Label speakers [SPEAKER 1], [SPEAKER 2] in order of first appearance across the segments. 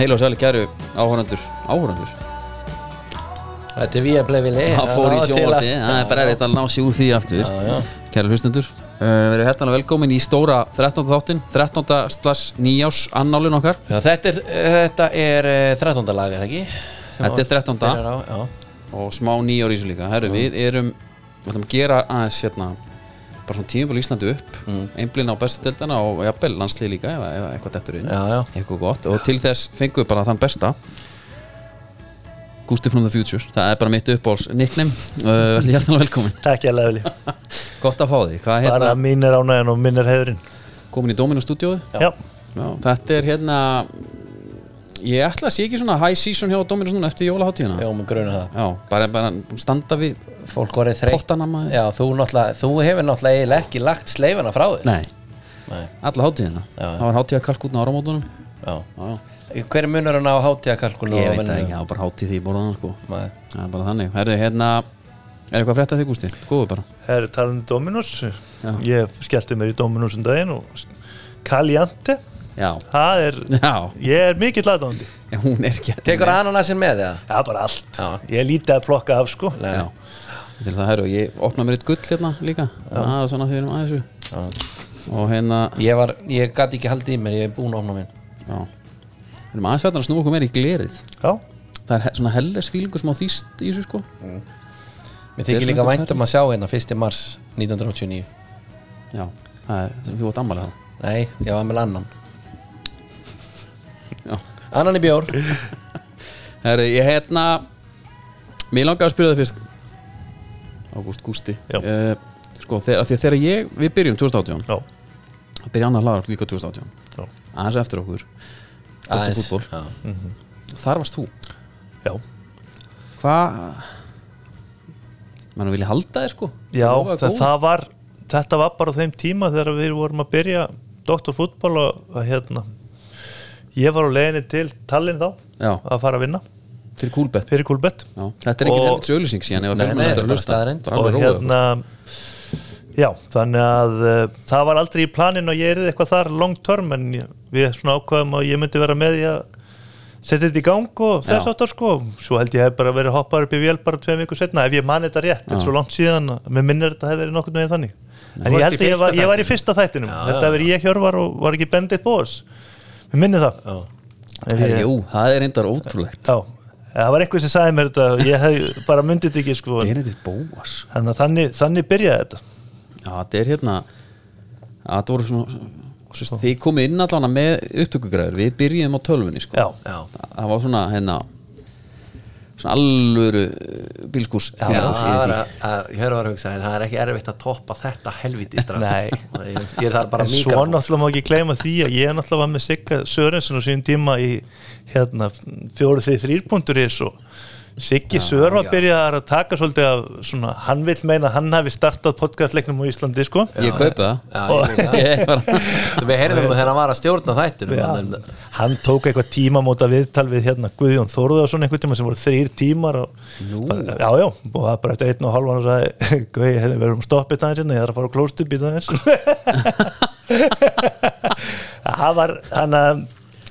[SPEAKER 1] heil og sæli kæru áhórandur Áhórandur?
[SPEAKER 2] Þetta er við að bleið vilja
[SPEAKER 1] Það fór í sjónvarpi, það er bara erfitt að ná sig úr því aftur
[SPEAKER 2] Já, já.
[SPEAKER 1] Kæru hlustendur, uh, verið hérna velkomin í stóra 13. þáttin 13. slags nýjás annálin okkar
[SPEAKER 2] Já, þetta er, þetta er eh, 13. lag, eða ekki? Sem
[SPEAKER 1] Þetta er
[SPEAKER 2] var-
[SPEAKER 1] 13.
[SPEAKER 2] byrjar á, Já,
[SPEAKER 1] og smá nýjár í þessu líka Herru, við erum, við ætlum að gera aðeins hérna bara svona tímabal Íslandi upp mm. einblina á bestu deildana og jafnvel landslið líka ef, ef eitthvað dettur inn
[SPEAKER 2] já, já
[SPEAKER 1] eitthvað gott og til þess fengum við bara þann besta Gusti from the Future það er bara mitt uppbóls nickname uh, verði hjartanlega velkomin
[SPEAKER 3] Takk ég alveg vilji
[SPEAKER 1] gott að fá þig hvað er
[SPEAKER 3] Bara
[SPEAKER 1] hérna
[SPEAKER 3] mín er ánægjan og mín er hefurinn
[SPEAKER 1] komin í Domino stúdíóið
[SPEAKER 3] Já,
[SPEAKER 1] Já, þetta er hérna ég ætla að sé ekki svona high season hjá Dominus núna eftir jólaháttíðina
[SPEAKER 2] Já, mér gruna það
[SPEAKER 1] Já, bara, bara standa við
[SPEAKER 2] Fólk voru þreytt
[SPEAKER 1] Pottana maður.
[SPEAKER 2] Já, þú, náttúrulega- þú hefur náttúrulega eiginlega ekki lagt sleifana frá þér
[SPEAKER 1] nei,
[SPEAKER 2] Nei,
[SPEAKER 1] alla hátíðina
[SPEAKER 2] Já, já.
[SPEAKER 1] það var hátíða kalkutna áramótunum
[SPEAKER 2] Já
[SPEAKER 1] Já, já.
[SPEAKER 2] Hver er munurinn á hátíðakalkulu
[SPEAKER 1] ég veit það ekki, það var bara hátíð því ég borðan sko.
[SPEAKER 2] Nei.
[SPEAKER 1] það er bara þannig Herri, hérna, er eitthvað frétt að þig Gusti? góðu bara
[SPEAKER 3] það eru talað um Dominos Ég skellti mér í Dominos um daginn og Kaljante
[SPEAKER 1] Já,
[SPEAKER 3] Það er,
[SPEAKER 1] já,
[SPEAKER 3] ég er mikill aðdóndi
[SPEAKER 1] Já, hún er ekki
[SPEAKER 2] Tekur ananasin með það?
[SPEAKER 3] Já, bara allt
[SPEAKER 2] Já.
[SPEAKER 3] Ég er lítið að plokka af sko
[SPEAKER 2] Nei.
[SPEAKER 1] Já, til það herru, ég opna mér eitt gull hérna líka Það er svona því við erum aðeins við.
[SPEAKER 2] Já.
[SPEAKER 1] Og hérna,
[SPEAKER 2] Ég var, ég gæti ekki haldið í mér, ég er búin að opna minn
[SPEAKER 1] já Við erum aðeins fættan að snúa okkur meir í glerið
[SPEAKER 3] Já,
[SPEAKER 1] Það er he- svona helles fílingur smá þýst í þessu sko
[SPEAKER 2] Mér
[SPEAKER 1] Þetta er
[SPEAKER 2] þykir líka
[SPEAKER 1] svona
[SPEAKER 2] vænt um að sjá hérna 1. mars 1989
[SPEAKER 1] Já, það er, þú átt ammalega
[SPEAKER 2] Nei, ég var með annan
[SPEAKER 1] það Já
[SPEAKER 2] Annan í bjór
[SPEAKER 1] Herru, ég hérna Mér langar að spyrja það fyrst Ágúst Gústi
[SPEAKER 3] Já.
[SPEAKER 1] Eh, Sko, þegar, af því að þegar ég, við byrjum 2018
[SPEAKER 3] já,
[SPEAKER 1] Það byrja annar lagar líka 2018
[SPEAKER 3] já,
[SPEAKER 1] Aðeins eftir okkur Dóttir
[SPEAKER 2] Aðeins.
[SPEAKER 1] fútbol
[SPEAKER 2] Já.
[SPEAKER 1] Þar varst þú
[SPEAKER 3] já.
[SPEAKER 1] Hvað Menn vilja halda þér sko
[SPEAKER 3] já
[SPEAKER 1] Þú var
[SPEAKER 3] það,
[SPEAKER 1] góð.
[SPEAKER 3] það var Þetta var bara á þeim tíma þegar við vorum að byrja doktorfútbol og að, hérna Ég var á leiðinni til Tallinn þá
[SPEAKER 1] Já.
[SPEAKER 3] að fara að vinna
[SPEAKER 1] Fyrir kúlbett
[SPEAKER 3] fyrir Kúlbett
[SPEAKER 1] Já, þetta er engin
[SPEAKER 3] Og-
[SPEAKER 1] helvits auðlýsing síðan ef að
[SPEAKER 2] Nei,
[SPEAKER 1] fyrir
[SPEAKER 2] nei,
[SPEAKER 1] mér þetta
[SPEAKER 2] bara
[SPEAKER 1] að hlusta
[SPEAKER 2] staðreynd.
[SPEAKER 1] Bara
[SPEAKER 3] og
[SPEAKER 1] alveg róðu
[SPEAKER 3] hérna já, þannig að uh, það var aldrei í planinu að ég erið eitthvað þar long term en ég- við svona ákvaðum að ég myndi vera með í að setja þetta í gang og þess
[SPEAKER 1] Já.
[SPEAKER 3] áttar sko svo held ég hef bara verið hoppað upp í vél bara tveim vikur setna ef ég man þetta rétt, þetta er svo langt síðan að mér minnir þetta hef verið nokkurn veginn þannig en
[SPEAKER 1] varst í
[SPEAKER 3] ég held að ég
[SPEAKER 1] fyrsta
[SPEAKER 3] var, ég var í fyrsta þættinum þetta hef verið ég hjörvar og var ekki bendið bóðs mér minnir það
[SPEAKER 2] Já.
[SPEAKER 3] En
[SPEAKER 1] Herri,
[SPEAKER 3] ég-
[SPEAKER 1] Jú, það er reyndar ótrúlegt
[SPEAKER 3] já, það var eitthvað sem sagði mér þetta ég hef bara myndið þetta ekki sko
[SPEAKER 1] Er þetta bóas?
[SPEAKER 3] þannig að þannig, þannig byrjaði þetta
[SPEAKER 1] Já, þetta er hérna Það voru svona sérst, Þið komið inn allan með upptökugræður Við byrjum á tölvunni sko
[SPEAKER 3] Já.
[SPEAKER 2] Já.
[SPEAKER 1] Það það var svona hérna Svona alvöru uh, bílskús
[SPEAKER 2] Já, það er að, að Hjörvar hugsaði það er ekki erfitt að toppa þetta helviti strax
[SPEAKER 3] Nei.
[SPEAKER 2] ég, ég þarf bara
[SPEAKER 3] en svo
[SPEAKER 2] mikra
[SPEAKER 3] náttúrulega má ekki gleyma því að ég náttúrulega var með Sigga Sörensson á sínum tíma í hérna fjóru því þrýrpunkturis og Siggi Sör var byrjaðar að taka svolítið af svona, hann vill meina að hann hafi startað podcastleiknum á Íslandi sko
[SPEAKER 1] Ég kaupi það
[SPEAKER 2] Já, ég veit það.
[SPEAKER 1] Ég bara
[SPEAKER 2] Við heyrðum um þegar hann var að stjórna þættur
[SPEAKER 3] Já, hann tók eitthvað tímamóta viðtal við hérna Guðjón Þórðarsson einhvern tíma sem voru þrýr tímar og bara, já, já, og það bara eftir einn og halvan og sagði, Guði, hérna, við erum stoppið það hérna, ég þarf að fara á klóstið býta þess það var, hann að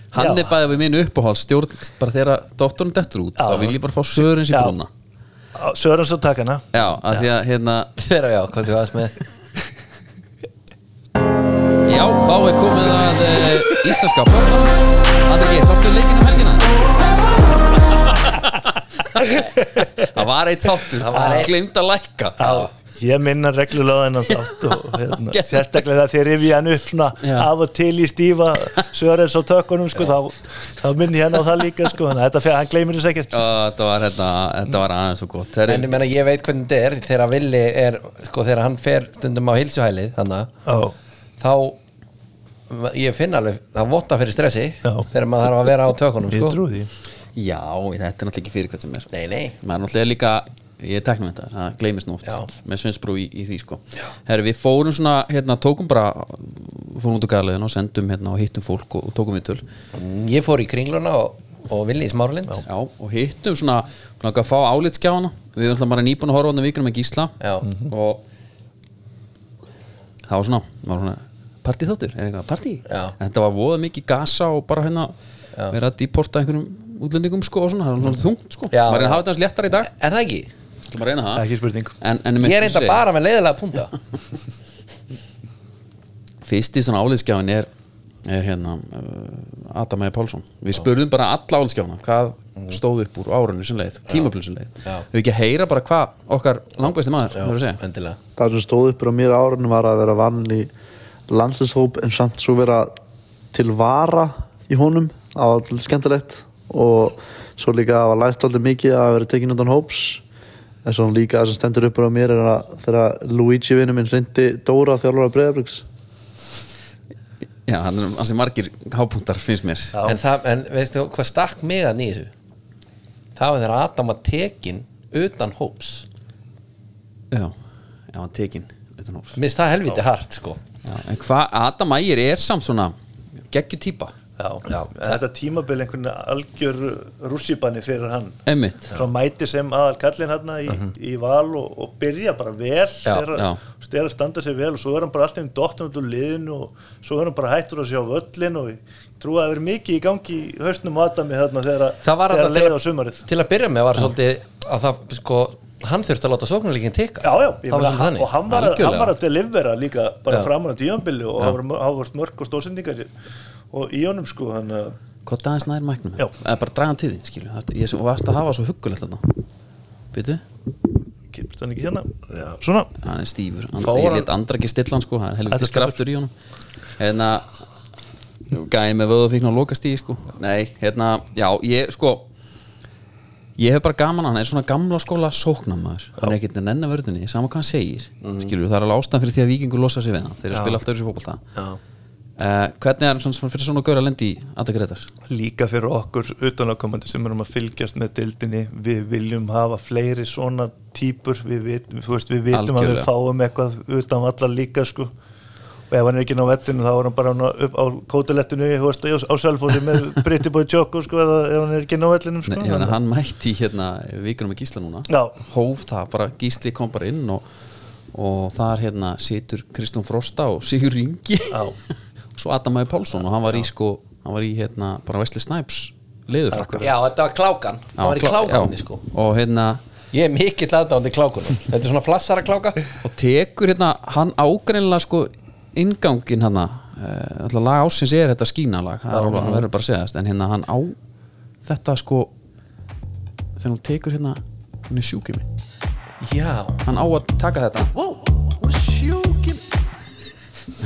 [SPEAKER 1] Hann
[SPEAKER 3] já.
[SPEAKER 1] er bæðið við minn uppáhald stjórn bara þegar doktorinn dettur út þá vil ég bara fá Sörens í
[SPEAKER 3] Já.
[SPEAKER 1] brúna
[SPEAKER 3] Sörens og takana
[SPEAKER 1] Já, af því að hérna
[SPEAKER 2] Þeirra já, hvað þú aðeins með
[SPEAKER 1] Já, þá er komið að e, íslenska bóttanum Andri G, sástu leikinn um helgina? það var eitt þáttur
[SPEAKER 2] Það var eitt.
[SPEAKER 1] Glimt að lækka
[SPEAKER 3] Ég minna reglulega þennan þátt og hérna,
[SPEAKER 1] Gerðu.
[SPEAKER 3] sérstaklega þegar ég við hann upp svona
[SPEAKER 1] Já.
[SPEAKER 3] af og til í stífa Sörens og tökunum sko, þá, þá minni hann á það líka sko, þannig að þetta fyrir, hann gleymir þess ekkert
[SPEAKER 1] Ó, Þetta var, hérna, þetta var aðeins svo gott Þeir,
[SPEAKER 2] En ég meina ég veit hvernig þetta er þegar Villi er, sko þegar hann fer stundum á hilsuhælið þannig
[SPEAKER 3] Já,
[SPEAKER 2] þá ég finn alveg, það votta fyrir stressi
[SPEAKER 3] Já.
[SPEAKER 2] þegar maður þarf að vera á tökunum
[SPEAKER 3] ég
[SPEAKER 2] sko.
[SPEAKER 3] trú því
[SPEAKER 1] Já, þetta er náttúrulega ekki fyrir hvað sem er
[SPEAKER 2] Nei, nei,
[SPEAKER 1] maður er náttúrulega líka ég er teknum þetta, það gleymist nú oft
[SPEAKER 2] Já.
[SPEAKER 1] með Sveinsbrú í, í því sko Herri, við fórum svona, hérna, tókum bara fórum út á gæðlegin og sendum hérna og hittum fólk og, og tókum við töl já,
[SPEAKER 2] ég fór í kringluna og, og Villi í smárlind
[SPEAKER 1] og hittum svona, svona að fá álitskjáfana við erum alltaf bara nýbúin að horfa á vikuna með Gísla
[SPEAKER 2] Já.
[SPEAKER 1] og það var svona, það var svona partíþáttur, er eitthvað partí
[SPEAKER 2] Já.
[SPEAKER 1] En þetta var voða mikið gasa og bara hérna verið að deporta einhverjum útlendingum sko og svona, það er svona þungt sko
[SPEAKER 2] Mm. Já.
[SPEAKER 1] maður reyna að hafa þetta aðeins léttara í dag
[SPEAKER 2] Er það ekki?
[SPEAKER 1] maður reyna það
[SPEAKER 3] ekki spurning
[SPEAKER 1] en, en
[SPEAKER 2] Ég er enda bara með leiðilega punta
[SPEAKER 1] fyrst í svona áliðskjafin er, er hérna uh, Adam E. Pálsson við spurðum bara alla áliðskjafina hvað stóð upp úr árunni sem leið, tímablun sem leið
[SPEAKER 2] Já.
[SPEAKER 1] við ekki að heyra bara hvað okkar langbæsti maður verður að segja
[SPEAKER 2] endilega
[SPEAKER 4] það sem stóð uppur á mér árunum var að vera vann í landslýshóp en samt svo vera til vara í honum það var alltaf skemmtilegt og svo líka að var lært alltaf mikið að vera tekin undan hóps en svo líka það sem stendur uppur á mér er að þegar Luigi vinnu minn reyndi Dóra þjálfara Breiðabriks
[SPEAKER 1] já, hann er ansi margir hápunktar finnst mér
[SPEAKER 3] Já.
[SPEAKER 2] en, það, en veistu hvað stakk mig að nýja þessu það var þegar Adam var tekin utan hóps
[SPEAKER 1] já, já hann tekin utan hóps.
[SPEAKER 2] minnst það helviti hart sko
[SPEAKER 1] Já, en hvað, Adam Ægir er samt svona geggju típa,
[SPEAKER 3] Já.
[SPEAKER 2] Já.
[SPEAKER 3] þetta tímabil einhvern algjör rússipanni fyrir hann
[SPEAKER 1] emmitt
[SPEAKER 3] frá mæti sem aðal kallin hann í,
[SPEAKER 2] Mhm.
[SPEAKER 3] í val og, og byrja bara vel er
[SPEAKER 1] já.
[SPEAKER 3] að, er að standa sér vel og svo er hann bara alltaf um dottin út úr liðinu og svo er hann bara hættur að sjá völlin og ég trúi að það er mikið í gangi í haustnum á Adami þarna þegar að-
[SPEAKER 2] það var
[SPEAKER 3] þegar
[SPEAKER 2] þarna
[SPEAKER 3] að leiða á sumarið
[SPEAKER 2] til að byrja með var svolítið að það sko hann þurfti að láta sóknarleikin teka
[SPEAKER 3] Já, já,
[SPEAKER 2] það var
[SPEAKER 3] ég meina,
[SPEAKER 2] svolítið
[SPEAKER 3] hann,
[SPEAKER 2] þannig
[SPEAKER 3] og hann var, að,
[SPEAKER 1] Algjörlega.
[SPEAKER 3] hann var að delivera líka bara
[SPEAKER 2] Já.
[SPEAKER 3] framan á tímanbili og hann var- hann var mörg og stóðsendingar og í honum sko hann, uh,
[SPEAKER 1] Hvað aðeins nær mæknum?
[SPEAKER 3] Já.
[SPEAKER 1] Eða bara draga hann til þín, skilju Það- Ég sem- varst að hafa svo huggulegt þarna Býtu?
[SPEAKER 3] kipur þannig ekki hérna svona,
[SPEAKER 1] Hann er stífur And,
[SPEAKER 2] Fór
[SPEAKER 1] Ég
[SPEAKER 2] hann-
[SPEAKER 1] let andra ekki stilla hann sko Það er
[SPEAKER 3] Þetta
[SPEAKER 1] helviti
[SPEAKER 3] er skraftur.
[SPEAKER 1] skraftur í honum Hérna Gæði með vöðafíkn og lokastíði sko Nei, hérna, já, ég sko Ég hef bara gaman að hann er svona gamla skóla sóknamaður Hann er ekkert að nenni vörðinni, sama hvað hann segir mm. það er alveg ástæðan fyrir því að vikingur losa sig við hann Þeir spila alltaf þessu fótbolta
[SPEAKER 2] Já.
[SPEAKER 1] uh, Hvernig er hann svona fyrir svona gaur að lendi í Adda Gretar?
[SPEAKER 3] líka fyrir okkur utanákomandi sem erum að fylgjast með dildinni við viljum hafa fleiri svona típur, við vitum, þú veist, við vitum að við
[SPEAKER 1] Algjörlega.
[SPEAKER 3] fáum eitthvað utan allar líka sko og ef hann er ekki ná vettinu þá er hann bara ná- upp á kótalettinu þú veist, á, á selfóni með Britti Bói Tjókko sko, eða ef hann er ekki ná vettinum sko
[SPEAKER 1] Nei, ég meina, hann mætti í, hérna vikunum með Gísla núna
[SPEAKER 3] Já.
[SPEAKER 1] hóf það, bara Gísli kom bara inn og, og þar hérna situr Kristján Frosta og Sigur Ingi og svo Adam Ægir Pálsson og hann var í sko, hann var í hérna bara Wesley Snipes sko. liðufrakka
[SPEAKER 2] já, þetta var klákan hann var í klákunni sko
[SPEAKER 1] og hérna
[SPEAKER 2] ég er mikill aðdáðandi klákunum þetta er svona flassara kláka
[SPEAKER 1] og tekur hérna, hann ágrinlega sko ingangin hann uh, alltaf lag ásins er þetta skínalag það er alveg, það verður bara að segja þess, en hérna hann á þetta sko þegar hún tekur hérna, hún er sjúkið minn
[SPEAKER 2] já,
[SPEAKER 1] hann á að taka þetta wow,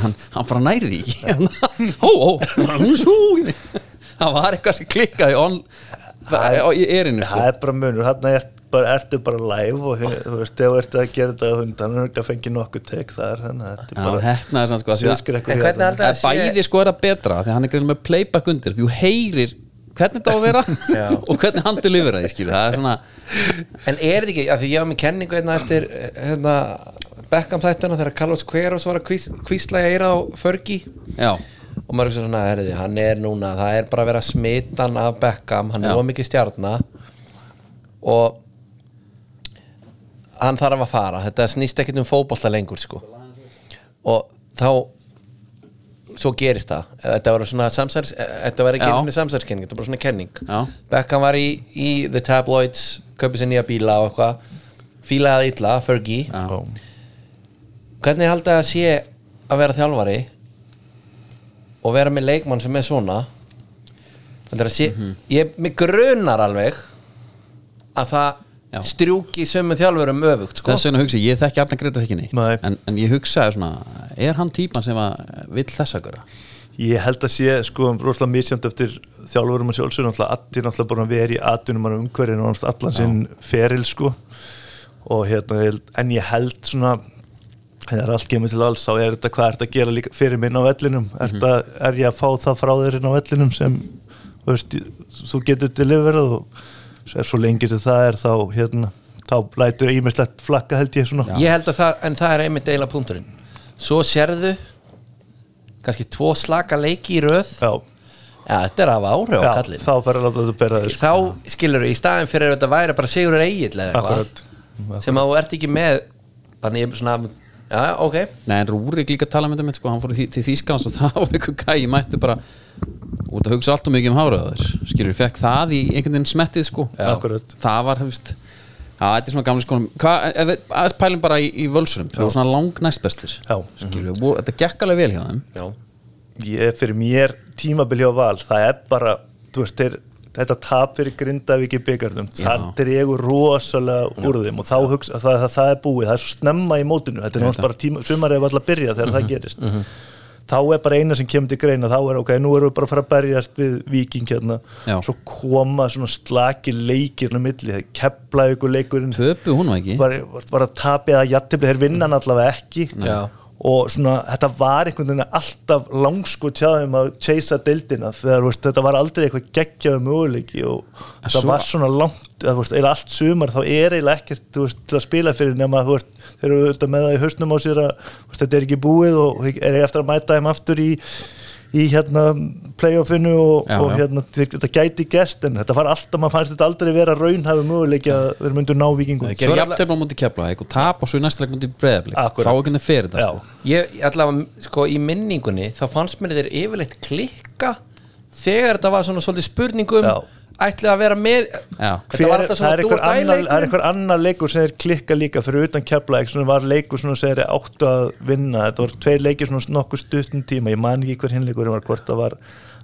[SPEAKER 1] hann, hann fara næri því ekki. Hann- ó, ó, hún er sjúkið það var eitthvað sem klikkaði on, á, í erinu sko.
[SPEAKER 3] það er bara munur, hann er bara, ertu bara live og þú veist, ef þú ert að gera þetta á hundan, hann er ekki að fengi nokkuð tek þar, þannig að þetta
[SPEAKER 1] Já,
[SPEAKER 3] er bara
[SPEAKER 1] hann heppnaði samt, sko, því að-
[SPEAKER 3] sviðskrekkur
[SPEAKER 2] en
[SPEAKER 3] í
[SPEAKER 2] hvernig
[SPEAKER 3] þetta.
[SPEAKER 2] haldið
[SPEAKER 1] En
[SPEAKER 2] að
[SPEAKER 1] bæði sko er að betra því að hann er greinlega með playback undir því þú heyrir hvernig þetta á að vera
[SPEAKER 2] Já.
[SPEAKER 1] og hvernig hann delivera því skilur það er svona
[SPEAKER 2] En er þetta ekki, af því ég var með kenningu hérna eftir eh, hérna, Beckham þættina þegar Carlos Queiroz var að kvís, kvísla í eira á Fergi
[SPEAKER 1] já,
[SPEAKER 2] og maður er svona, herriði, hann er núna það er bara að vera smitan af Beckham hann
[SPEAKER 1] Já.
[SPEAKER 2] er of mikið stjarna og hann þarf að fara, þetta snýst ekkert um fótbolta lengur sko og þá svo gerist það, þetta var svona samsærs, þetta var ekki
[SPEAKER 1] Já.
[SPEAKER 2] einu sinni samsærskenning þetta var bara svona kenning
[SPEAKER 1] Já.
[SPEAKER 2] Beckham var í, í The Tabloids, kaupið sér nýja bíla og eitthvað fílaði það illa, Fergie
[SPEAKER 1] já.
[SPEAKER 2] hvernig haldið að sé að vera þjálfari og vera með leikmann sem er svona heldur að sé
[SPEAKER 3] Mhm.
[SPEAKER 2] ég mig grunar alveg að það
[SPEAKER 1] Já.
[SPEAKER 2] strjúki sömu þjálfurum öfugt sko.
[SPEAKER 1] þess vegna hugsa ég, ég þekki allan Gretas ekki neitt
[SPEAKER 3] Nei.
[SPEAKER 1] en, en ég hugsaði svona er hann típan sem að vill þess að gera
[SPEAKER 3] ég held að sé sko rosalega misjönd eftir þjálfurum og sjálfsögur náttúrulega allir náttúrulega bara að vera í atunum mann umhverjum og allan sinn feril sko og hérna ég held- en ég held svona þegar allt kemur til alls þá er þetta hvað er þetta að gera líka fyrir minn á vellinum er, mm er ég að fá það frá þér inn á vellinum sem þú veist, þú getur deliverað og svo- svo lengi sem það er þá hérna þá lætur ímislegt flakka held ég svona
[SPEAKER 2] ég held að það, en það er einmitt eila punkturinn svo sérðu kannski tvo slaka leiki í röð
[SPEAKER 3] já,
[SPEAKER 2] ja, þetta er af áhrif á kallin
[SPEAKER 3] þá fer að láta þetta bera þér sko.
[SPEAKER 2] þá skilur við, í staðin fyrir að þetta væri bara Sigurður Egil eða eitthvað
[SPEAKER 3] akkurat
[SPEAKER 2] sem að þú ert ekki með þannig ég er svona já, já, ok
[SPEAKER 1] Nei, en Rúrik líka tala með þetta sko, hann fór í Þý- til Þýskans og það var einhver gæi mættu bara út að hugsa allt og mikið um háraðar skilur, fekk það í einhvern veginn smettið sko
[SPEAKER 2] Já.
[SPEAKER 3] Akkurat.
[SPEAKER 1] það var, þú veist Já, þetta er svona gamli skónum Hvað, ef við- aðeins pælum bara í, í völsunum það var svona lang næstbestir
[SPEAKER 3] Já.
[SPEAKER 1] skilur, og þetta gekk alveg vel hjá þeim
[SPEAKER 2] já.
[SPEAKER 3] ég, fyrir mér tímabili á val það er bara, þú veist, þeir, þetta tap fyrir Grindavík í byggarnum það
[SPEAKER 1] Já.
[SPEAKER 3] dregur rosalega úr þeim og þá hugsa, það, það, það er búið, það er svo snemma í mótinu þetta er náttúrulega bara tíma, sumar ef alltaf byrja þegar
[SPEAKER 1] Mhm,
[SPEAKER 3] það gerist þá er bara eina sem kemur til greina þá er ok, nú erum við bara að fara að berjast við viking hérna,
[SPEAKER 1] Já.
[SPEAKER 3] svo koma svona slaki leikirna milli, það kepla ykkur leikurinn
[SPEAKER 1] Töpu hún var ekki Mm.
[SPEAKER 3] var, var, var að tapja að jættibli þeir vinna hann allavega ekki
[SPEAKER 2] Já.
[SPEAKER 3] og svona þetta var einhvern veginn alltaf langsku tjáðum að chasea deildina þegar þú veist, þetta var aldrei eitthvað geggjaðu möguleiki og það
[SPEAKER 1] svo-
[SPEAKER 3] var svona langt eða, þú veist, eða allt sumar þá er eiginlega ekkert þú veist, til að spila fyrir nema þú veist, þeir eru auðvitað með það í hausnum á sér að þú veist, þetta er ekki búið og er eftir að mæta þeim aftur í í hérna playoffinu og,
[SPEAKER 1] Já,
[SPEAKER 3] og
[SPEAKER 1] já.
[SPEAKER 3] hérna þetta gæti gest en þetta var alltaf, maður fannst þetta aldrei vera raunhæfu möguleiki að þeir myndu ná vikingum
[SPEAKER 1] Svo
[SPEAKER 2] Gerðu
[SPEAKER 1] er
[SPEAKER 2] alla-
[SPEAKER 1] jafntefn á múti kefla og tap og svo í næsta leik múti breðablik
[SPEAKER 3] Akkurat.
[SPEAKER 1] Þá ekki þeir fyrir þetta sko.
[SPEAKER 3] Já,
[SPEAKER 2] ég allavega sko í minningunni þá fannst mér þeir yfirleitt klikka þegar þetta var svona svolítið spurning um
[SPEAKER 3] Já.
[SPEAKER 2] ætlið að vera með
[SPEAKER 1] Já.
[SPEAKER 2] þetta var alltaf
[SPEAKER 3] það er
[SPEAKER 2] svona
[SPEAKER 3] einhver
[SPEAKER 2] dúr
[SPEAKER 3] annar, það er
[SPEAKER 2] dæleikur
[SPEAKER 3] einhver annar leikur sem þeir klikka líka fyrir utan keflaðik, svona var leikur svona sem þeir áttu að vinna, þetta voru tveir leikir svona nokkuð stuttum tíma, ég man ekki hver hinleikur var, hvort það var,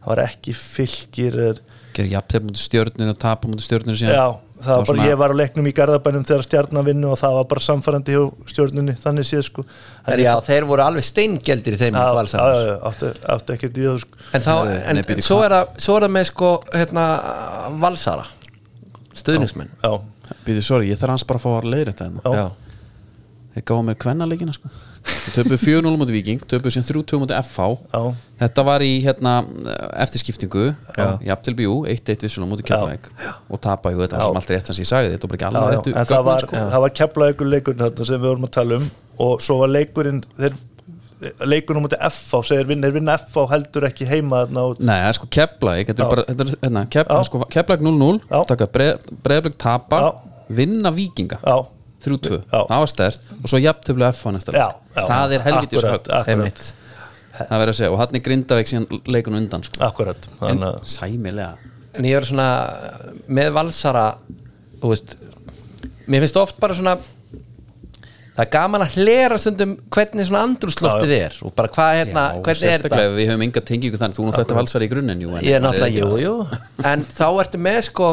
[SPEAKER 3] það var ekki fylgir er,
[SPEAKER 1] Gerðu jafntefn múti stjörnun og tapa múti stjörnun síðan
[SPEAKER 3] já, það var bara,
[SPEAKER 1] svona-
[SPEAKER 3] ég var á leiknum í Garðabænum þegar stjarnan vinnu og það var bara samfærandi hjá stjörnunni, þannig séð sko
[SPEAKER 2] Þeir- já, þeir voru alveg steingeldir í þeim
[SPEAKER 3] Já, já,
[SPEAKER 2] Valsarar.
[SPEAKER 3] já, áttu, áttu ekkert í það sko.
[SPEAKER 2] en, þá,
[SPEAKER 1] Nei,
[SPEAKER 2] en
[SPEAKER 1] nei, bíddu,
[SPEAKER 2] svo,
[SPEAKER 1] hvað?
[SPEAKER 2] er það, svo er það með sko hérna, valsara stuðningsmenn
[SPEAKER 3] já,
[SPEAKER 1] Býðu, sorry, ég þarf hans bara að fá að leiðra þetta hérna.
[SPEAKER 3] já,
[SPEAKER 2] já.
[SPEAKER 1] Þeir gáðu mér kvennaleikina sko. Töpu 4-0 múti Viking, töpu sem 3-2 múti FH
[SPEAKER 3] já,
[SPEAKER 1] Þetta var í hérna, eftir skiptingu Jafntil Bjú, 1-1 vissulega múti keflaðik og tapa, jú, þetta var
[SPEAKER 3] Já.
[SPEAKER 1] sem alltaf rétt hans ég sagði þetta var bara ekki alveg réttu
[SPEAKER 3] já, já, en það
[SPEAKER 1] gögnin,
[SPEAKER 3] var,
[SPEAKER 1] sko.
[SPEAKER 3] það var keflaðikur leikurinn þarna sem við vorum að tala um og svo var leikurinn þeir, leikurinn á mútið FH segir vinna, þeir vinna FH heldur ekki heima þarna og,
[SPEAKER 1] Nei, það er sko Keflæk þetta er
[SPEAKER 3] Já.
[SPEAKER 1] bara, þetta er, hérna, kef,
[SPEAKER 3] Já.
[SPEAKER 1] sko, Keflæk 0-0
[SPEAKER 3] Já.
[SPEAKER 1] taka breyðblögg tapa vinna vikinga,
[SPEAKER 3] já,
[SPEAKER 1] 3-2
[SPEAKER 3] Já.
[SPEAKER 1] það var stert og svo jafntöflu FH næsta leik
[SPEAKER 3] Já, já.
[SPEAKER 1] það er helvitis
[SPEAKER 3] Akkurat,
[SPEAKER 1] högg,
[SPEAKER 3] akkurat.
[SPEAKER 1] einmitt það verður að segja, og hann er grindaveik síðan leikun undan, sko.
[SPEAKER 3] akkurat þannig að
[SPEAKER 1] sæmilega
[SPEAKER 2] en ég er svona með valsara þú veist mér finnst oft bara svona það er gaman að hlera stundum hvernig svona andrúsloftið er og bara hvað hérna,
[SPEAKER 1] Já,
[SPEAKER 2] hvernig er
[SPEAKER 1] sérstaklega
[SPEAKER 2] þetta
[SPEAKER 1] ef við höfum enga tengingu þannig, þú erum þetta valsar í grunninn jú, en
[SPEAKER 2] ég er
[SPEAKER 1] maður
[SPEAKER 2] náttúrulega, jú,
[SPEAKER 1] ekki-
[SPEAKER 2] jú en þá ertu með sko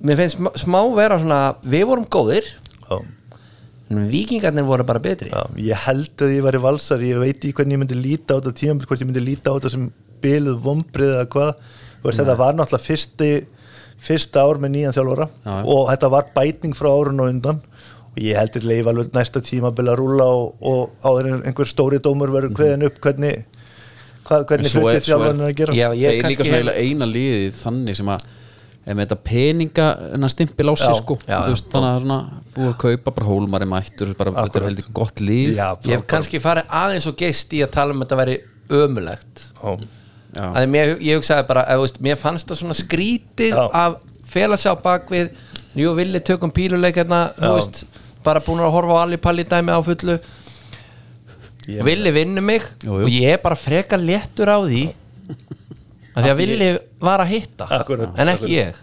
[SPEAKER 2] mér finnst smá- smá vera svona við vorum góðir,
[SPEAKER 3] já,
[SPEAKER 2] en vikingarnir voru bara betri
[SPEAKER 3] já, ég held að ég væri valsar ég veit í hvernig ég myndi líta á þetta tíma hvort ég myndi líta á þetta sem biluð vombrið eða hvað, Þú veist, þetta var náttúrulega fyrsti, fyrsta ár með nýjan þjálfara
[SPEAKER 1] Já, já.
[SPEAKER 3] og þetta var bætning frá árun og undan og ég heldur leif alveg næsta tíma að rúla og, og áður en einhver stóri dómur verður kveðin upp hvernig, hvað, hvernig
[SPEAKER 1] svo er- svo
[SPEAKER 3] hluti
[SPEAKER 1] er-
[SPEAKER 3] þjálfarinn er að gera
[SPEAKER 2] Já, ég
[SPEAKER 1] þeir
[SPEAKER 2] kannski-
[SPEAKER 1] líka svona eiginlega eina liðið þannig sem að ef með þetta peninga en að stimpil á sig
[SPEAKER 3] Já,
[SPEAKER 1] sko
[SPEAKER 2] já,
[SPEAKER 1] þú veist þannig að svona búið að kaupa bara hólmari mættur bara þetta er
[SPEAKER 3] Akkurat.
[SPEAKER 1] heldur gott líð
[SPEAKER 3] Já,
[SPEAKER 2] ég hef kannski farið aðeins og geist í að tala um að þetta væri ömulegt
[SPEAKER 3] Já.
[SPEAKER 1] já,
[SPEAKER 2] að mér, ég hugsaði bara að, veist, mér fannst það svona skrítið
[SPEAKER 3] Já.
[SPEAKER 2] að fela sig á bakvið jú villi tökum píluleikana þú veist, bara búin að horfa á allipalli dæmi á fullu
[SPEAKER 3] Ég-
[SPEAKER 2] villi vinnu mig
[SPEAKER 1] Jú, jú.
[SPEAKER 2] og ég er bara freka léttur á því af því að villi var að hitta
[SPEAKER 3] Akkurat,
[SPEAKER 2] en ekki ég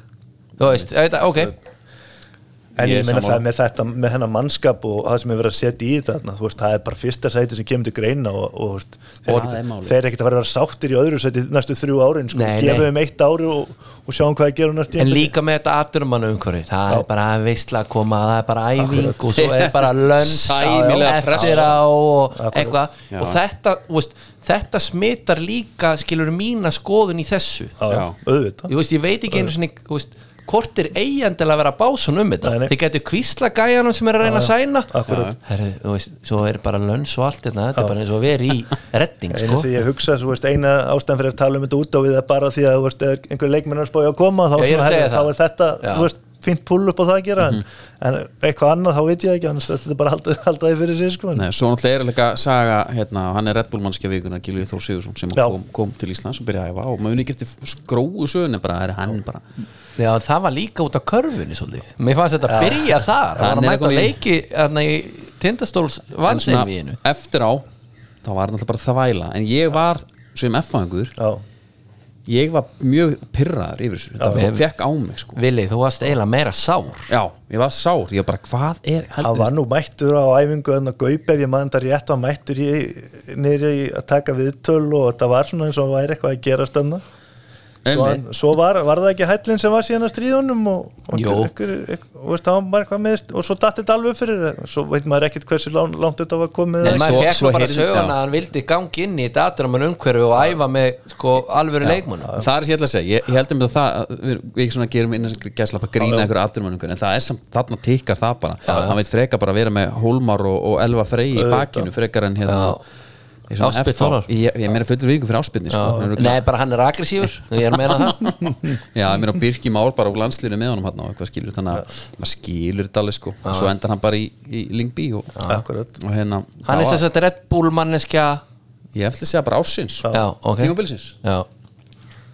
[SPEAKER 2] þú veist, þetta, ok
[SPEAKER 3] En
[SPEAKER 1] Ég er
[SPEAKER 3] ég, meina
[SPEAKER 1] sammála.
[SPEAKER 3] það með þetta, með hennar mannskap og það sem er verið að setja í þetta þarna, þú veist, það er bara fyrsta sæti sem kemur til greina og, og þú veist,
[SPEAKER 1] Það
[SPEAKER 3] þeir,
[SPEAKER 1] er
[SPEAKER 3] ekkit,
[SPEAKER 1] málið.
[SPEAKER 3] þeir er ekkert að fara að vera sáttir í öðru sæti næstu þrjú árin, sko,
[SPEAKER 2] Nei,
[SPEAKER 3] gefum
[SPEAKER 2] nei.
[SPEAKER 3] þeim eitt ári og, og sjáum hvað það gerum næstu
[SPEAKER 2] en líka með þetta aturumannu umhverju það
[SPEAKER 3] Já.
[SPEAKER 2] er bara veistla að koma, það er bara æfing og svo er bara lönns
[SPEAKER 1] Sæmilega
[SPEAKER 2] eftir
[SPEAKER 1] pressa.
[SPEAKER 2] á og
[SPEAKER 3] Akkurat.
[SPEAKER 2] eitthvað
[SPEAKER 1] Já.
[SPEAKER 2] og þetta, þú veist, þetta smitar líka skilur mína skoðun í þessu
[SPEAKER 1] Já.
[SPEAKER 3] auðvitað
[SPEAKER 2] ég, veist, ég veit ekki einu sinni þú veist, hvort er eigandilega að vera básun um þetta
[SPEAKER 3] Nei, nei.
[SPEAKER 2] þið getur kvísla gæjanum sem er að reyna að sæna
[SPEAKER 3] Akkurat.
[SPEAKER 2] Herru, þú veist, svo er bara lönns og allt hérna. þetta þetta er bara eins og verið í redding
[SPEAKER 3] eina
[SPEAKER 2] sko.
[SPEAKER 3] sem ég hugsa, þú veist, eina ástæðan fyrir að tala um þetta út á við er bara því að þú veist, ef einhver leikmenn er að spája að koma þá,
[SPEAKER 2] Já, ég er að
[SPEAKER 3] svona,
[SPEAKER 2] segja
[SPEAKER 3] herri, þá
[SPEAKER 2] það.
[SPEAKER 3] er þetta,
[SPEAKER 2] Já. Mhm.
[SPEAKER 3] þú veist, fínt pull upp á það að gera en, en eitthvað annað þá veit ég ekki annars þetta er bara að halda, halda því fyrir sér sko, en-
[SPEAKER 1] Nei, svo náttúrulega er líka saga hérna, hann er Red Bull mannskja vikuna Gilvið Þór Sigursson sem
[SPEAKER 3] Já.
[SPEAKER 1] kom, kom til Íslands og byrjaði að æfa og maður ekki eftir skróu söguna bara það er hann bara
[SPEAKER 2] Já, það var líka út af körfunni svolítið Mér fannst þetta að byrja þar Það
[SPEAKER 1] Hann
[SPEAKER 2] var að
[SPEAKER 1] er
[SPEAKER 2] mæta
[SPEAKER 1] komið í-
[SPEAKER 2] leiki þarna í tindastóls
[SPEAKER 1] En
[SPEAKER 2] vann
[SPEAKER 1] svona
[SPEAKER 2] þeim í einu
[SPEAKER 1] eftir á þá var náttúrulega bara þvæla en ég var sem F-fangur
[SPEAKER 3] já,
[SPEAKER 1] ég var mjög pyrraður yfir þessu þetta
[SPEAKER 2] Já.
[SPEAKER 1] fe- fekk á mig sko
[SPEAKER 2] Vili, þú varst eiginlega meira sár
[SPEAKER 1] já, ég var sár, ég var bara hvað er
[SPEAKER 3] hann var nú mættur á æfingu en að gaupa ef ég maður þetta rétt var mættur í, nýri að taka viðtöl og þetta var svona eins og hann væri eitthvað að gera stanna svo, hann,
[SPEAKER 1] Einmitt.
[SPEAKER 3] svo var, var það ekki hællin sem var síðan að stríðunum og, og
[SPEAKER 2] Jó.
[SPEAKER 3] ykkur, ykkur, og veist, hann var eitthvað með og svo datt þetta alveg fyrir svo veit maður ekkert hversu langt, langt þetta var komið
[SPEAKER 2] En
[SPEAKER 1] Nei,
[SPEAKER 2] maður
[SPEAKER 1] svo-
[SPEAKER 2] fekk
[SPEAKER 1] svo
[SPEAKER 2] nú bara
[SPEAKER 1] heyrði-
[SPEAKER 2] söguna
[SPEAKER 1] já.
[SPEAKER 2] að hann vildi gangi inn í þetta aðdramun umhverfi og æfa með sko alvöru leikmunum
[SPEAKER 1] það er sem ég ætla að segja, ég, ég heldur með það að við, við ekki svona gerum innan sem gæslappa grína einhver afturmönningur, en það er samt, þarna tikkar það bara, hann veit frekar bara að vera með Hólmar og, og Elva Frey í bakinu frekar en hérna
[SPEAKER 2] Já.
[SPEAKER 1] í svona
[SPEAKER 2] Ásbjörn
[SPEAKER 1] FH.
[SPEAKER 2] Þórar.
[SPEAKER 1] ég, ég meira fullur viðingum fyrir áspilni sko. Hann er
[SPEAKER 2] Nei, bara hann er agressífur Ég er að meina það
[SPEAKER 1] já, ég meina Birki Már bara úr landslýri með honum hann og eitthvað skilur þannig að maður skilur þetta alveg sko og svo endar hann bara í, í Lingby og,
[SPEAKER 3] Akkurat.
[SPEAKER 1] og hérna
[SPEAKER 2] Hann er þess að Red Bull manneskja
[SPEAKER 1] ég ætla að segja bara ásins
[SPEAKER 2] Já, ok
[SPEAKER 1] tímabilsins
[SPEAKER 2] Já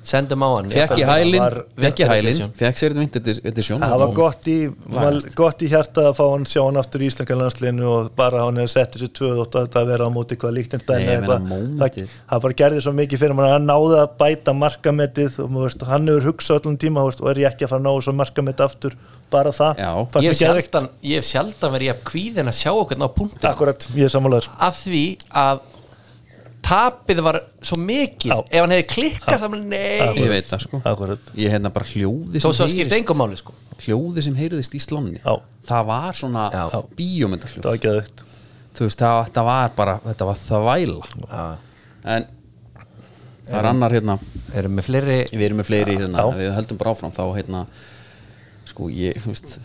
[SPEAKER 2] Sendum á hann
[SPEAKER 1] fekk ég hælin,
[SPEAKER 3] var-
[SPEAKER 1] fekk ég hælin
[SPEAKER 2] Edition.
[SPEAKER 1] fekk sér þetta vint þetta er sjón
[SPEAKER 3] það var gott í, mal, gott í hjarta að fá hann sjá hann aftur í Íslenska landsliðinu og bara hann er settur í 2-8 að þetta vera á móti hvað líkt en
[SPEAKER 1] Nei, ég meina
[SPEAKER 3] það,
[SPEAKER 1] mómentið.
[SPEAKER 3] það bara gerði svo mikið fyrir hann hann náði að bæta markametið og maður veist, hann hefur hugsað allan tíma þú veist, og er ég ekki að fara að ná þessu markamet aftur bara það,
[SPEAKER 1] Já.
[SPEAKER 3] fannst
[SPEAKER 2] Ég
[SPEAKER 3] mér
[SPEAKER 2] hef
[SPEAKER 3] geðveikt.
[SPEAKER 2] sjaldan, ég hef sjaldan verið jafn kvíðin að sjá okkur ná punktum
[SPEAKER 3] akkurat, ég er sammálaður
[SPEAKER 2] af því að tapið var svo mikið
[SPEAKER 3] Já.
[SPEAKER 2] ef hann hefði klikkað þá með nei
[SPEAKER 1] ég veit það sko
[SPEAKER 3] Akkurat.
[SPEAKER 1] ég hérna bara hljóði
[SPEAKER 2] þó svo
[SPEAKER 1] sem
[SPEAKER 2] skipti engum máli sko
[SPEAKER 1] hljóði sem heyrðist í slánni
[SPEAKER 3] Já.
[SPEAKER 1] það var svona
[SPEAKER 2] Já.
[SPEAKER 3] það
[SPEAKER 1] bíómyndarhljóð
[SPEAKER 3] var geðveikt
[SPEAKER 1] þú veist það þetta var bara þetta var þvæla en það er annar hérna
[SPEAKER 2] erum við fleiri
[SPEAKER 1] við erum með fleiri hérna,
[SPEAKER 3] Já.
[SPEAKER 1] við höldum bara áfram þá hérna, sko ég þú veist,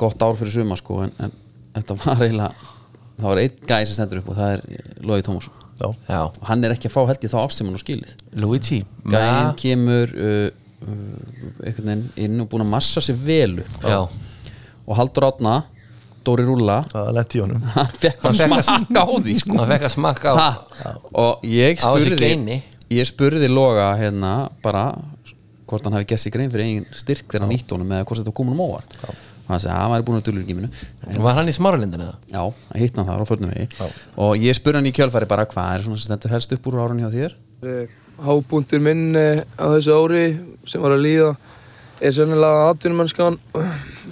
[SPEAKER 1] gott ár fyrir suma sko en, en þetta var eiginlega það var einn gæði sem stendur upp og það er Lói Tómasson
[SPEAKER 3] Já.
[SPEAKER 2] já,
[SPEAKER 1] og hann er ekki að fá held ég þá ást sem hann á skilið
[SPEAKER 2] Luigi
[SPEAKER 1] gæðin
[SPEAKER 2] Ma-
[SPEAKER 1] kemur uh, uh, einhvern veginn inn og búin að massa sér vel upp
[SPEAKER 2] já,
[SPEAKER 1] og Haldur Átna, Dóri Rúlla
[SPEAKER 3] það lendi í honum
[SPEAKER 1] hann fekk bara
[SPEAKER 2] Hann fekk að-
[SPEAKER 1] smakka á því sko
[SPEAKER 2] hann fekk að smakka á
[SPEAKER 1] ha, og ég
[SPEAKER 2] Á þessu
[SPEAKER 1] spurði
[SPEAKER 2] geini.
[SPEAKER 1] ég spurði Loga hérna bara hvort hann hafi gert sér grein fyrir eigin styrk þegar hann ítt honum eða hvort þetta komin um óvart og hann "Ah, segi að hann væri búin að dulur í gíminu
[SPEAKER 2] var hann í smáralindinu eða?
[SPEAKER 1] já, hitt hann þar á förnum vegi og ég spurði hann í kjölfæri bara hvað er svona sem stendur helst upp úr árunni hjá þér
[SPEAKER 5] Hábúntur Eh, minn eh, á þessu ári sem var að líða er sennilega atvinnumennskan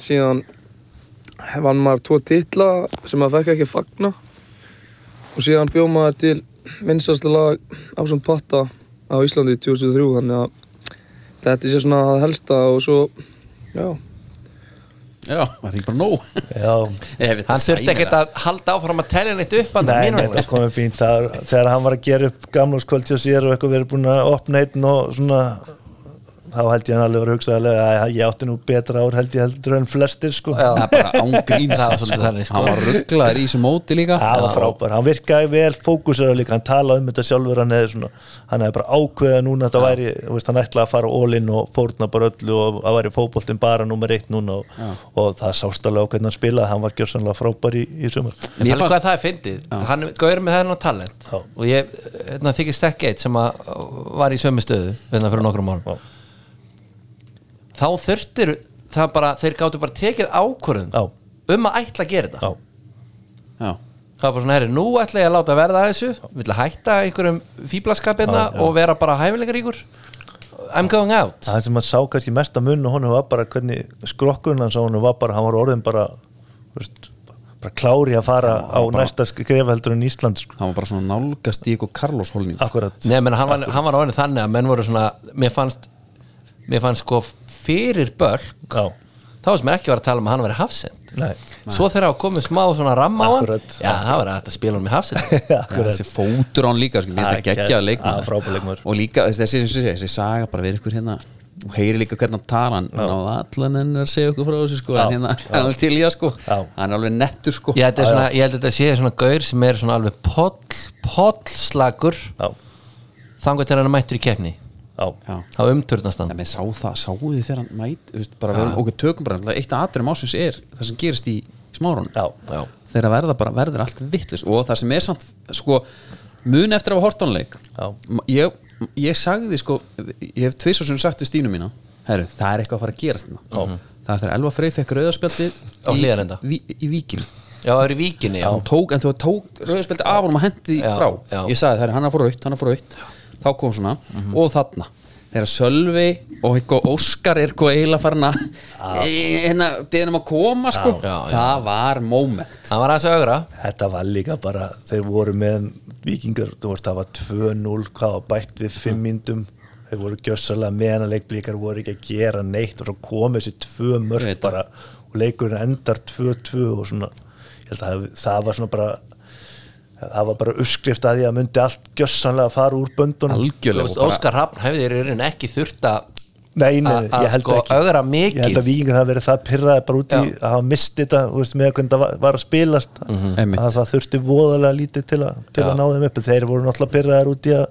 [SPEAKER 5] síðan vann maður tvo titla sem maður fekk ekki að fagna og síðan bjóð maður til minnstastu lag ásamt patta á Íslandi 2003 þannig að þetta sé svona að helsta og svo já,
[SPEAKER 1] já, var ekki bara nóg
[SPEAKER 3] já,
[SPEAKER 2] hann þurfti ekkert að halda áfram að telja neitt upp hann
[SPEAKER 3] Nei,
[SPEAKER 2] mínum
[SPEAKER 3] nei, sko.
[SPEAKER 2] vegna.
[SPEAKER 3] það komið fínt það, þegar hann var að gera upp gamláskvöld hjá sér og eitthvað verið búin að opna einn og svona þá held ég hann alveg var hugsaðarlega að ég átti nú betra ár held ég heldur en flestir sko
[SPEAKER 2] Já.
[SPEAKER 1] það er bara ángrín
[SPEAKER 2] Það var svolítið þannig, sko.
[SPEAKER 1] hann var rugglaður í þessu móti líka
[SPEAKER 3] það var frábær, hann virkaði vel fókusera líka, hann talaði um þetta sjálfur hann hefði svona, hann hefði bara ákveða núna að það væri, þú veist, hann ætlaði að fara ólinn og fórna bara öllu og það væri fótboltinn bara nummer eitt núna og, og það sást alveg á hvernig hann spilaði, hann var gjörsanlega frábær í, í sumar
[SPEAKER 1] En ég
[SPEAKER 2] Mér
[SPEAKER 1] fannst-
[SPEAKER 2] hvað það er fyndið, hann gaur með þennan talent
[SPEAKER 3] Já.
[SPEAKER 2] og ég, hérna þykist ekki eitt sem að var í sömu stöðu hérna fyrir nokkrum árum
[SPEAKER 3] Já.
[SPEAKER 2] þá þurftir það bara, þeir gáttu bara tekið ákvörðum
[SPEAKER 3] Já.
[SPEAKER 2] um að ætla að gera þetta
[SPEAKER 3] Já,
[SPEAKER 1] já,
[SPEAKER 2] það var bara svona, herri, nú ætla ég að láta verða að þessu við ætla að hætta einhverjum fíblaskapina og vera bara hæfileikaríkur I'm going out
[SPEAKER 3] það sem að sá kannski mesta mun og honum var bara hvernig skrokkun hans á honum var bara, hann var orðin bara þú veist, bara klári að fara á næsta skref heldur en Ísland sko.
[SPEAKER 1] hann var bara svona nálgast í eitthvað Carlos holning
[SPEAKER 3] akkurat,
[SPEAKER 2] Nei, menn, hann var, hann var orðin þannig að menn voru svona mér fannst, mér fannst sko fyrir börn
[SPEAKER 3] já,
[SPEAKER 2] þá sem ekki var að tala um að hann veri hafsend
[SPEAKER 3] nei
[SPEAKER 2] svo þegar hafa komið smá svona ramma á hann
[SPEAKER 3] Akkurat.
[SPEAKER 2] já það var hægt að spila hann með hafsett
[SPEAKER 3] akkurat,
[SPEAKER 1] þessi fótur á hann líka sko, mér finnst
[SPEAKER 3] Það
[SPEAKER 1] það
[SPEAKER 3] er
[SPEAKER 1] geggjaður
[SPEAKER 3] gegg-
[SPEAKER 1] leikmaður.
[SPEAKER 3] að, frábær leikmaður.
[SPEAKER 1] og líka þessi, þessi, þessi, þessi, þessi saga bara verið ykkur hérna og heyri líka hvernig hann tala hann náði allan en að segja okkur frá þessu sko, en hérna, hann er alveg til í það sko
[SPEAKER 3] Já.
[SPEAKER 1] hann er alveg nettur sko
[SPEAKER 2] ég, held að svona, ég held að þetta sé svona gaur sem er svona alveg poll, pollslagur
[SPEAKER 3] já,
[SPEAKER 2] þangar til hann er mættur í keppni
[SPEAKER 3] já,
[SPEAKER 1] Já.
[SPEAKER 2] þá umturnast
[SPEAKER 1] en
[SPEAKER 2] hann
[SPEAKER 1] við sá það, sáu þið þegar hann mæt þú veist, bara við erum okkur tökum bara náttúrulega eitt af aðdurum ásins er það sem gerist í smárunum
[SPEAKER 3] já,
[SPEAKER 2] já.
[SPEAKER 1] þegar verða bara, verður allt vittlis og það sem er samt, sko mun eftir að hafa hortónleik
[SPEAKER 3] Já.
[SPEAKER 1] ég, ég sagði sko ég hef tviss og sem sagt við Stínu mína herru, það er eitthvað að fara að gerast hérna það er þegar Elva Frey fekk rauðarspjaldið
[SPEAKER 2] Á
[SPEAKER 1] í,
[SPEAKER 2] Hlíðarenda.
[SPEAKER 1] í, í víkinu
[SPEAKER 2] Já, það er í víkinni, já
[SPEAKER 1] hann tók, en þú tók rauðspildi af honum að hendi því
[SPEAKER 2] Já,
[SPEAKER 1] frá
[SPEAKER 2] já. Mhm.
[SPEAKER 1] ég sagði það, hann er að fór rautt, hann er að fór rautt þá kom svona, og þarna þegar Sölvi og eitthvað Óskar er eitthvað eiginlega farin að e- hérna, beðin um að koma sko
[SPEAKER 2] Já, já.
[SPEAKER 1] það var moment
[SPEAKER 2] Hann var aðeins að ögra
[SPEAKER 3] Þetta var líka bara, þeir voru með vikingar, þú veist, það var 2-0 hvað var bætt við 5 myndum þeir voru gjössalega meðanleikblíkar voru ekki að gera neitt og svo komið þessi tvö
[SPEAKER 1] Ég
[SPEAKER 3] mörg
[SPEAKER 1] veit það.
[SPEAKER 3] bara og leikurinn endar 2-2 og svona, ég held að það- það var svona bara það var bara uppskrift að því að myndi allt gjössanlega fara úr böndunum
[SPEAKER 1] algjörlega
[SPEAKER 2] Þú veist,
[SPEAKER 1] og bara-
[SPEAKER 2] Óskar Hrafn hefði í rauninni ekki þurft að
[SPEAKER 3] Nei, nei,
[SPEAKER 2] Að- að
[SPEAKER 3] ég held
[SPEAKER 2] sko
[SPEAKER 3] ekki
[SPEAKER 2] ögra mikið.
[SPEAKER 3] Ég held að vikingar hafa verið það pyrraði bara út
[SPEAKER 2] Já.
[SPEAKER 3] í
[SPEAKER 2] Mhm.
[SPEAKER 3] að hafa mist þetta, þú veist, með hvernig það var, var að spilast
[SPEAKER 1] Einmitt.
[SPEAKER 3] að það þurfti voðalega lítið til, a, til
[SPEAKER 2] Já.
[SPEAKER 3] að ná þeim upp þeir voru náttúrulega pyrraðir út í að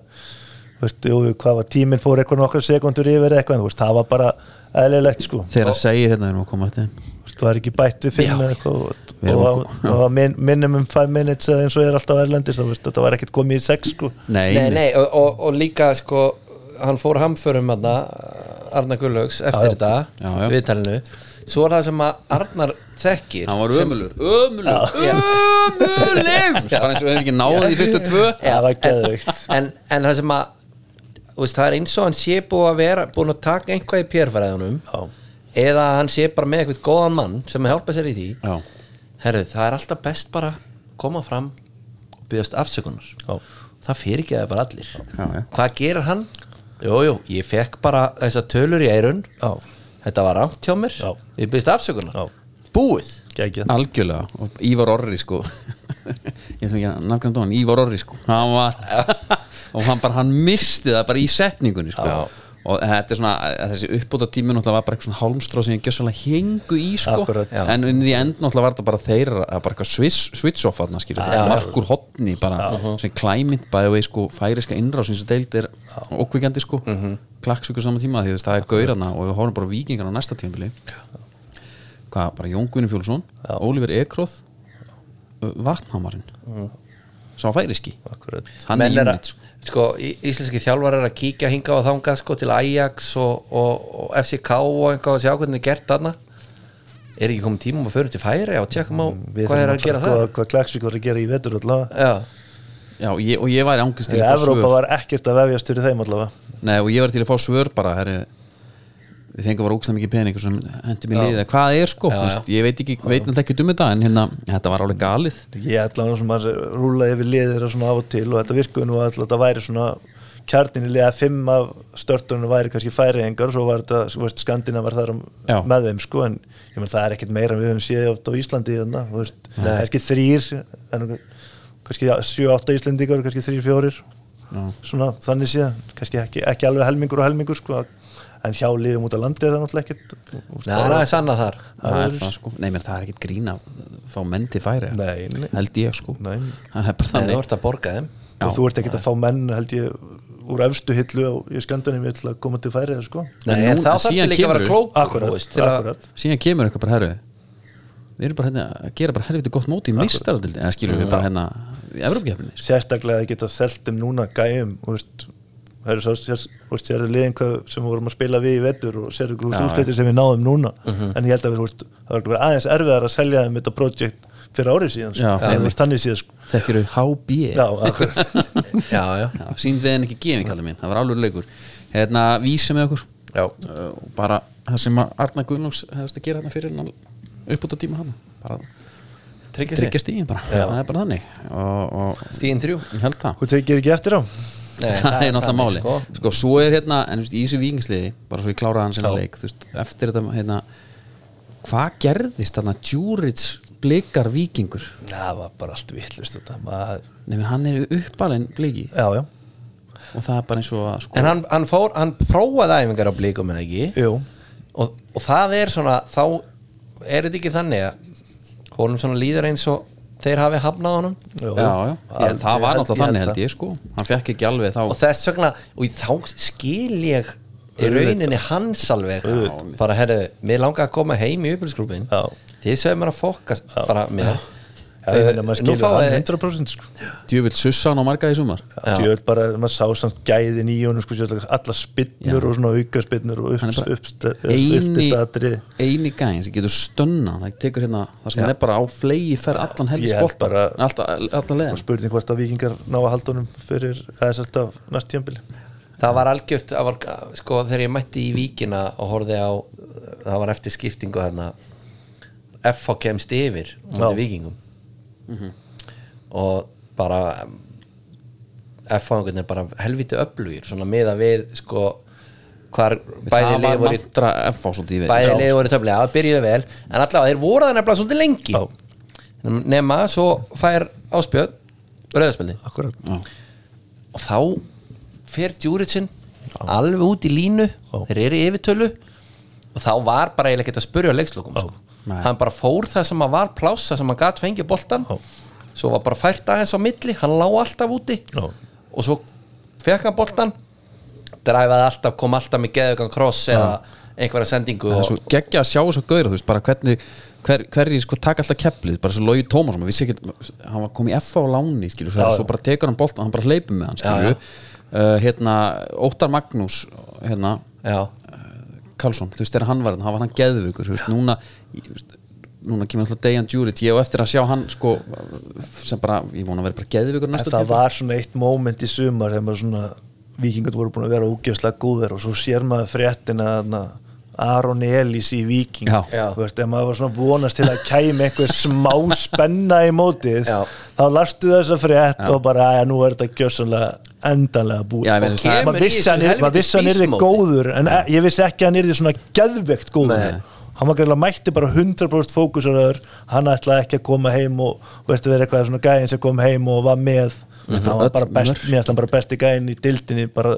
[SPEAKER 3] þú veist, jú, hvað var tíminn fór eitthvað nokkra sekundur yfir eða eitthvað, en þú veist, það var bara eðlilegt, sko,
[SPEAKER 1] þegar það segir hérna erum við að koma eftir þeim.
[SPEAKER 3] þú veist, það var ekki bætt við fimm
[SPEAKER 2] Já.
[SPEAKER 3] eða eitthvað og,
[SPEAKER 1] Við
[SPEAKER 3] og,
[SPEAKER 1] erum
[SPEAKER 3] og,
[SPEAKER 1] að-
[SPEAKER 3] og, og min, minnum um five minutes eða eins og er alltaf erlendis, þú veist, þetta var ekkert komið í sex, sko
[SPEAKER 1] nei,
[SPEAKER 2] Nei, nei, og, og, og líka sko hann fór hamförum hann Arnar Gullaugs eftir þetta
[SPEAKER 1] Já, já.
[SPEAKER 2] viðtalinu Svo er það sem að Arnar þekkir
[SPEAKER 1] hann var ömulur, ömulur,
[SPEAKER 2] Já.
[SPEAKER 1] ömulegur bara eins og við hefum ekki náðið í fyrstu tvö
[SPEAKER 3] það var
[SPEAKER 2] en,
[SPEAKER 3] geðveikt
[SPEAKER 2] en, en það sem að þú veist, það er eins og hann sé búið að vera búin að taka einhvað í pérfæraðunum
[SPEAKER 3] Já.
[SPEAKER 2] eða hann sé bara með eitthvað góðan mann sem hjálpa sér í því
[SPEAKER 1] já,
[SPEAKER 2] Herru, það er alltaf best bara koma fram og byggast afsökunar
[SPEAKER 3] Já.
[SPEAKER 2] það fyrir ekki að það bara allir
[SPEAKER 1] já, já.
[SPEAKER 2] hvað gerir hann? Jú, jú, ég fekk bara þessa tölur í eirun
[SPEAKER 3] Já.
[SPEAKER 2] þetta var rámt hjá mér
[SPEAKER 3] Já.
[SPEAKER 2] ég byrst afsökunar
[SPEAKER 3] Já.
[SPEAKER 2] búið
[SPEAKER 3] Geggjað.
[SPEAKER 1] algjörlega og Ívar Orri sko ég þarf ekki að nafngranda hann, Ívar Orri sko hann var og hann bara, hann misti það bara í setningunni sko
[SPEAKER 2] Já.
[SPEAKER 1] og þetta er svona, að þessi uppbúta tími náttúrulega var bara eitthvað svona hálmstráð sem ég gjössalega hengu í sko
[SPEAKER 3] Akkurat. Já.
[SPEAKER 1] en inn í end náttúrulega var þetta bara þeir að bara eitthvað swiss, switch off aðna skilur þetta markur hotni bara sem klæmynd bæði við sko færiska innrásins deild er okkvikandi sko mm -hmm. klakksvíkur saman tíma því þú veist, það er gaurana og við horfum bara vikingar á næsta tímabili hvað, bara Jón Guðni Fjólfsson Ólífer Ekróð Vatnhamarinn mm. sem var færiski
[SPEAKER 3] Akkurat.
[SPEAKER 1] hann er
[SPEAKER 2] Menn
[SPEAKER 1] unit
[SPEAKER 2] að-
[SPEAKER 1] sko.
[SPEAKER 2] sko, í- íslenski þjálfar er að kíkja hinga og þangað sko til Ajax og, og, og FCK og einhvað og sjá hvernig er gert þarna er ekki komið tíma um að förum til færi og tjekkum á
[SPEAKER 3] Mm, Við
[SPEAKER 2] hvað er
[SPEAKER 3] þurfum
[SPEAKER 2] að gera
[SPEAKER 3] fara
[SPEAKER 2] það
[SPEAKER 3] hvað- hvað Klagsvík var að gera í vetur allavega
[SPEAKER 2] já,
[SPEAKER 1] Já, og ég, og ég væri ángist til
[SPEAKER 3] Þegar
[SPEAKER 1] að fá
[SPEAKER 3] Evrópa
[SPEAKER 1] svör
[SPEAKER 3] var ekkert að vefjast fyrir þeim allavega
[SPEAKER 1] Nei, og ég væri til að fá svör bara herri, við fengum bara úkslega mikið pening og sem hendur mér liðið, hvað er sko já, já. ég veit ekki, veit náttúrulega ekki um þetta en hérna, þetta var alveg galið
[SPEAKER 3] Ég ætla hann svona að rúla yfir liðir og svona af og til og þetta virkuði nú að þetta væri svona kjarnin í liða fimm af störtunum væri kannski færi engar svo var þetta, þú veist, Skandina var þar
[SPEAKER 1] Já.
[SPEAKER 3] á- með þeim sko en ég menn það er ekkert meira en við höfum séð oft á Íslandi þarna, þú veist, kannski þrýr en kannski sjö, átta Íslendingar og kannski þrýr, fjórir svona þannig séð, kannski ekki, ekki alveg helmingur og helmingur sko en hjá liðum út á landi er það náttúrulega ekkert þú veist,
[SPEAKER 2] það er aðeins annað þar
[SPEAKER 1] það er það sko, nei, menn það er ekkit grín að fá menn til færi
[SPEAKER 3] Nei, nei.
[SPEAKER 1] held ég sko
[SPEAKER 3] Nei.
[SPEAKER 1] það er bara
[SPEAKER 2] það
[SPEAKER 1] þannig
[SPEAKER 2] er að borga þeim
[SPEAKER 1] Já.
[SPEAKER 3] og þú ert ekkert að fá menn held ég úr efstu hillu á, í skandanum ég ætla að koma til færið sko.
[SPEAKER 2] Nei,
[SPEAKER 1] En
[SPEAKER 2] en
[SPEAKER 1] nú- en
[SPEAKER 2] þá þarf
[SPEAKER 1] síðan
[SPEAKER 2] líka að vera
[SPEAKER 1] kemur-
[SPEAKER 2] klók
[SPEAKER 3] akkurat, akkurat
[SPEAKER 1] síðan kemur eitthvað bara herru við erum bara hérna að gera bara helviti gott móti í mistaradildin, eða skilum við bara hérna í Evrópakefninni sko.
[SPEAKER 3] sérstaklega að geta þelt um núna gæjum þú veist, það eru svo sérst, þú veist, sérðu liðin hvað sem við vorum að spila við í vetur og sérðu þú veist, úrslitir sem við náðum núna
[SPEAKER 1] Mhm.
[SPEAKER 3] en ég held að við, þú veist, það var bara aðeins erfiðar að selja þeim þetta projekt fyrir árið síðan sko.
[SPEAKER 1] Já,
[SPEAKER 3] Eða, þú veist, þannig síðan sko.
[SPEAKER 1] þekkir þau HB
[SPEAKER 3] já, akkurat
[SPEAKER 2] já, já,
[SPEAKER 1] Já, sínd við en ekki gefing kallar minn, það var alveg leikur hérna, vísi með okkur
[SPEAKER 2] já.
[SPEAKER 1] uh, og bara það sem að Arnar Guðnóks hefðist að gera hérna fyrir hann upp út á tíma hann bara
[SPEAKER 2] tryggja sig
[SPEAKER 1] tryggja stíðin bara,
[SPEAKER 2] Já.
[SPEAKER 1] það er bara þannig og, og
[SPEAKER 2] stíðin þrjú
[SPEAKER 1] ég held það
[SPEAKER 3] og þeir gerir ekki eftir á
[SPEAKER 2] Nei,
[SPEAKER 1] það er náttúrulega
[SPEAKER 2] þannig,
[SPEAKER 1] máli sko. svo er hérna, en þú veist, í þessu vikingsliði bara svo ég kláraði hans hérna leik þú veist, eftir þetta, hérna hvað gerðist þarna Djúrits blikar vikingur
[SPEAKER 3] það var bara allt vitlust þetta maður,
[SPEAKER 1] nefnir hann er uppalinn bliki
[SPEAKER 3] já, já,
[SPEAKER 1] og það er bara eins og að sko
[SPEAKER 2] En hann, hann fór, hann prófaði æfingar á blíkum eða ekki
[SPEAKER 3] jú
[SPEAKER 2] og, og það er svona, þá er þetta ekki þannig að honum svona líður eins og þeir hafi hafnað honum
[SPEAKER 3] Jú,
[SPEAKER 1] já, já, ég,
[SPEAKER 3] Alveg,
[SPEAKER 1] það var
[SPEAKER 3] held-
[SPEAKER 1] náttúrulega þannig
[SPEAKER 3] held
[SPEAKER 1] held ég sko hann fekk ekki alveg þá
[SPEAKER 2] og þess vegna, og þá skil ég í rauninni hans alveg bara herru, mér langar að koma heim í upphaldsgrúpin
[SPEAKER 3] Já.
[SPEAKER 2] þið sögum mér að fokka bara mér
[SPEAKER 3] ég
[SPEAKER 1] Eh,
[SPEAKER 3] meina, maður
[SPEAKER 2] nú
[SPEAKER 3] skilur
[SPEAKER 2] fáið
[SPEAKER 3] það
[SPEAKER 2] þið-
[SPEAKER 3] 100% sko.
[SPEAKER 1] Djöfull sussa hann á marga í sumar
[SPEAKER 2] Já.
[SPEAKER 3] Djöfull bara, maður sá samt gæðin í honum sko, alla spinnur
[SPEAKER 1] Já.
[SPEAKER 3] og svona auka spinnur og
[SPEAKER 1] Hann er
[SPEAKER 3] upps-
[SPEAKER 1] bara
[SPEAKER 3] uppst-
[SPEAKER 1] eini,
[SPEAKER 3] uppstist atrið
[SPEAKER 1] eini gæðin sem getur stunna það tekur hérna, það sem hann er bara á flegi fer allan helgis
[SPEAKER 3] Ég held
[SPEAKER 1] bolta
[SPEAKER 3] bara-
[SPEAKER 1] alltaf, alltaf
[SPEAKER 3] og
[SPEAKER 1] leðan
[SPEAKER 3] spurning hvort að vikingar ná að halda honum fyrir aðeins alltaf næst tíambili
[SPEAKER 2] það var algjört það var, sko þegar ég mætti í víkina og horfði á, það var eftir skiptingu þarna FH kemst yfir
[SPEAKER 3] Já.
[SPEAKER 2] mútið víkingum og bara em, FH einhvern veginn bara helviti öflugir svona miða við sko hvar bæði
[SPEAKER 1] það
[SPEAKER 2] lið
[SPEAKER 1] var
[SPEAKER 2] voru í
[SPEAKER 1] mantra F á svolítið í veginn
[SPEAKER 2] bæði lið voru töflega, það byrjuðu vel en allavega þeir voru það nefnilega svolítið lengi
[SPEAKER 3] Já.
[SPEAKER 2] nema svo fær áspjöð rauðspjöldi
[SPEAKER 3] Akkurat
[SPEAKER 2] og þá fer Djúritsin alveg út í línu þeir eru í yfirtölu og þá var bara eiginlega ekkert að spurja á leikslokum sko.
[SPEAKER 1] Nei.
[SPEAKER 2] hann bara fór það sem að var plássa sem að gat fengið boltan
[SPEAKER 3] Já.
[SPEAKER 2] svo var bara fært aðeins á milli hann lá alltaf úti
[SPEAKER 3] Já.
[SPEAKER 2] og svo fekk hann boltan dræfaði alltaf, kom alltaf með geðugan kross eða einhverja sendingu
[SPEAKER 1] það
[SPEAKER 2] og,
[SPEAKER 1] er svo geggja að sjá þessu gauðra þú veist bara hvernig hver, hverjir sko taka alltaf kepplið bara svo Lógi Tómas hann vissi ekkert hann var komið í F á láni skilur svo,
[SPEAKER 3] Já, já.
[SPEAKER 1] svo bara tekur hann boltan hann bara hleypur með hann skilur
[SPEAKER 2] Já, já.
[SPEAKER 1] Uh, hérna Óttar Magnús hérna
[SPEAKER 2] já,
[SPEAKER 1] Karlsson þú veist þegar hann var hann var hann geðvökur þú veist núna ég- þú veist, núna kemur alltaf Dejan Djuric ég á eftir að sjá hann sko sem bara ég vona að vera bara geðvökur
[SPEAKER 3] En
[SPEAKER 1] næsta
[SPEAKER 3] það
[SPEAKER 1] tímabil.
[SPEAKER 3] var svona eitt moment í sumar þegar maður svona vikingat voru búin að vera ógjöfslega góðir og svo sér maður fréttina þarna Aron Elís í Viking
[SPEAKER 1] Já.
[SPEAKER 2] Já.
[SPEAKER 3] Þú veist, ef maður var svona vonast til að kæmi einhver smá spenna í mótið
[SPEAKER 2] Já.
[SPEAKER 3] þá lastu þessa frétt og bara að nú er þetta gjössanlega endanlega búið
[SPEAKER 1] Já, ég meina,
[SPEAKER 3] Og
[SPEAKER 1] það-
[SPEAKER 2] Kemur í
[SPEAKER 3] maður vissi
[SPEAKER 2] þessu
[SPEAKER 3] hann yrði- maður
[SPEAKER 2] helvítis
[SPEAKER 3] vissi hann yrði
[SPEAKER 2] bísmóti.
[SPEAKER 3] góður en e- ég vissi ekki að hann yrði svona geðveikt góður
[SPEAKER 2] Nei.
[SPEAKER 3] hann var greiðlega mætti bara 100% fókusaraður hann ætlaði ekki að koma heim og og veist að vera eitthvað svona gæðin sem kom heim og var með mm hann var
[SPEAKER 1] öll
[SPEAKER 3] bara best,
[SPEAKER 1] mörk.
[SPEAKER 3] mér finnst hann bara besti gæðin í dildinni bara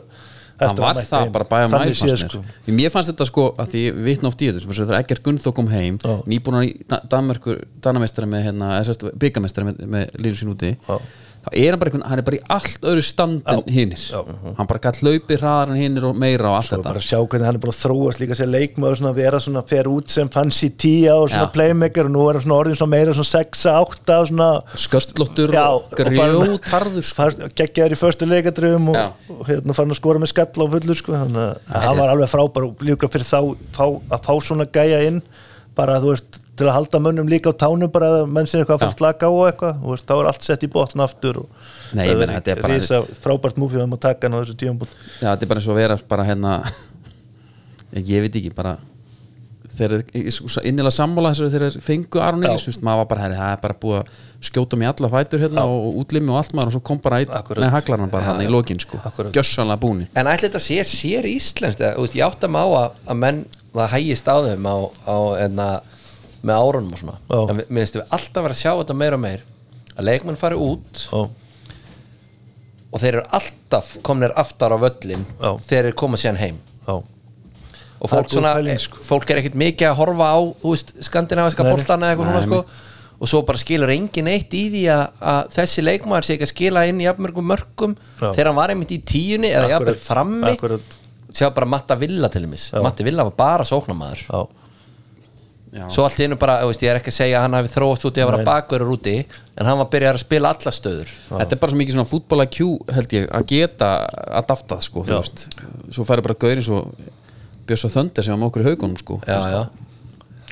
[SPEAKER 1] hann
[SPEAKER 3] eftir að
[SPEAKER 1] var
[SPEAKER 3] mætti
[SPEAKER 1] það
[SPEAKER 3] heim.
[SPEAKER 1] bara bæja
[SPEAKER 3] Þannig
[SPEAKER 1] mæl
[SPEAKER 3] séð, sko.
[SPEAKER 1] fannst mér Því mér fannst þetta sko að því ég vitna oft í þetta sem þess að þegar Egger Gunnþó kom heim
[SPEAKER 3] Já.
[SPEAKER 1] nýbúna í Da- Danmerkur Danamestari með hérna, byggamestari með, með línu sín úti
[SPEAKER 3] Já.
[SPEAKER 1] þá er hann bara einhvern, hann er bara í allt öðru stand en hinnir,
[SPEAKER 3] Já.
[SPEAKER 1] hann bara gætt hlaupið hraðar en hinnir og meira og allt
[SPEAKER 3] og
[SPEAKER 1] þetta
[SPEAKER 3] bara sjá hvernig hann er búin að þróast líka sér leikmaður svona að vera svona fer út sem fanns í tíja og svona
[SPEAKER 1] Já.
[SPEAKER 3] playmaker og nú er hann svona orðin svona meira svona 6-8 og svona
[SPEAKER 1] sköstlottur
[SPEAKER 3] Já,
[SPEAKER 1] og
[SPEAKER 3] og
[SPEAKER 1] grjótarður sko.
[SPEAKER 3] geggjaður í förstu leikadröfum
[SPEAKER 1] Já.
[SPEAKER 3] og, og hérna fann að skora með skalla og fullur sko, þannig að hann var alveg frábær og líka fyrir þá fá, að fá svona gæja inn bara þú veist til að halda mönnum líka á tánum bara að menn sinni eitthvað að fara að slaka á og eitthvað og veist, þá er allt sett í botn aftur og
[SPEAKER 1] Nei, ég meina, þetta er bara-
[SPEAKER 3] risa frábært múfið um að taka hann á þessu tíumbúl
[SPEAKER 1] Já, þetta er bara eins og að vera bara hérna ég, ég veit ekki, bara þeir eru sko, innilega sammála þessari þeir eru fengu Aron Elís, þú veist, maður var bara herri, það er bara búið að skjóta mig alla fætur hérna og, og útlimi og allt maður og svo kom bara einn
[SPEAKER 3] Akkúrat.
[SPEAKER 1] með haglarna bara hann í lokin sko,
[SPEAKER 3] Akkúrat.
[SPEAKER 1] gjössanlega búni
[SPEAKER 2] En ætli þetta sé sér íslenskt eða, þú veist, ég átt að má að, að menn það hægist á þeim á, á enna, með árunum og svona
[SPEAKER 3] Já.
[SPEAKER 2] en við- mér finnst við alltaf vera að sjá þetta meira og meir að leikmenn fari út
[SPEAKER 3] og
[SPEAKER 2] og þeir eru alltaf komnir aftar á völlin
[SPEAKER 3] Já.
[SPEAKER 2] þegar þeir koma síðan heim
[SPEAKER 3] já
[SPEAKER 2] og
[SPEAKER 3] Það er
[SPEAKER 2] fólk,
[SPEAKER 3] góð
[SPEAKER 2] svona, eh,
[SPEAKER 3] pæling, sko.
[SPEAKER 2] fólk er ekkert mikið að horfa á þú veist, skandinaviska
[SPEAKER 3] Nei, nei.
[SPEAKER 2] boltana eða eitthvað
[SPEAKER 1] Nei,
[SPEAKER 2] svona sko og svo bara skilur engin eitt í því að, að þessi leikmaður sé ekki að skila inn í jafnmörgum mörgum
[SPEAKER 3] Já.
[SPEAKER 2] þegar hann var einmitt í tíunni eða
[SPEAKER 3] Akkúrat,
[SPEAKER 2] jafnmörg frammi
[SPEAKER 3] akkúrat.
[SPEAKER 2] sjá bara Matta Villa til dæmis
[SPEAKER 3] Já.
[SPEAKER 2] Matta Villa var bara sóknamaður
[SPEAKER 3] Já,
[SPEAKER 2] svo allt í einu bara, þú veist, ég er ekki að segja að hann hafi þróast út í að vera
[SPEAKER 3] Nei.
[SPEAKER 2] bakverður úti en hann var byrjar að spila alla stöður
[SPEAKER 1] Þetta er bara svo mikið svona fútbola Q held ég að geta að daftað sko, þú
[SPEAKER 3] Já.
[SPEAKER 1] veist svo færi bara gaurið svo Bjössa Þöndir sem var með okkur í haugunum sko
[SPEAKER 2] já, já.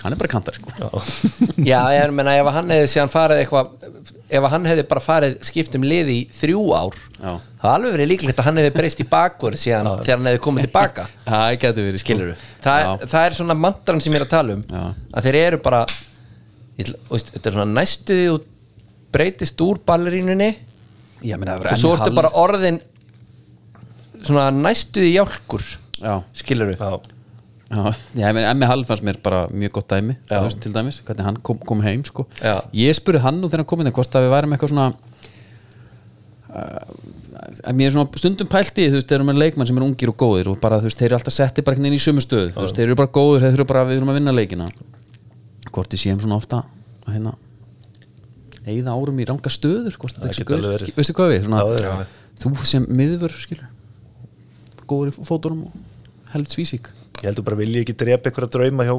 [SPEAKER 1] hann er bara kantar sko
[SPEAKER 3] já,
[SPEAKER 2] já, ég meina ef hann hefði síðan farið eitthvað ef hann hefði bara farið skipt um liði í þrjú ár
[SPEAKER 1] Já.
[SPEAKER 2] það er alveg verið líklegt að hann hefði breyst í bakverð síðan þegar hann hefði komið tilbaka
[SPEAKER 1] Það geti verið sko.
[SPEAKER 2] skilur það,
[SPEAKER 1] Já.
[SPEAKER 2] það er svona mantran sem ég er að tala um
[SPEAKER 1] Já.
[SPEAKER 2] að þeir eru bara ég ætla- þú veist, þetta er svona næstuði þú breytist úr ballerínunni
[SPEAKER 1] Ég meina, það verður
[SPEAKER 2] og
[SPEAKER 1] enn
[SPEAKER 2] svo ertu
[SPEAKER 1] hall-
[SPEAKER 2] bara orðin svona næstuði jálkur
[SPEAKER 1] Já.
[SPEAKER 2] skilur
[SPEAKER 3] já,
[SPEAKER 1] Já, já, ég meina, Emmi Hall fannst mér bara mjög gott dæmi
[SPEAKER 2] Já.
[SPEAKER 1] þú veist, til dæmis, hvernig hann kom, kom heim sko.
[SPEAKER 2] Já.
[SPEAKER 1] ég spurði hann nú þegar hann kom inn hvort að við værum eitthvað svona uh, mér er svona stundum pælt í, þú veist, þeir eru með leikmann sem er ungir og góðir og bara, þú veist, þeir eru alltaf setti bara einhvern veginn í sömu stöð, þú veist, þeir eru bara góðir þeir eru bara, við erum að vinna leikina hvort ég séum svona ofta að hérna eigða árum í ranga stöður hvort þetta er
[SPEAKER 3] getur alveg
[SPEAKER 1] góður,
[SPEAKER 3] verið.
[SPEAKER 1] veistu hvað við
[SPEAKER 3] Já,
[SPEAKER 1] svona,
[SPEAKER 3] já, já.
[SPEAKER 1] þú sem miðvör, skilur góður í fótunum og helvits vísík
[SPEAKER 3] ég heldur bara vilja ekki drepa einhverja drauma hjá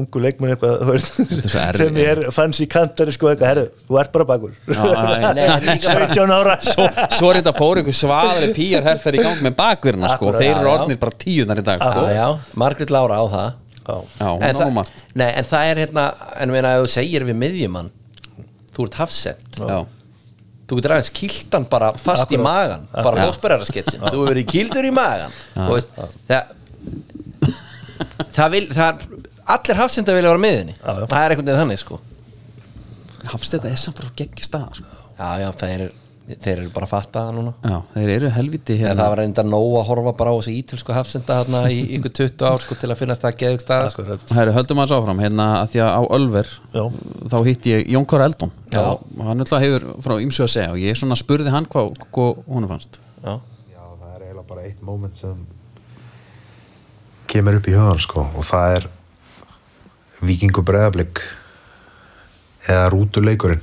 [SPEAKER 3] ungu leikmenn eitthvað þú veist,
[SPEAKER 1] er svo erfitt.
[SPEAKER 3] sem ég er fanns í kantari sko eitthvað, herru, þú ert bara bakur
[SPEAKER 1] Já,
[SPEAKER 2] Nei, þetta er líka bara-
[SPEAKER 3] 17 ára
[SPEAKER 1] svo, svo er þetta fór einhver svaðri pýjar herfer í gang með bakverðina sko
[SPEAKER 3] Akkurat,
[SPEAKER 1] þeir eru
[SPEAKER 2] já, já.
[SPEAKER 1] orðnir bara tíunar í dag sko.
[SPEAKER 2] Ah, Já, já, Margrét Lára á það
[SPEAKER 3] Já.
[SPEAKER 1] já, hún á
[SPEAKER 2] en,
[SPEAKER 1] nú
[SPEAKER 2] það,
[SPEAKER 1] margt
[SPEAKER 2] nei, en það er hérna En meina, ef þú segir við miðjumann Þú ert hafsend
[SPEAKER 1] já,
[SPEAKER 2] Þú getur aðeins kýltan bara fast í magan Bara fósperararsketsin Þú hefur verið kýldur í magan Og veist, það, það vil það, Allir hafsenda vilja vera á miðjunni
[SPEAKER 3] Já, já.
[SPEAKER 2] Það er einhvern veginn þannig sko
[SPEAKER 1] Hafsteinn er samt bara geggjast stað sko.
[SPEAKER 2] Já, já, þeir, þeir eru bara að fatta það núna
[SPEAKER 1] já, þeir eru helviti
[SPEAKER 2] En
[SPEAKER 1] hérna
[SPEAKER 2] það var reynda nóg að horfa bara á þessi ítölsku hafsenda þarna í ykkur 20 ár sko til að finnast það geðug stað sko.
[SPEAKER 3] Akkurat.
[SPEAKER 1] Herru, höldum aðeins áfram hérna að því að á Ölver
[SPEAKER 3] Já.
[SPEAKER 1] þá hitti ég Jón Kára Eldon
[SPEAKER 2] Já.
[SPEAKER 1] og hann alltaf hefur frá ymsu að segja og ég svona spurði hann hvað hvað honum fannst
[SPEAKER 2] sko. Já,
[SPEAKER 6] Já, það er eiginlega bara eitt moment sem kemur upp í hugan sko og það er vikingu breðablík eða rútuleikurinn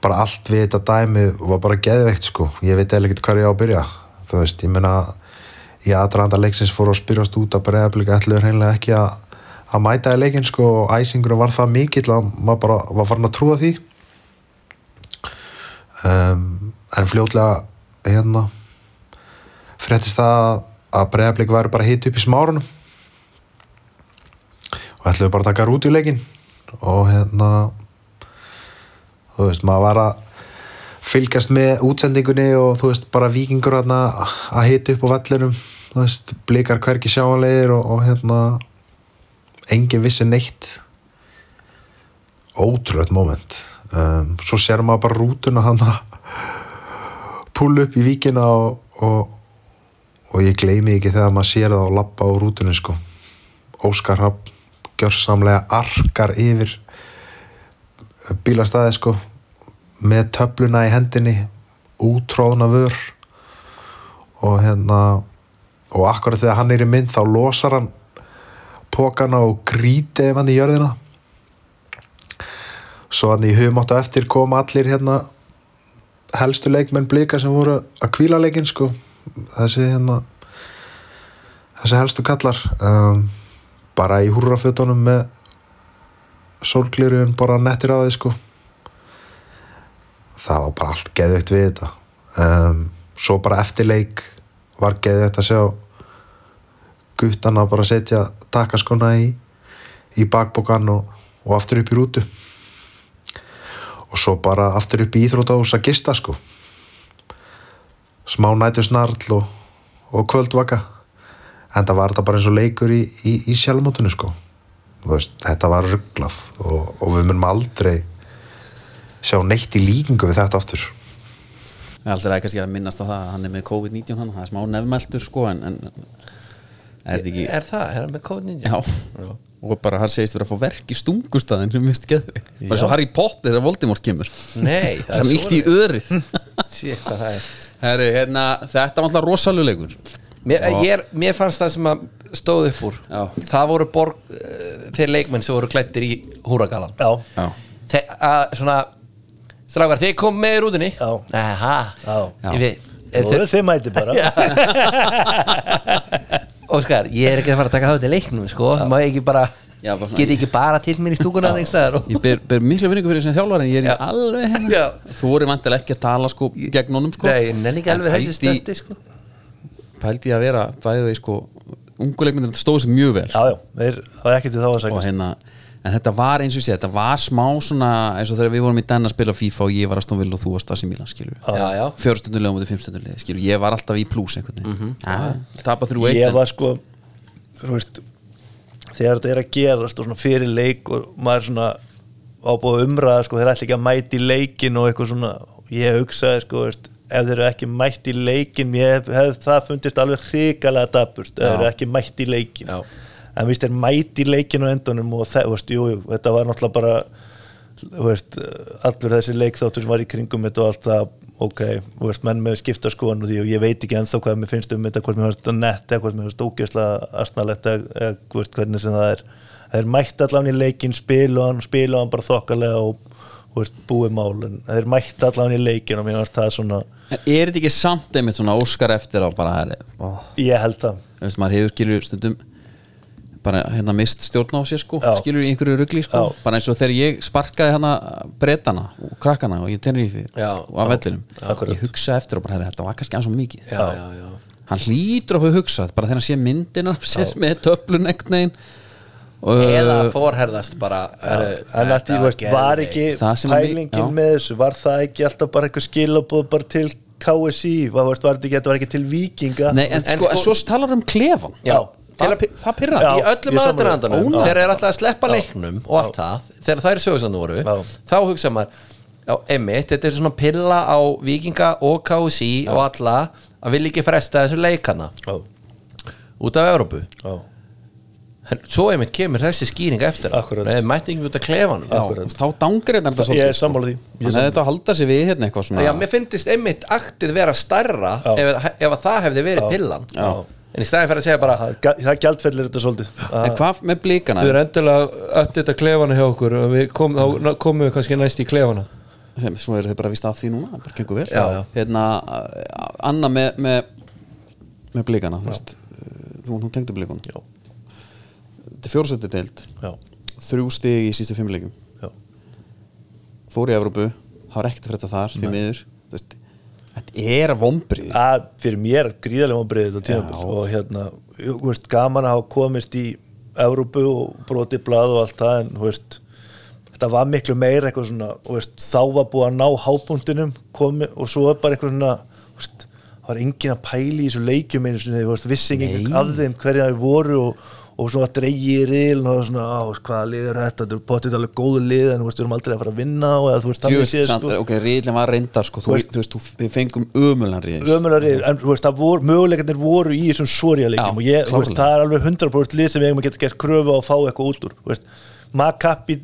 [SPEAKER 6] bara allt við þetta dæmi var bara geðveikt sko ég veit eða ekkert hvað ég á að byrja þú veist, ég meina í aðranda leiksins fór að spyrjast út að breðablík ætluður hreinlega ekki að, að mæta í leikinn sko og æsingurinn var það mikill að maður bara var farin að trúa því um, en fljótlega hérna fréttist það að bregðarblik væri bara hitt upp í smárunum og ætluðu bara að taka rút í leikin og hérna þú veist maður var að fylgjast með útsendingunni og þú veist bara vikingur hérna að hitt upp á vellinum þú veist blikar hverki sjáanlegir og, og hérna engin vissi neitt ótrúlega moment um, svo sér maður bara rútuna hann að pull upp í víkina og, og, og ég gleymi ekki þegar maður sér það og lappa á rútunni sko Óskar Rapp gjörsamlega arkar yfir bílastæði sko með töfluna í hendinni útróðna vör og hérna og akkurat þegar hann er í mynd þá losar hann pokana og grítið hann í jörðina svo hann í hugmátt og eftir kom allir hérna helstu leikmenn blika sem voru að kvíla leikinn sko þessi hérna þessi helstu kallar um, bara í húrrafötunum með sorglirun bara nettir á því sko það var bara allt geðveikt við þetta um, svo bara eftir leik var geðveikt að sjá guttana bara setja takaskona í, í bakbókan og, og aftur upp í rútu og svo bara aftur upp í íþrótahús að gista sko smá nætu snarl og, og kvöldvaka en það var þetta bara eins og leikur í, í, í sjálfmótinu sko Þú veist, þetta var rugglað og, og við munum aldrei sjá neitt í líkingu við þetta aftur
[SPEAKER 1] Alltaf er ekki að minnast á það að hann er með COVID-19 hann, það er smá nefnmeltur sko en, en er þetta ekki
[SPEAKER 2] er það, er það með COVID-19?
[SPEAKER 1] já, og bara hann segist verið að fá verk í stungustæðin sem mist geði bara svo Harry Potter þegar Voldemort kemur
[SPEAKER 2] Nei,
[SPEAKER 1] það er ítt í örið
[SPEAKER 2] Sér hvað það er
[SPEAKER 1] Herru, hérna, þetta var alltaf rosalulegur
[SPEAKER 2] Mér, ég, er- mér fannst það sem að stóð upp úr
[SPEAKER 1] Já.
[SPEAKER 2] Það voru borg, uh, þeir leikmenn sem voru klættir í húragalan
[SPEAKER 3] já,
[SPEAKER 1] Já,
[SPEAKER 2] Þe, að, Svona, strákar, þeir kom með í rútunni
[SPEAKER 3] Já.
[SPEAKER 2] Aha,
[SPEAKER 3] Já.
[SPEAKER 2] Ég veit- er
[SPEAKER 3] Nú eru
[SPEAKER 2] þeir-
[SPEAKER 3] þið mæti bara
[SPEAKER 2] Óskar, ég er ekki að fara að taka það til leiknum sko. Má ég ekki bara,
[SPEAKER 1] Já, bara svona-
[SPEAKER 2] geti ekki bara til mér í stúkuna einhvers staðar og-
[SPEAKER 1] ég ber, ber miklu vinningu fyrir sem þjálfari en ég er
[SPEAKER 2] Já.
[SPEAKER 1] já. alveg hérna
[SPEAKER 2] Já.
[SPEAKER 1] Þú voru vantilega ekki að tala sko gegn honum sko
[SPEAKER 2] Nei, ég nenni ekki alveg
[SPEAKER 1] En
[SPEAKER 2] þessi
[SPEAKER 1] pældi-
[SPEAKER 2] stöndi sko.
[SPEAKER 1] Pældi ég að vera, bæði við sko unguleikmyndir stóðu sér mjög vel
[SPEAKER 3] já, já, þeir, það er ekkert til þá að
[SPEAKER 1] og
[SPEAKER 3] segja
[SPEAKER 1] hérna en þetta var eins og sé, þetta var smá svona eins og þegar við vorum í den að spila FIFA og ég var að stóðum vil og þú varst að sem Milan, skilur
[SPEAKER 2] Já, já,
[SPEAKER 1] fjörstundulega mútið fimmstundulega, skilur ég var alltaf í plus einhvern veginn mm -hmm. tapa þrjú eitt
[SPEAKER 3] ég
[SPEAKER 1] en-
[SPEAKER 3] var sko þú veist þegar þetta er að gerast og svona fyrir leik og maður svona ábúið umræða sko þeir ætla ekki að mæti leikin og eitthvað svona ég hugsaði sko þú veist, ef þeir eru ekki mætt í leikin ég hef, hef það fundist alveg hrikalega dapurt ef
[SPEAKER 1] Já.
[SPEAKER 3] þeir eru ekki mætt í leikin
[SPEAKER 2] Já.
[SPEAKER 3] en víst er mætt í leikin á endunum og það, þú veist, jú, jú, þetta var náttúrulega bara þú veist, allur þessi leikþáttur sem var í kringum þetta og allt það ok, þú veist, menn með skipta skoðan og því og ég veit ekki ennþá hvað mér finnst um þetta hvort mér finnst þetta nett eða hvort mér finnst ógjörslega asnalett eða eða, þú veist, hvernig sem það er þeir mætti allan í leikinn, spilu hann spilu hann bara þokkalega og þú veist, búið málin, þeir mætti allan í leikinn og mér finnst það svona,
[SPEAKER 1] En er þetta ekki samt einmitt svona óskar eftir á bara herri, ó,
[SPEAKER 3] ég held það
[SPEAKER 1] veist, maður hefur skilur stundum bara hérna mist stjórn á sér sko
[SPEAKER 3] Já.
[SPEAKER 1] skilur í einhverju rugli sko
[SPEAKER 3] Já.
[SPEAKER 1] bara eins og þegar ég sparkaði hana uh, bretana og krakkana og ég tenni í fyrir
[SPEAKER 2] Já.
[SPEAKER 1] og að vellinum
[SPEAKER 3] Akkurat.
[SPEAKER 1] ég hugsa eftir og bara herri, þetta var kannski aðeins og mikið
[SPEAKER 2] já, já, já.
[SPEAKER 1] hann hlýtur að hafa hugsað bara þegar hann sé myndina af sér með töflun ekkert negin og
[SPEAKER 2] eða forherðast bara herru,
[SPEAKER 3] en að því
[SPEAKER 2] þetta
[SPEAKER 3] veist, var
[SPEAKER 2] geðveikt.
[SPEAKER 3] ekki
[SPEAKER 1] Það sem að mi-
[SPEAKER 3] pælingin
[SPEAKER 1] já.
[SPEAKER 3] með þessu var það ekki alltaf bara eitthvað skilabóð bara til KSI, var, veist, var þetta ekki þetta var ekki til vikinga
[SPEAKER 1] Nei, en,
[SPEAKER 2] En
[SPEAKER 1] sko, en
[SPEAKER 2] sko-
[SPEAKER 1] svo talar um klefan
[SPEAKER 2] Já.
[SPEAKER 1] það, pi- það pyrra
[SPEAKER 3] Já.
[SPEAKER 2] í öllum
[SPEAKER 3] ég sammála.
[SPEAKER 2] aðdraðandanum
[SPEAKER 3] Ónægt.
[SPEAKER 2] þegar er alltaf að sleppa leiknum og allt það þegar þær sögursandu voru
[SPEAKER 3] Já.
[SPEAKER 2] þá hugsa maður já, emmitt, þetta er svona pilla á vikinga og KSI og alla að vilja ekki fresta þessu leikana
[SPEAKER 3] Já,
[SPEAKER 2] út af Evrópu
[SPEAKER 3] já,
[SPEAKER 2] en svo emmitt kemur þessi skýring eftir á.
[SPEAKER 3] Akkurat.
[SPEAKER 2] Nei, mætti ekki út af klefanum já.
[SPEAKER 3] akkurat
[SPEAKER 1] þá dangir þetta sko.
[SPEAKER 3] Ég er sammála því. Ég er
[SPEAKER 1] þannig að þetta halda sér við hérna eitthvað svona
[SPEAKER 2] Já, mér finnist einmitt aktið vera starra
[SPEAKER 3] Já.
[SPEAKER 2] ef, ef að það hefði verið pillan
[SPEAKER 1] Já.
[SPEAKER 2] en í staðin fyrir að segja bara
[SPEAKER 3] Það- það gjaldfellir þetta svolítið
[SPEAKER 1] en hvað með blíkana
[SPEAKER 7] Þau eru endilega að uppdita klefana hjá okkur og við kom,
[SPEAKER 2] Mm.
[SPEAKER 7] þá komum við kannski næst í klefana
[SPEAKER 1] sem, svo eru þau bara að vísta að því núna það bara gengur vel
[SPEAKER 2] Já, já.
[SPEAKER 1] hérna uh, Anna með með, með blíkana þú veist uh, þú, þú tengdu blíkuna
[SPEAKER 3] Já.
[SPEAKER 1] þetta er fjórsætti deild
[SPEAKER 3] Já,
[SPEAKER 1] þrjú stig í sístu fimmleikum
[SPEAKER 3] já,
[SPEAKER 1] fór í Evrópu það var ekkert að frétta þar því miður Þú veist, þetta er vombrið
[SPEAKER 3] að fyrir mér gríðarlega vonbrigði þetta tímabil
[SPEAKER 1] Já.
[SPEAKER 3] og hérna, þú veist, gaman að hafa komist í Evrópu og brotið blað og allt það en, þú veist, þetta var miklu meira eitthvað svona, þú veist, þá var búið að ná hábúndinum komi, og svo er bara eitthvað svona, þú veist, það var engin að pæli í þessu leikjum einu sinni, þú veist, vissi engin af þeim hverja þeir voru og, og svona dreigir í rilin og það var svona, á, þú veist, hvaða lið er þetta, þetta er potið alveg góðu lið en, þú veist, við erum aldrei að fara að vinna og eða, þú veist, þannig
[SPEAKER 1] Djöfust,
[SPEAKER 3] séð,
[SPEAKER 1] samt,
[SPEAKER 3] sko.
[SPEAKER 1] ok, riðlinn var reyndar sko, þú,
[SPEAKER 3] veist-
[SPEAKER 1] þú veist, þú, við fengum ömulan riðil
[SPEAKER 3] ömulari, en þú veist, það voru, möguleikarnir voru í þessum
[SPEAKER 1] Já,
[SPEAKER 3] sorjaleikjum og ég, þú veist,
[SPEAKER 1] klárlega.
[SPEAKER 3] það er alveg 100% lið sem við eigum að geta gert kröfu á að fá eitthvað út úr þú veist, Maccabi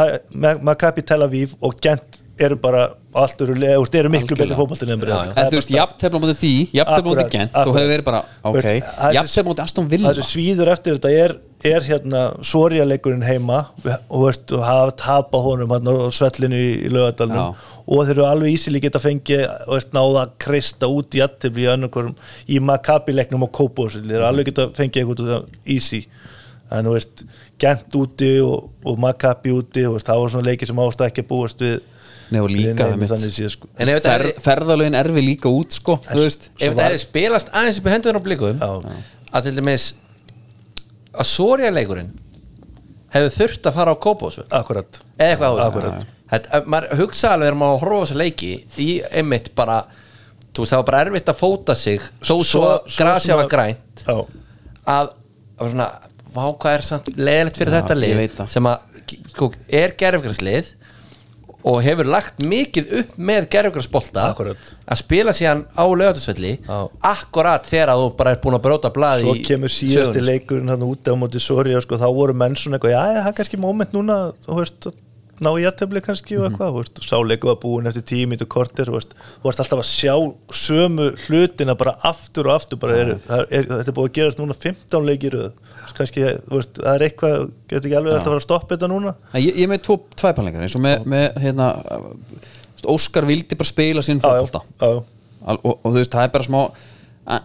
[SPEAKER 3] ha- Ma- Maccabi Tel Aviv og Gent eru bara allt eru, le- þú veist, eru miklu
[SPEAKER 1] Algjörlega.
[SPEAKER 3] betur fótboltinn en
[SPEAKER 2] Já, já.
[SPEAKER 1] En þú veist, jafntefla mútið því, jafntefla mútið
[SPEAKER 3] Akkúrat,
[SPEAKER 1] gent Þú
[SPEAKER 3] akkúrat.
[SPEAKER 1] hefur verið bara,
[SPEAKER 3] Þú
[SPEAKER 1] ok,
[SPEAKER 3] veist, það er-
[SPEAKER 1] jafntefla mútið Aston Villa
[SPEAKER 3] það sem svíður eftir þetta er, er hérna sorjaleikurinn heima og, og veist, og hafa tapa honum hann á svellinu í, í
[SPEAKER 1] Já.
[SPEAKER 3] lögadalnum og þeir eru alveg ísili geta fengið og veist, náða að kreista út í aðtefli í annarkorum í makabileiknum og kópóðsvill þeir eru alveg geta fengið eitthvað út af það easy en þú veist, gent úti og, og makabi úti og veist, það var svona leiki sem ást ekki að búast við
[SPEAKER 1] Nei, og
[SPEAKER 3] við
[SPEAKER 1] líka
[SPEAKER 3] neinum
[SPEAKER 1] einmitt.
[SPEAKER 3] þannig sé sko
[SPEAKER 2] En ef þetta
[SPEAKER 1] Fer,
[SPEAKER 2] hefði-
[SPEAKER 1] Ferðalögin erfi líka út, sko Þú veist,
[SPEAKER 2] ef það hefði spilast aðeins upp í hendur á blikum
[SPEAKER 3] Já.
[SPEAKER 2] að til dæmis að Soria leikurinn hefði þurft að fara á Kópásvöld
[SPEAKER 3] akkurat,
[SPEAKER 2] eða eitthvað á
[SPEAKER 3] Akkurat.
[SPEAKER 2] þessu Þetta- að maður hugsa alveg þegar maður horfa á þessu leiki í einmitt bara þú veist það var bara erfitt að fóta sig þó svo grasja var grænt
[SPEAKER 3] já,
[SPEAKER 2] að, að svona vá hvað er samt leðilegt fyrir
[SPEAKER 1] Já,
[SPEAKER 2] þetta
[SPEAKER 1] ég
[SPEAKER 2] lið
[SPEAKER 1] veit það.
[SPEAKER 2] sem að sko, er gerfgræslið og hefur lagt mikið upp með gerfgræsbolta
[SPEAKER 3] Akkúrat.
[SPEAKER 2] að spila síðan á lögatisvelli
[SPEAKER 3] Já.
[SPEAKER 2] akkurat þegar að þú bara er búin að bróta blaði
[SPEAKER 3] svo kemur síðasti
[SPEAKER 2] sögunni, sko.
[SPEAKER 3] leikurinn hann úti á móti Soria sko, þá voru menn svona eitthvað, já, já, það er kannski moment núna, þú veist, að ná í aðtefli kannski
[SPEAKER 2] Mhm.
[SPEAKER 3] og eitthvað, þú veist, og sáleiku var búin eftir tíu mínútur kortir, þú veist, þú veist alltaf að sjá sömu hlutina bara aftur og aftur, bara eru, það er, þetta er búið að gerast núna 15 leikir, kannski, þú veist, það er eitthvað, getur ekki alveg alltaf að fara að stoppa þetta núna,
[SPEAKER 1] Nei, ég, ég er með tvo tvæpanleikar eins og með, með hérna uh, þú veist, Óskar vildi bara spila sín
[SPEAKER 3] Já, já,
[SPEAKER 1] fótbolta
[SPEAKER 3] já, já.
[SPEAKER 1] Al- og, og þú veist, það er bara smá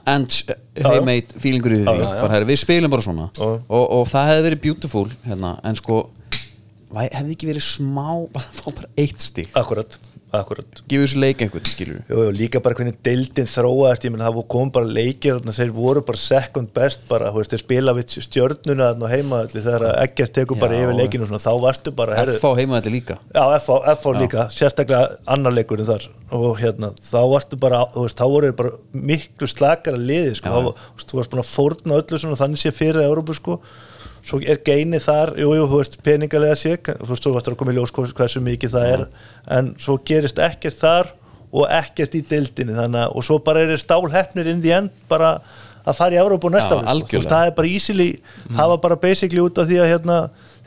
[SPEAKER 1] ends heimeit feelingur í því bara, herri, við spilum bara svona
[SPEAKER 3] Já.
[SPEAKER 1] og, og það hefði verið beautiful hérna, en sko, væ- hefði ekki verið smá bara að fá bara eitt stig
[SPEAKER 3] akkurat, akkurat.
[SPEAKER 1] gefur þessu leik einhvern, skilur
[SPEAKER 3] Jú, jú, líka bara hvernig deildin þróaðist ég menn það kom bara leikir þannig að þeir voru bara second best bara, þú veist, þeir spila við stjörnuna þannig á heima þegar að Eggert tekur bara
[SPEAKER 1] Já,
[SPEAKER 3] yfir leikinu og svona, þá varstu bara,
[SPEAKER 1] við
[SPEAKER 3] herru,
[SPEAKER 1] F.A. heimaðalli líka
[SPEAKER 3] Já, FH, FH líka, sérstaklega annar leikurinn þar og hérna, þá varstu bara, þú veist, þá voru þeir bara miklu slakara liði, sko, þá, var- þú veist, þú varst búin að fórna öllu svona, þannig sé fyrir Európu, sko, svo er geini þar, jú, jú, þú veist, peningalega sé, þú veist, þú varst að koma í ljós hvers- hversu mikið það er, en svo gerist ekkert þar og ekkert í deildinni, þannig að, og svo bara eru stálhefnir inn í end, bara að fara í Európu
[SPEAKER 1] Já,
[SPEAKER 3] næsta ári, sko. Þú veist,
[SPEAKER 1] algjörlega.
[SPEAKER 3] það er bara easily, það var bara basically út af því að hérna,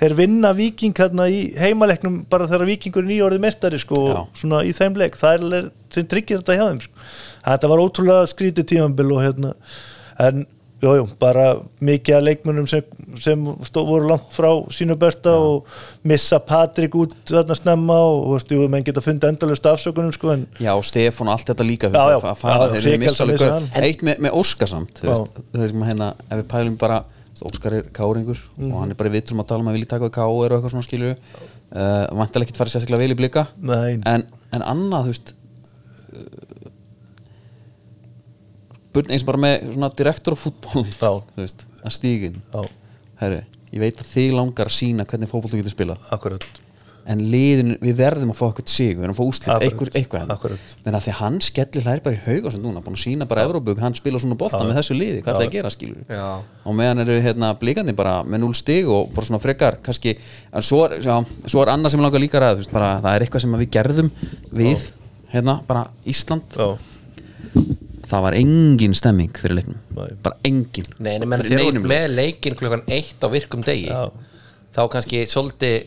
[SPEAKER 3] þeir vinna viking hérna í heimaleiknum bara þegar vikingur er nýjórði mestari sko,
[SPEAKER 1] Já.
[SPEAKER 3] svona í þeim leik, það er sem tryggir þetta hjá þeim sko. þetta var ótrúlega skrítið tímambil og hérna en Jú, jú, bara mikið af leikmunum sem, sem stó, voru langt frá sínu besta og missa Patrik út þarna snemma og veist, jú, menn geta fundið endalust afsökunum sko, en
[SPEAKER 1] Já, Stefán og allt þetta líka
[SPEAKER 3] Já, já,
[SPEAKER 1] fyrir að fara
[SPEAKER 3] já,
[SPEAKER 1] þeir eru
[SPEAKER 3] Hrikalsson
[SPEAKER 1] missalega
[SPEAKER 3] vissi
[SPEAKER 1] gaur. eitt með, með Óskar samt þú
[SPEAKER 3] Já.
[SPEAKER 1] veist, það sem hérna, ef við pælum bara þú veist, Óskar er káringur
[SPEAKER 3] Mhm.
[SPEAKER 1] og hann er bara í vitrum að tala um að vilja taka við káir og eitthvað svona skilur uh, vantilega ekki fara sérstaklega vel í blika
[SPEAKER 3] Nei.
[SPEAKER 1] en, en annað, þú veist eh, burn eins og bara með svona direktor á fútból
[SPEAKER 3] Já.
[SPEAKER 1] þú veist, að stígin
[SPEAKER 3] Já.
[SPEAKER 1] herri, ég veit að þig langar að sína hvernig fótból þú getur spilað
[SPEAKER 3] akkurat
[SPEAKER 1] en liðin, við verðum að fá eitthvað sig við verðum að fá úslit,
[SPEAKER 3] Akkurat,
[SPEAKER 1] eitthvað, eitthvað hérna.
[SPEAKER 3] akkurat.
[SPEAKER 1] menn að því að hann skellir hlæri bara í hauga sem núna, búin að sína bara Evróbug hann spila svona bolta með þessu liði, hvað ætlaði að gera skilur já. og meðan eru hérna blikandi bara með 0 stig og bara svona frekar kannski, en svo er, já, svo er annað sem mig langar líka ræð, veist, bara, það er eitthvað sem að við gerðum við, hérna, bara Ísland
[SPEAKER 3] Já,
[SPEAKER 1] það var engin stemming fyrir leiknum
[SPEAKER 3] Nei.
[SPEAKER 1] bara engin
[SPEAKER 2] Nei, nei, menn
[SPEAKER 1] Fyrir
[SPEAKER 2] þeir eru
[SPEAKER 1] neinum
[SPEAKER 2] með leikin klukkan eitt á virkum degi
[SPEAKER 3] Já.
[SPEAKER 2] þá kannski svolítið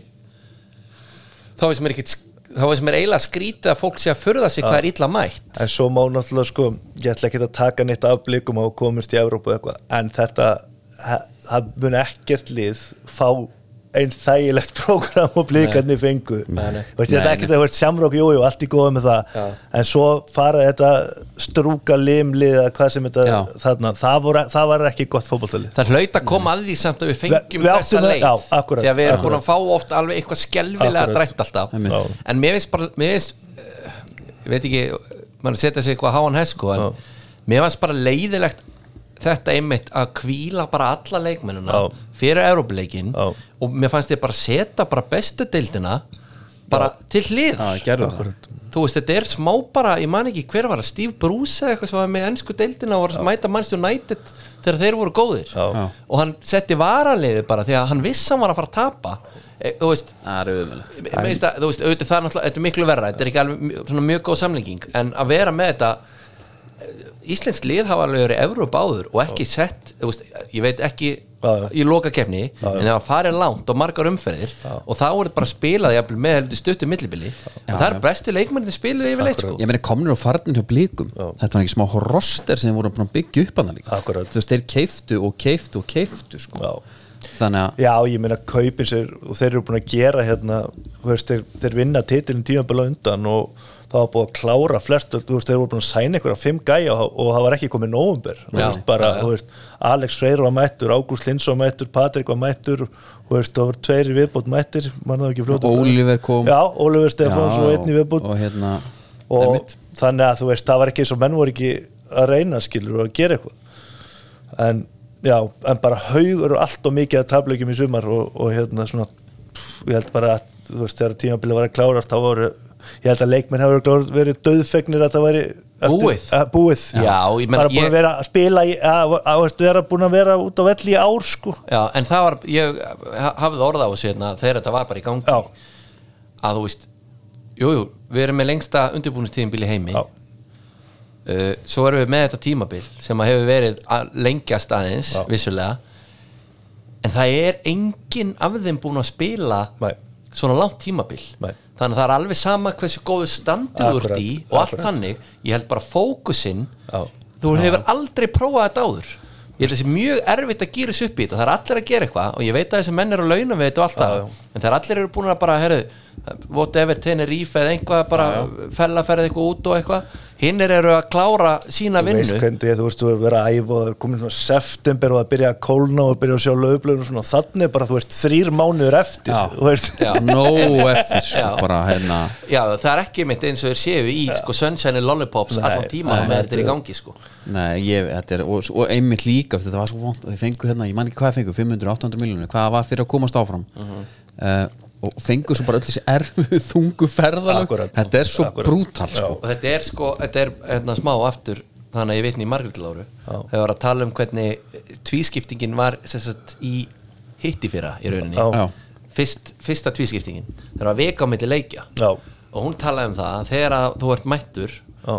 [SPEAKER 2] þá veist mér ekkit þá veist mér eiginlega skrítið að fólk sé að furða sig hvað er illa mætt
[SPEAKER 3] en svo má náttúrulega sko ég ætla ekki að taka neitt af blikum á komist í Evrópu eða eitthvað, en þetta ha- það mun ekkert lið fá einn þægilegt prógram og blikarnir fengu
[SPEAKER 2] Nei, nei.
[SPEAKER 3] Veist, ég ætla
[SPEAKER 1] Nei,
[SPEAKER 3] ekki að vera samrók, jújú, allt í góða með það
[SPEAKER 2] Já.
[SPEAKER 3] en svo fara þetta strúka limlið eða hvað sem þetta
[SPEAKER 1] Já.
[SPEAKER 3] þarna, það, voru, það var ekki gott fótboltalið
[SPEAKER 2] það hlaut að koma að því samt að við
[SPEAKER 3] Við-
[SPEAKER 2] fengjum
[SPEAKER 3] við
[SPEAKER 2] þessa
[SPEAKER 3] áttum að-
[SPEAKER 2] leið
[SPEAKER 3] já, akkurat,
[SPEAKER 2] því að við erum búin
[SPEAKER 3] akkurat.
[SPEAKER 2] að fá oft alveg eitthvað skelvilega
[SPEAKER 3] Akkurat.
[SPEAKER 2] drætt alltaf
[SPEAKER 1] Einmitt.
[SPEAKER 2] en mér finnst bara mér finnst, eh, ég veit ekki, mann setja sig eitthvað háan hesku en
[SPEAKER 3] Já.
[SPEAKER 2] mér finnst bara leiðilegt þetta einmitt að kvíla bara alla leikmennina
[SPEAKER 3] Já.
[SPEAKER 2] fyrir Európleikin
[SPEAKER 3] Já.
[SPEAKER 2] og mér fannst ég bara setja bara bestu deildina bara til hlið
[SPEAKER 1] Já, gerðu það
[SPEAKER 2] þú veist þetta er smá bara, ég man ekki hver var það Steve Bruce eða eitthvað sem var með ennsku deildina og var að mæta Manchester United þegar þeir voru góðir
[SPEAKER 3] Já.
[SPEAKER 1] Já.
[SPEAKER 2] og hann setti varaliði bara því að hann vissi að hann var að fara að tapa e, þú veist
[SPEAKER 1] það er auðvitað
[SPEAKER 2] Mér finnst að, þú veist, auðvitað það er náttúrulega, þetta er miklu verra þetta er ekki alveg mj- svona mjög góð samlinging en að vera með þetta Íslensk lið hafa alveg verið Evróp áður og ekki sett, þú veist, ég veit ekki
[SPEAKER 3] Já, já.
[SPEAKER 2] í lokakefni, en það var farið langt og margar umferðir og þá voru bara spilaði jafnvel með heldur stuttum millibili en það er bestu leikmennir spilaði yfir leitt sko
[SPEAKER 1] Ég meina komnir og farnir hjá blíkum Þetta var ekki smá roster sem voru búin að byggja upp hann líka
[SPEAKER 3] Akkurat.
[SPEAKER 1] Þú veist, þeir keiftu og keiftu og keiftu sko.
[SPEAKER 3] Já.
[SPEAKER 1] Þannig
[SPEAKER 3] Já, ég meina kaupin sér og þeir eru búin að gera hérna þú veist, þeir, þeir vinna titilin tímaböla undan og það var búin að klára flest og þú veist, þeir voru búin að sæna einhverja fimm gæja og, og það var ekki komið nóvumber
[SPEAKER 2] Já,
[SPEAKER 3] bara,
[SPEAKER 2] já, já.
[SPEAKER 3] þú veist, Alex Freyr var mættur, Ágúst Lindsson var mættur, Patrik var mættur þú veist, það voru tveiri viðbót mættir mann það ekki fljótt
[SPEAKER 1] Og Oliver kom.
[SPEAKER 3] Já, Oliver Stefáns og einni
[SPEAKER 1] að
[SPEAKER 3] viðbót
[SPEAKER 1] og hérna
[SPEAKER 3] og
[SPEAKER 1] einmitt.
[SPEAKER 3] þannig að þú veist það var ekki eins og menn voru ekki að reyna skilur og að gera eitthvað en já, en bara haugur og allt og mikið að tablegjum í sumar og, og hérna svona, pff, ég held bara að þú veist þegar tímabilið var að klárast þá voru, ég held að leikmenn hefur klárast, verið döðfegnir að það væri eftir-
[SPEAKER 2] Búið.
[SPEAKER 3] að, búið.
[SPEAKER 2] Já, ég meina,
[SPEAKER 3] bara búin
[SPEAKER 2] ég-
[SPEAKER 3] að vera að spila í, að, að, að vera búin að vera út á velli í ár sko
[SPEAKER 2] Já, en það var, ég ha- hafði orða á þessu hérna þegar þetta var bara í gangi
[SPEAKER 3] já,
[SPEAKER 2] að þú veist, jújú, jú, við erum með lengsta undirbúinistíðinbíl í heimi
[SPEAKER 3] já,
[SPEAKER 2] uh, svo erum við með þetta tímabil sem að hefur verið að lengjast aðeins
[SPEAKER 3] Já.
[SPEAKER 2] vissulega en það er enginn af þeim búin að spila
[SPEAKER 3] Nei.
[SPEAKER 2] svona langt tímabil
[SPEAKER 3] Nei.
[SPEAKER 2] þannig að það er alveg sama hversu góðu standið úr
[SPEAKER 3] Akkurat,
[SPEAKER 2] því og allt
[SPEAKER 3] akkurat.
[SPEAKER 2] þannig ég held bara fókusinn
[SPEAKER 3] Já.
[SPEAKER 2] þú hefur aldrei prófað þetta áður ég held þessi mjög erfitt að gýra þessu upp í þetta það er allir að gera eitthvað og ég veit að þessi menn eru að launa við þetta og allt það en þegar allir eru búin að bara heru, whatever, Tenerife eða einhvað bara fellaferð eitthvað út og eitthvað hinn eru að klára sína
[SPEAKER 3] þú veist
[SPEAKER 2] vinnu
[SPEAKER 3] hvernig þú veist þú verður að æfa og það er komin svona september og það byrja að kólna og byrja að sjá lögblöðun og svona þannig bara þú veist þrýr mánuður eftir
[SPEAKER 1] Já.
[SPEAKER 3] þú veist
[SPEAKER 2] Já.
[SPEAKER 1] Nó eftir sko,
[SPEAKER 2] Já.
[SPEAKER 1] bara hérna
[SPEAKER 2] Já, það er ekki mitt eins og þeir séu í sko, Sunshine and Lollipops allan tíma með þetta er í gangi sko.
[SPEAKER 1] Nei, ég, þetta er, og, og einmitt líka þetta var svo vond, þeir fengu hérna, ég man ekki hvað þeir fengu 500-800 miljónir, hvað var fyrir að komast áfram uh
[SPEAKER 2] Mhm.
[SPEAKER 1] og fengu svo bara öll þessi erfu þungu ferðalög
[SPEAKER 3] Akkurat.
[SPEAKER 1] þetta er svo
[SPEAKER 3] Akkurat.
[SPEAKER 1] brútal sko.
[SPEAKER 2] og þetta er sko, þetta er hérna, smá aftur þannig að ég vitni í Margrét Láru þegar var að tala um hvernig tvískiptingin var sem sagt, í hitti fyrra í rauninni
[SPEAKER 3] Já.
[SPEAKER 1] Já.
[SPEAKER 2] Fyrst, fyrsta tvískiptingin þegar var veka á milli leikja
[SPEAKER 3] Já.
[SPEAKER 2] og hún talaði um það að þegar að þú ert mættur
[SPEAKER 3] Já.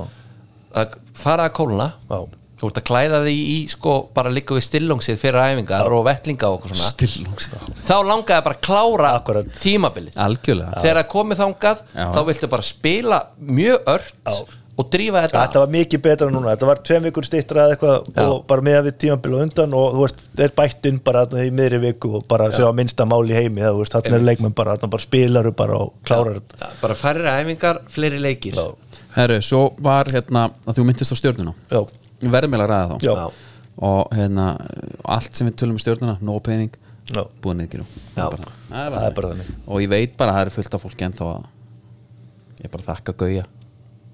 [SPEAKER 2] að fara að kólna
[SPEAKER 3] Já.
[SPEAKER 2] þú ert að klæða því í sko bara líka við stillungsið fyrir æfingar og vettlinga og okkur svona
[SPEAKER 1] stillungs
[SPEAKER 2] þá langaði bara að klára
[SPEAKER 3] Akkurat.
[SPEAKER 2] tímabilið
[SPEAKER 1] algjörlega
[SPEAKER 2] þegar það komið þangað
[SPEAKER 1] Já.
[SPEAKER 2] þá viltu bara spila mjög ört og drífa þetta
[SPEAKER 3] Þetta var mikið betra núna, þetta var tveim vikur stýttra eða eitthvað og bara meðan við tímabil og undan og þú veist, þeir bætt inn bara þarna í miðri viku og bara séu að minnsta máli í heimi það, þú veist, þarna er leikmenn bara, þarna bara spilaru bara og klárar þetta
[SPEAKER 2] Já, bara færri æfingar, fleiri leikir
[SPEAKER 3] Já.
[SPEAKER 1] Herru, svo var hérna að þú myndist á stjórnuna
[SPEAKER 3] Já,
[SPEAKER 1] verðum eiginlega að ræða þá
[SPEAKER 3] já,
[SPEAKER 2] Já.
[SPEAKER 1] og hérna, allt sem við tölum um stjórnuna no pening,
[SPEAKER 3] já,
[SPEAKER 1] búið niðgjur
[SPEAKER 2] Já.
[SPEAKER 1] það
[SPEAKER 3] það er bara þannig
[SPEAKER 1] og ég veit bara að það er fullt af fólki ennþá að ég bara þakka Gauja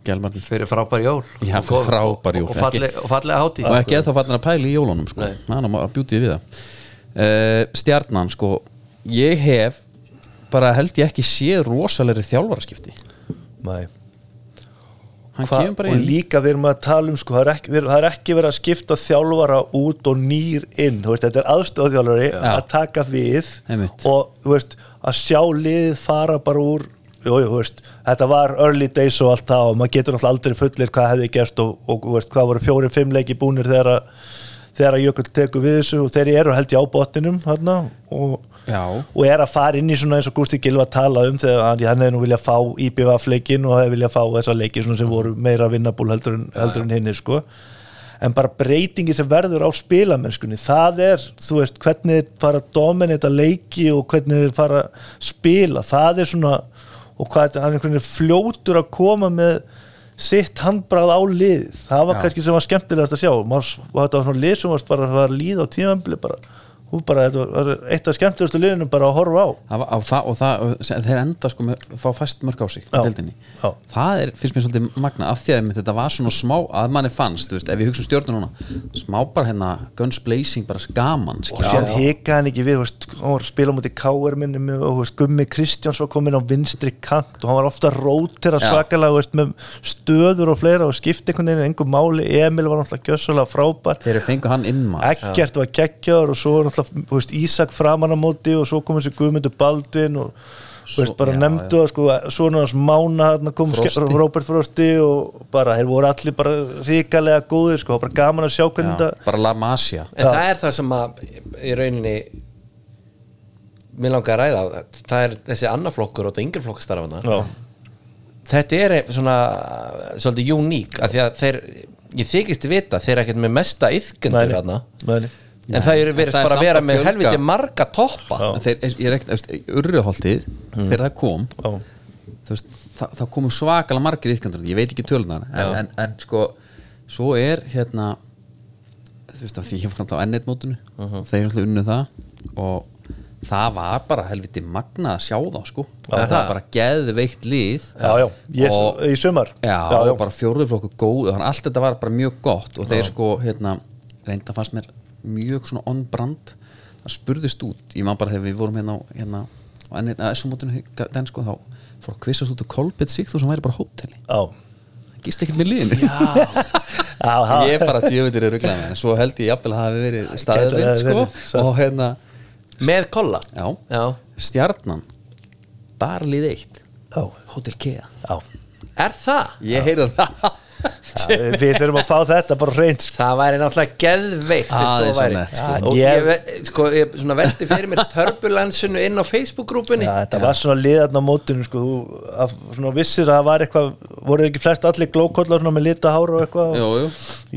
[SPEAKER 1] Gjelmarn
[SPEAKER 2] fyrir frábær jól
[SPEAKER 1] Já,
[SPEAKER 2] Og góð-
[SPEAKER 1] frábær jól.
[SPEAKER 2] og, og, falleg, og fallega hátíð
[SPEAKER 1] og ekki eða fannir að pæla í jólunum sko.
[SPEAKER 2] Nei.
[SPEAKER 1] hann var bjútið við það uh, stjarnan sko ég hef bara held ég ekki séð rosalegri þjálfaraskipti
[SPEAKER 3] Nei.
[SPEAKER 1] hann
[SPEAKER 3] Hva,
[SPEAKER 1] kemur bara
[SPEAKER 3] og
[SPEAKER 1] inn
[SPEAKER 3] líka við erum að tala um sko, það, er ekki, við, það er ekki verið að skipta þjálfara út og nýr inn þú veist, þetta er aðstofþjálfari að taka við
[SPEAKER 1] Einmitt.
[SPEAKER 3] og þú veist, að sjá liðið fara bara úr jú, jú, þú veist, þetta var early days og allt það og maður getur náttúrulega aldrei fullir hvað hefði gerst og, og þú veist, hvað voru fjóri, fimm leiki búnir þegar að þegar að Jökull tekur við þessu og þeir eru held ég á botninum hérna, og
[SPEAKER 1] já,
[SPEAKER 3] og er að fara inn í svona eins og Gústi Gilva tala um þegar hann, hann hefði nú viljað fá IBVF-leikin og hefði viljað fá þessa leiki svona sem voru meira vinnabúl heldur en, heldur en hinn sko. en bara breytingi sem verður á spilamennskunni, það er þú veist, hvernig þeir fara að dominita leiki og hvernig þeir fara að spila það er svona og hvað, þetta- hann er einhvern veginn fljótur að koma með sitt handbrað á lið það var kannski sem var skemmtilegast að sjá Maður- og þetta var svona lið sem varst bara að fara að líða á tímanbili bara, hún bara, þetta var eitt af skemmtilegastu liðinu bara að horfa á
[SPEAKER 1] það var- á það, og það og se- þeir enda sko með fá fæst mörg á sig í
[SPEAKER 3] Já.
[SPEAKER 1] deildinni.
[SPEAKER 3] Já.
[SPEAKER 1] það er, finnst mér svolítið magna af því að einmitt þetta var svona smá að manni fannst, þú veist, ef við hugsa um stjórnum núna smá bara hérna Guns Blazing bara gaman,
[SPEAKER 3] og
[SPEAKER 1] skilja
[SPEAKER 3] sér hikaði hann ekki við þú veist, hann var að spila á móti K.R. minni með, og þú veist, Gummi Kristjáns var komin á vinstri kant og hann var ofta rótera
[SPEAKER 1] Já.
[SPEAKER 3] svakalega þú veist, með stöður og fleira og skipti einhvern veginn engu máli, Emil var náttúrulega gjössalega frábær,
[SPEAKER 1] þeir fengu hann inn maður
[SPEAKER 3] ekkert var kekkjaður og svo var náttúrulega þú veist, Ísak framan á móti og svo kom þessi Guðmundur Baldvin og svo, veist, bara
[SPEAKER 1] já,
[SPEAKER 3] nefndu það sko, svona hans mána þarna kom Frosti. Robert Frosti og bara, þeir voru allir bara ríkalega góðir sko, bara gaman að sjá hvernig
[SPEAKER 1] Já,
[SPEAKER 3] þetta
[SPEAKER 1] bara La Masia
[SPEAKER 2] en það er það sem að í rauninni mér langar að ræða það er þessi annaflokkur og þetta yngri flokkastarfana
[SPEAKER 3] Já.
[SPEAKER 2] þetta er ein- svona svolítið uník af því að þeir, ég þykist vita þeir eru ekkert með mesta yfkendur
[SPEAKER 3] Nei,
[SPEAKER 2] hana
[SPEAKER 3] nei, nei.
[SPEAKER 2] en það eru verið
[SPEAKER 1] það er
[SPEAKER 2] bara
[SPEAKER 1] samt
[SPEAKER 2] að vera
[SPEAKER 1] að
[SPEAKER 2] með
[SPEAKER 1] fjölga.
[SPEAKER 2] helviti marga toppa
[SPEAKER 3] Já. Mm.
[SPEAKER 1] En þeir, ég er ekkert, urriðholtið þegar það kom
[SPEAKER 3] Já.
[SPEAKER 1] þú veist, það, það komu svakalega margir ytkendur, ég veit ekki tölunar en, en, en sko, svo er hérna þú veist, af því ég var náttúrulega á ennett mótinu, þeir náttúrulega unnu það og það var bara helviti magna að sjá þá sko það var bara geðveikt líð
[SPEAKER 3] já, já, ég,
[SPEAKER 1] Og-
[SPEAKER 3] í sumar
[SPEAKER 1] já,
[SPEAKER 3] já, já.
[SPEAKER 1] og bara fjóruðflokku góð þannig að allt þetta var bara mjög gott og þeir sko, hérna, reynda fannst mér mjög svona on brand það spurðist út, ég man bara þegar við vorum hérna á- hérna, á enni, að þessum mótinu den sko, þá fór að kvissast út og kolbett sig þú sem væri bara á hóteli,
[SPEAKER 3] Já.
[SPEAKER 1] það gist ekkert með liðinu
[SPEAKER 3] Já, já.
[SPEAKER 1] ég er bara djöfundir í rugglaðan, en svo held ég jafnvel að það hafi verið staðurinn
[SPEAKER 3] Gæti
[SPEAKER 1] sko,
[SPEAKER 3] það verið, satt.
[SPEAKER 1] og hérna,
[SPEAKER 2] með kolla
[SPEAKER 1] já,
[SPEAKER 2] Já.
[SPEAKER 1] stjarnan bara lið eitt,
[SPEAKER 3] Já,
[SPEAKER 1] hótel Kea
[SPEAKER 3] já.
[SPEAKER 2] er það?
[SPEAKER 1] ég heyrði það
[SPEAKER 3] Já, við þurfum að fá þetta bara hreint sko.
[SPEAKER 2] Það væri náttúrulega geðveikt ef
[SPEAKER 1] Aðeins um
[SPEAKER 2] svo væri.
[SPEAKER 1] annað,
[SPEAKER 3] sko.
[SPEAKER 2] Og
[SPEAKER 3] Já,
[SPEAKER 2] ég, ve- sko, ég svona velti fyrir mér turbulensinu inn á Facebook-grúpunni
[SPEAKER 3] Já, þetta var svona liðarna á mótinu sko, þú að, svona vissir að það var eitthvað voru ekki flest allir glókollar svona með lita hára og eitthvað
[SPEAKER 1] jú,
[SPEAKER 3] og
[SPEAKER 1] jú,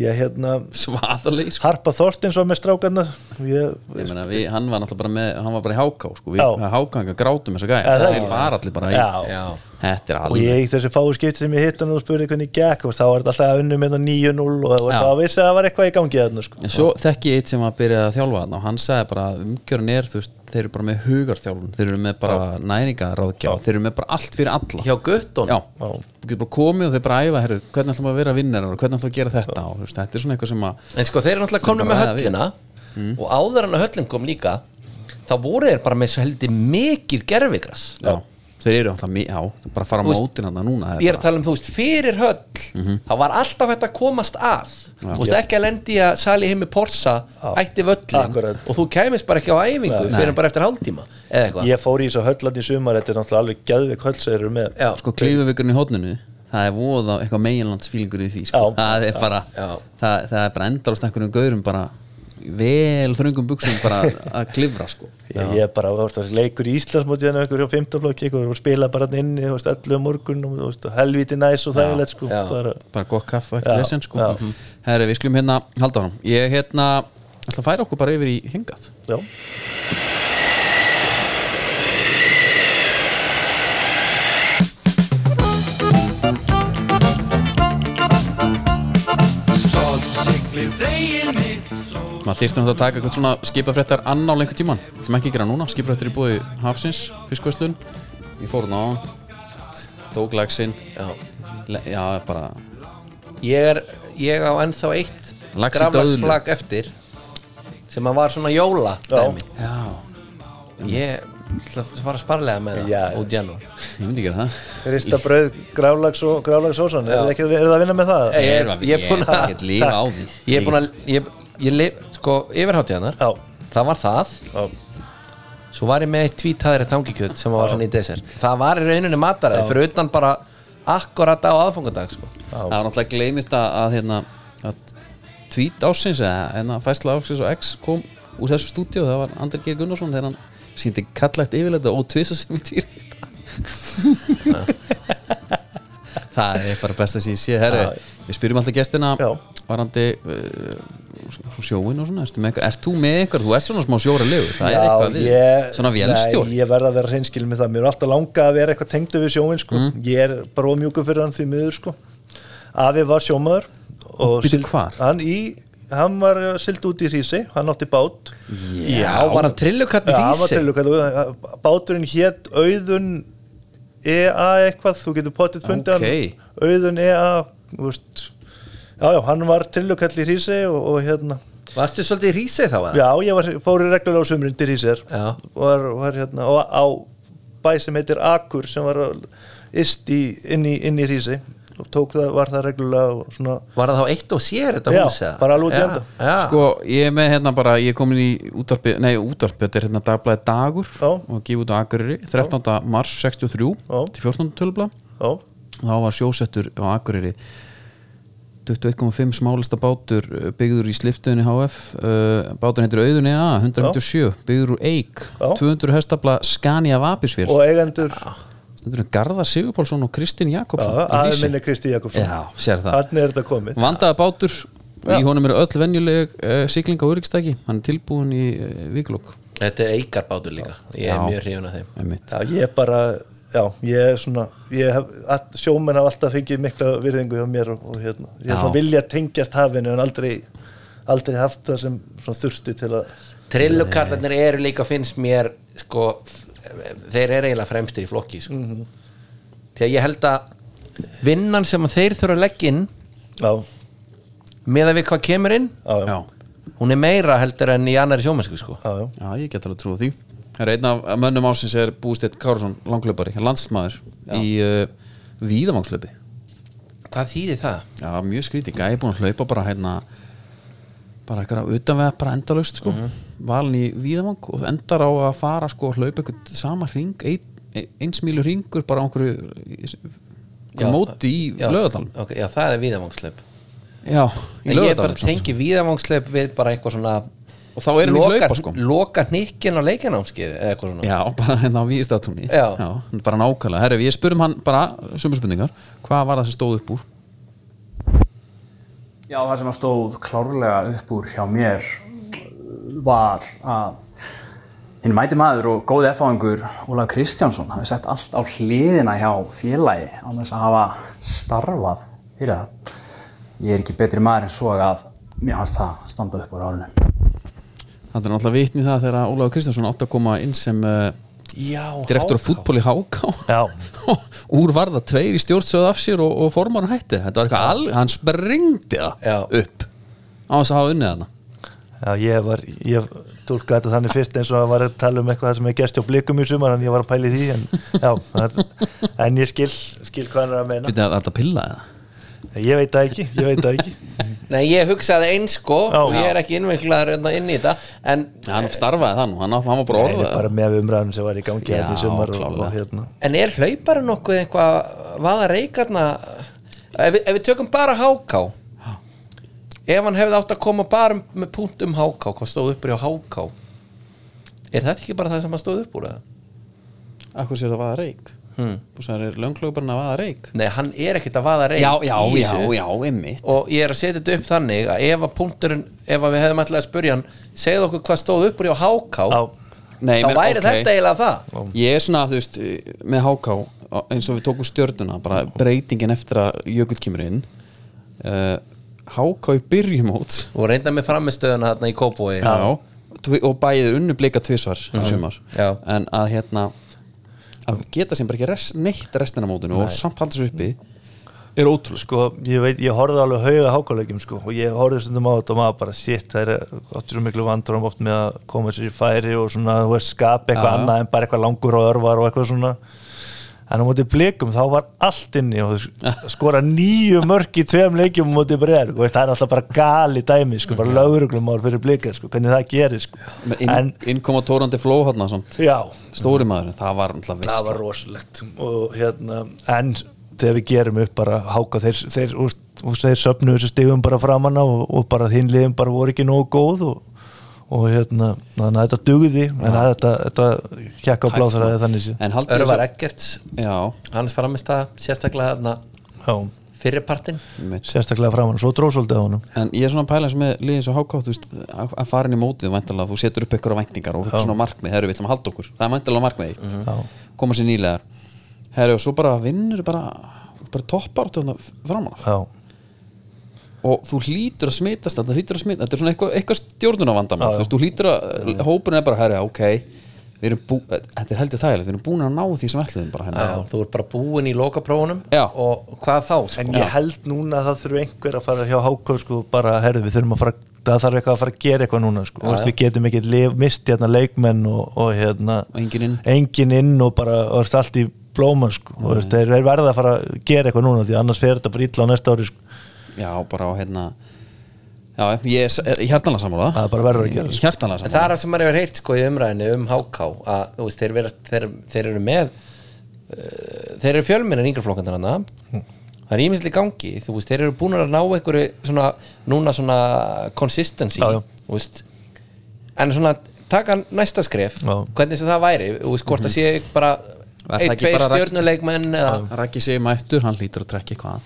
[SPEAKER 3] ég hérna
[SPEAKER 1] svaðalegi sko
[SPEAKER 3] Harpa Þorstins var með strákarna og ég,
[SPEAKER 1] ég meina, við, hann var náttúrulega bara með hann var bara í háká, sko, við
[SPEAKER 3] Já.
[SPEAKER 1] hákanga grátum þess að gæja,
[SPEAKER 3] Já, það
[SPEAKER 1] þeir
[SPEAKER 3] ekki.
[SPEAKER 1] var allir bara í
[SPEAKER 3] Já.
[SPEAKER 2] Já.
[SPEAKER 1] þetta er
[SPEAKER 3] og
[SPEAKER 1] alveg
[SPEAKER 3] ég þessi fáu skipt sem ég hitt hann og spurði hvernig gekk og þá var þetta alltaf unnum með 9-0 og það var
[SPEAKER 1] Já.
[SPEAKER 3] það að vissi að það var eitthvað í gangi þarna sko.
[SPEAKER 1] en svo þekki ég eitt sem að byrja að þjálfa hann og hann sagði bara að umgjörn er þú veist, þeir eru bara með hugarþjálfun, þeir eru með bara næringaráðgjá, þeir eru með bara allt fyrir alla
[SPEAKER 2] hjá Guttun
[SPEAKER 1] já, þú getur bara komið og þeir bara æfa herru, hvernig ætlum við að vera vinnarar og hvernig ætlum við að gera þetta og þú veist, þetta er svona eitthvað sem að
[SPEAKER 2] En sko þeir eru náttúrulega komnum með
[SPEAKER 1] Bara Mm. ræða við.
[SPEAKER 2] höllina og áður en að höllin kom líka þá voru þeir bara með svo heldur mikið gerfigras
[SPEAKER 1] já, þeir eru alltaf, mi- já, það er bara að fara á
[SPEAKER 2] Þú veist,
[SPEAKER 1] mótin þarna núna það
[SPEAKER 2] Ég er
[SPEAKER 1] bara-
[SPEAKER 2] að tala um, þú veist, fyrir höll
[SPEAKER 1] Mhm.
[SPEAKER 2] þá var alltaf hægt að komast að Þú veist, ekki að lendi í að sali heimi Porsa ætti völlin
[SPEAKER 3] Akkurat.
[SPEAKER 2] og þú kæmist bara ekki á æfingu fyrir bara eftir hálftíma eða eitthvað
[SPEAKER 3] ég fór í þessu höllan í sumar þetta er náttúrulega alveg gæðvik höll sem þeir eru með
[SPEAKER 2] Já.
[SPEAKER 1] sko klífuvikurinn í hodninu það er voða eitthvað meginlandsfílingur í því sko.
[SPEAKER 3] Já.
[SPEAKER 1] það er bara
[SPEAKER 2] Já.
[SPEAKER 1] það, það er bara endalast einhverjum gaurum bara vel þröngum buksum bara að klifra sko
[SPEAKER 3] Ég, ég bara, þú veist, það leikur í Íslandsmóti hérna þannig einhverju á fimmtaflokki, einhverju og spila bara hann inni, þú veist, allu á morgun og þú veist, og helviti næs og þægilegt, sko
[SPEAKER 2] já.
[SPEAKER 3] bara,
[SPEAKER 1] bara gott kaffa,
[SPEAKER 3] Já,
[SPEAKER 1] ekkert lesen sko
[SPEAKER 3] já.
[SPEAKER 1] Mhm. herri, við skulum hérna halda honum ég hérna, ætla að færa okkur bara yfir í hingað
[SPEAKER 3] já,
[SPEAKER 1] maður þyrfti náttúrulega að taka eitthvað svona skipafréttar annál einhvern tíman, sem ekki gera núna skipafréttar í búi Hafsins, fiskvæslun ég fór hún á hann tók lagsin
[SPEAKER 2] Já.
[SPEAKER 1] Le- já, bara,
[SPEAKER 2] ég er ég á ennþá eitt
[SPEAKER 1] Lax í
[SPEAKER 2] graflagsflag eftir sem að var svona jóla dæmi
[SPEAKER 1] já,
[SPEAKER 2] ég ætla að fara að sparlega með það
[SPEAKER 3] Já.
[SPEAKER 2] út janúar
[SPEAKER 1] ég myndi gera það
[SPEAKER 3] rista brauð, grálags og grálags ósan, er, ekki- er það að vinna með það?
[SPEAKER 2] Ég er-
[SPEAKER 1] Ég-
[SPEAKER 2] ég er búin
[SPEAKER 1] ég
[SPEAKER 2] að-
[SPEAKER 1] get lifa á því
[SPEAKER 2] ég er búin að ég, ég lif, sko, yfirháttíðanar
[SPEAKER 3] Já,
[SPEAKER 2] það var það
[SPEAKER 3] já,
[SPEAKER 2] svo var ég með eitt tvítaðri tangikjöt sem var svona í desert það var í rauninni mataræði fyrir utan bara akkurat á aðfangadag sko.
[SPEAKER 1] það var náttúrulega gleymist að, að hérna að tweet ásins eða hérna fæsla ásins og X kom úr þessu stúdíu það var Andri Geir Gunnarsson þegar hann síndi kallægt yfirleita og tvisa sem í tvýr það er bara besta sem ég sé herri, við spyrjum alltaf gestina
[SPEAKER 3] Já.
[SPEAKER 1] varandi uh, sjóin og svona, ertu með eitthvað, ert þú með eitthvað þú ert svona smá sjóra liður, það
[SPEAKER 3] já,
[SPEAKER 1] er eitthvað við,
[SPEAKER 3] ég,
[SPEAKER 1] svona vélstjór
[SPEAKER 3] Nei, ég verð að vera hreinskil með það, mér er alltaf langa að vera eitthvað tengdu við sjóin, sko, ég er bara ómjúku fyrir hann því miður, sko Afi var sjómaður og
[SPEAKER 1] Bíddu,
[SPEAKER 3] sild-
[SPEAKER 1] hvar?
[SPEAKER 3] hann í, hann var sild út í hrísi, hann átti bát
[SPEAKER 2] já, var hann trillukatt í
[SPEAKER 3] Já, hann var
[SPEAKER 2] hísi
[SPEAKER 3] trillukalli, báturinn hétt Auðun EA eitthvað, þú getur potið fundið
[SPEAKER 1] Ókei.
[SPEAKER 3] hann Auðun EA, þú veist Já, já, hann var trillukalli í Hrísi og, og hérna,
[SPEAKER 2] varstu svolítið í hísi þá að
[SPEAKER 3] já, ég var, fór reglulega á sumrin til Hrísir
[SPEAKER 2] Já.
[SPEAKER 3] og var, var hérna, og á bæ sem heitir Akur sem var ist í, inn í, inn í Hrísi og tók það, var það reglulega og svona,
[SPEAKER 2] var það þá eitt og sér þetta
[SPEAKER 3] Já,
[SPEAKER 2] hús eða?
[SPEAKER 3] bara alveg út í enda.
[SPEAKER 2] já, já.
[SPEAKER 1] Sko, ég er með hérna bara, ég er komin í útvarpi, nei útvarpi, þetta er hérna dagblæði dagur
[SPEAKER 3] Já.
[SPEAKER 1] og gefið út á Akureyri 13. mars 63
[SPEAKER 3] Já.
[SPEAKER 1] til 14. tölubla
[SPEAKER 3] já,
[SPEAKER 1] þá var sjósettur á Akureyri 21,5 smálista bátur uh, byggður í sliftuðinni HF uh, bátur heitir Auðunni A 157, byggður úr Eik
[SPEAKER 3] Já.
[SPEAKER 1] 200 hestafla Scania Vapisvél
[SPEAKER 3] og eigendur
[SPEAKER 1] stendur um Garðar Sigurpálsson og Kristinn Jakobsson í
[SPEAKER 3] aðeins
[SPEAKER 1] lýsi.
[SPEAKER 3] minni Kristi Jakobsson
[SPEAKER 1] Já, sér það
[SPEAKER 3] hann er þetta komið
[SPEAKER 1] vandaða bátur í honum eru öll venjuleg uh, sigling á öryggstæki hann er tilbúin í uh, viklokk
[SPEAKER 2] þetta er eikarbátur líka ég er
[SPEAKER 1] Já.
[SPEAKER 2] mjög hrifun af þeim
[SPEAKER 1] einmitt.
[SPEAKER 3] Já, ég er bara, já, ég er svona ég hef, all, sjómenn hafa alltaf fengið mikla virðingu hjá mér og, og hérna
[SPEAKER 1] Já.
[SPEAKER 3] ég er svona vilja tengjast hafinu en aldrei aldrei haft það sem svona þurfti til að
[SPEAKER 2] trillukallarnir eru líka finnst mér sko, þeir eru eiginlega fremstir í flokki sko.
[SPEAKER 1] Mhm.
[SPEAKER 2] þegar ég held að vinnan sem að þeir þurfa að leggja inn
[SPEAKER 3] já,
[SPEAKER 2] með að við hvað kemur inn
[SPEAKER 3] já, já,
[SPEAKER 1] já,
[SPEAKER 2] hún er meira heldur enn í annari sjómennsku sko.
[SPEAKER 3] já, já.
[SPEAKER 1] já, ég get alveg trúið því það er einn af af mönnum ásins er Bústedt Kárusson langlöpari, landsmaður í uh, víðavangslöpi
[SPEAKER 2] hvað þýðir það?
[SPEAKER 1] já, mjög skrítið, gæði búin að hlaupa bara hérna bara eitthvað utanvega bara endalaust sko,
[SPEAKER 2] Mhm.
[SPEAKER 1] valin í víðavang og endar á að fara sko að hlaupa eitthvað sama ring, ein, einsmílu ringur bara á einhverju já, móti í
[SPEAKER 2] já,
[SPEAKER 1] lögadalum
[SPEAKER 2] ok, já það er viðavangslöp
[SPEAKER 1] já, í sko.
[SPEAKER 2] ég er bara
[SPEAKER 1] lögadalum
[SPEAKER 2] tengi viðavangslöp við bara eitthvað svona
[SPEAKER 1] og þá er hann í hlaupa sko
[SPEAKER 2] loka nikkin á leikanámskið eða eitthvað svona
[SPEAKER 1] já, bara hérna á víðistatúni
[SPEAKER 2] Já.
[SPEAKER 1] bara nákvæmlega, herri, við spurum hann bara sömu spurningar, hvað var það sem stóð upp úr
[SPEAKER 8] Já, það sem að stóð klárlega upp úr hjá mér var að hinn mæti maður og góði F-áingur Ólaf Kristjánsson hafi sett allt á hliðina hjá félagi á þess að hafa starfað fyrir það. Ég er ekki betri maður en svo að mér hans það standa upp úr árinu.
[SPEAKER 1] það er náttúrulega vitni það þegar Ólafur Kristjánsson átt að koma inn sem uh,
[SPEAKER 2] já
[SPEAKER 1] direktor af fútból í Háká
[SPEAKER 3] Já.
[SPEAKER 1] úr var það tveir í stjórnsöð af sér og, og formann hætti, þetta var eitthvað al, hann springdi það
[SPEAKER 2] Já.
[SPEAKER 1] upp á þess að hafa unnið hana
[SPEAKER 3] ég var, ég tólka þetta þannig fyrst eins og að var að tala um eitthvað sem er gerst hjá blikum í sumar en ég var að pæli því en, já, það, en ég skil, skil hvað hann er að meina
[SPEAKER 1] Býttu, er þetta pilla eða?
[SPEAKER 3] ég veit það ekki, ég veit það ekki
[SPEAKER 2] Nei, ég hugsaði eins sko
[SPEAKER 3] Já.
[SPEAKER 2] og ég er ekki innviklaður hérna inn í þetta en,
[SPEAKER 1] hann starfaði það nú, hann, hann var bara
[SPEAKER 3] en
[SPEAKER 1] orðað
[SPEAKER 3] bara með umræðum sem var í gangi
[SPEAKER 1] Já,
[SPEAKER 3] hérna í sumar og,
[SPEAKER 1] klárlega.
[SPEAKER 3] og hérna
[SPEAKER 2] en er hlaupari nokkuð eitthvað vaða reikarna ef, við- ef við tökum bara háká ef hann hefði átt að koma bara með punkt um háká hvað stóð uppur hjá háká er þetta ekki bara það sem hann stóð uppur eða?
[SPEAKER 1] Akkur sér það vaða reik
[SPEAKER 2] Hmm.
[SPEAKER 1] Og svo er lönglögbarn að vaða reik
[SPEAKER 2] nei, hann er ekkert að vaða reynd
[SPEAKER 1] Já, já,
[SPEAKER 2] í
[SPEAKER 1] já,
[SPEAKER 2] þessu.
[SPEAKER 1] já, einmitt
[SPEAKER 2] og ég er að setja þetta upp þannig að ef að punkturinn, ef að við hefðum alltaf að spurja hann segðu okkur hvað stóð uppur hjá háká
[SPEAKER 3] á,
[SPEAKER 1] Nei,
[SPEAKER 2] þá
[SPEAKER 1] menn,
[SPEAKER 2] væri
[SPEAKER 1] ok.
[SPEAKER 2] þetta eiginlega það
[SPEAKER 1] Ég er svona, þú veist, með háká eins og við tókum stjörnuna, bara breytingin eftir að Jökull kemur inn uh, Háká í byrjumót
[SPEAKER 2] og reynda með framistöðuna þarna í Kópói
[SPEAKER 1] Já Tvi- og bæðið unnu blika tvisvar í sumar
[SPEAKER 2] Já.
[SPEAKER 1] en að hérna að geta sem bara ekki rest, neitt restina af mótinu og samt haldast uppi er ótrúlega
[SPEAKER 3] sko, ég veit, ég horfði alveg hauga hákáleikjum sko og ég horfði stundum á þetta og maður bara shit, það er áttur svo miklu vandrum oft með að koma sér í færi og svona, þú veist, skapa eitthvað
[SPEAKER 1] Já.
[SPEAKER 3] annað en bara eitthvað langur og örvar og eitthvað svona en á móti blikum þá var allt inni og þau skora nýju mörk í tveim leikjum á móti breyðar og það er alltaf bara gali dæmi sko, bara lögruglumál fyrir blikar sko, hvernig það gerir sko
[SPEAKER 1] inn,
[SPEAKER 3] en,
[SPEAKER 1] inn kom á tórandi fló hátna samt
[SPEAKER 3] já,
[SPEAKER 1] stóri maðurinn, það var náttúrulega vist
[SPEAKER 3] það var rosalegt og hérna, en þegar við gerum upp bara háka þeir, þeir, úst, úst, þeir söpnu þessu stigum bara framann á og, og bara þín liðum bara voru ekki nógu góð og, og hérna, þannig að þetta dugði en að þetta, þetta hjekka á bláþræði þannig sé
[SPEAKER 1] en haldið
[SPEAKER 2] Örvar
[SPEAKER 1] þess
[SPEAKER 2] Eggerts,
[SPEAKER 1] að já,
[SPEAKER 2] hans framistæða sérstaklega þarna
[SPEAKER 3] Já,
[SPEAKER 2] fyrirpartin
[SPEAKER 1] einmitt.
[SPEAKER 3] sérstaklega framann, svo dró svolítið á honum
[SPEAKER 1] en ég er svona að pæla eins og með liðið svo hákátt þú veist, að að fara inn í mótið væntanlega, þú setur upp ykkur á væntingar og svona markmið, herru við ætlum að halda okkur, það er væntanlega markmið eitt koma sér nýlegar herru og svo bara vinnur bara, bara toppar framan
[SPEAKER 3] Já,
[SPEAKER 1] og þú hlýtur að smitast þetta hlýtur að smitast, þetta er svona eitthvað, eitthvað stjórnunavandamál þú veist, þú hlýtur að, eh, hópurinn er bara herri, ok, við erum bú eh, þetta er heldur þægilegt, við erum búin að ná því sem ætluðum bara hérna." henni
[SPEAKER 2] Já, þú ert bara búin í lokaprófunum
[SPEAKER 1] Já.
[SPEAKER 2] og hvað þá sko?
[SPEAKER 3] en ég held núna að það þurfi einhver að fara hjá háka sko, bara, herðu, við þurfum að fara það þarf eitthvað að fara að gera eitthvað núna sko. já, við getum ekki lif, mist hérna leikmenn og, og hérna
[SPEAKER 1] og enginn inn,
[SPEAKER 3] engin inn og bara og veist, allt í blóma sko. og
[SPEAKER 1] Mm.
[SPEAKER 3] veist, þeir er verða að fara að gera eitthvað núna því annars fer þetta bara illa á næsta ári sko.
[SPEAKER 1] já, bara á hérna já, ég er- er hjartanlega sammála
[SPEAKER 3] það er bara verður að gera sko.
[SPEAKER 1] hjartanlega
[SPEAKER 2] En það
[SPEAKER 1] sammála
[SPEAKER 2] er það sem maður hefur heyrt sko í umræðinu um HK að þú veist, þeir, vera, þeir, þeir eru með uh, þeir eru fjölminn en yngri flokkandir hann það er ímislega í gangi þú veist, þeir eru búin að ná einhverju svona, núna svona consistency
[SPEAKER 3] Já, já.
[SPEAKER 2] þú veist en svona taka næsta skref
[SPEAKER 3] Já.
[SPEAKER 2] hvernig sem það væri, þú veist, hvort að sé bara
[SPEAKER 1] Var það
[SPEAKER 2] ein,
[SPEAKER 1] ekki
[SPEAKER 2] tveir
[SPEAKER 1] bara rætt-
[SPEAKER 2] stjörnuleikmenn eða,
[SPEAKER 1] Raki sig mættur, hann hlýtur að trekja eitthvað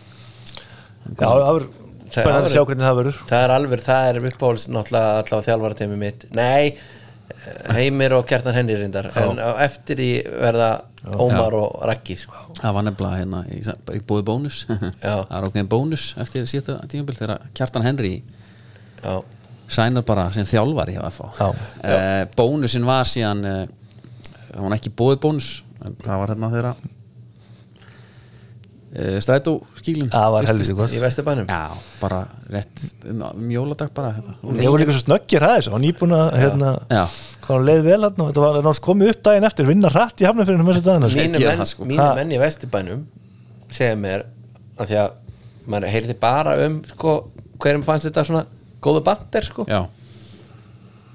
[SPEAKER 3] já, það verður
[SPEAKER 2] Það
[SPEAKER 3] spennandi
[SPEAKER 2] er-
[SPEAKER 3] að sjá hvernig það verður
[SPEAKER 2] það er alveg, það er uppáhalds náttúrulega allavega þjálfarateimi mitt nei, eh, Heimir og Kjartan Henry reyndar, en á eftir því verða Ómar og Raggi sko.
[SPEAKER 1] það var nefnilega hérna í, bara í búið bónus
[SPEAKER 2] Já.
[SPEAKER 1] það er okkur en bónus eftir síðasta tímabil þegar Kjartan Henry
[SPEAKER 2] já,
[SPEAKER 1] sænar bara sem þjálfari hjá FH
[SPEAKER 3] Já.
[SPEAKER 1] uh, bónusin var síðan eh, það var ekki bóðið bónus en það var hérna þeirra uh, strætó skílun
[SPEAKER 3] það var helviti gott
[SPEAKER 2] í Vesturbænum
[SPEAKER 1] já, bara rétt um, um jóladag bara hérna.
[SPEAKER 3] ég voru líka svo snöggir aðeins og nýbúin að hérna,
[SPEAKER 1] Já.
[SPEAKER 3] hvað hann leið vel hann og þetta var náttúrulega komið upp daginn eftir vinna hratt í hafnafyrinu með þess að daginn
[SPEAKER 2] mínu
[SPEAKER 1] gera
[SPEAKER 2] menn,
[SPEAKER 1] það, sko.
[SPEAKER 2] mínu
[SPEAKER 3] Ha.
[SPEAKER 2] menn í Vesturbænum segja mér að því að maður heyrði bara um sko, hverjum fannst þetta svona góðu bandir sko.
[SPEAKER 1] já,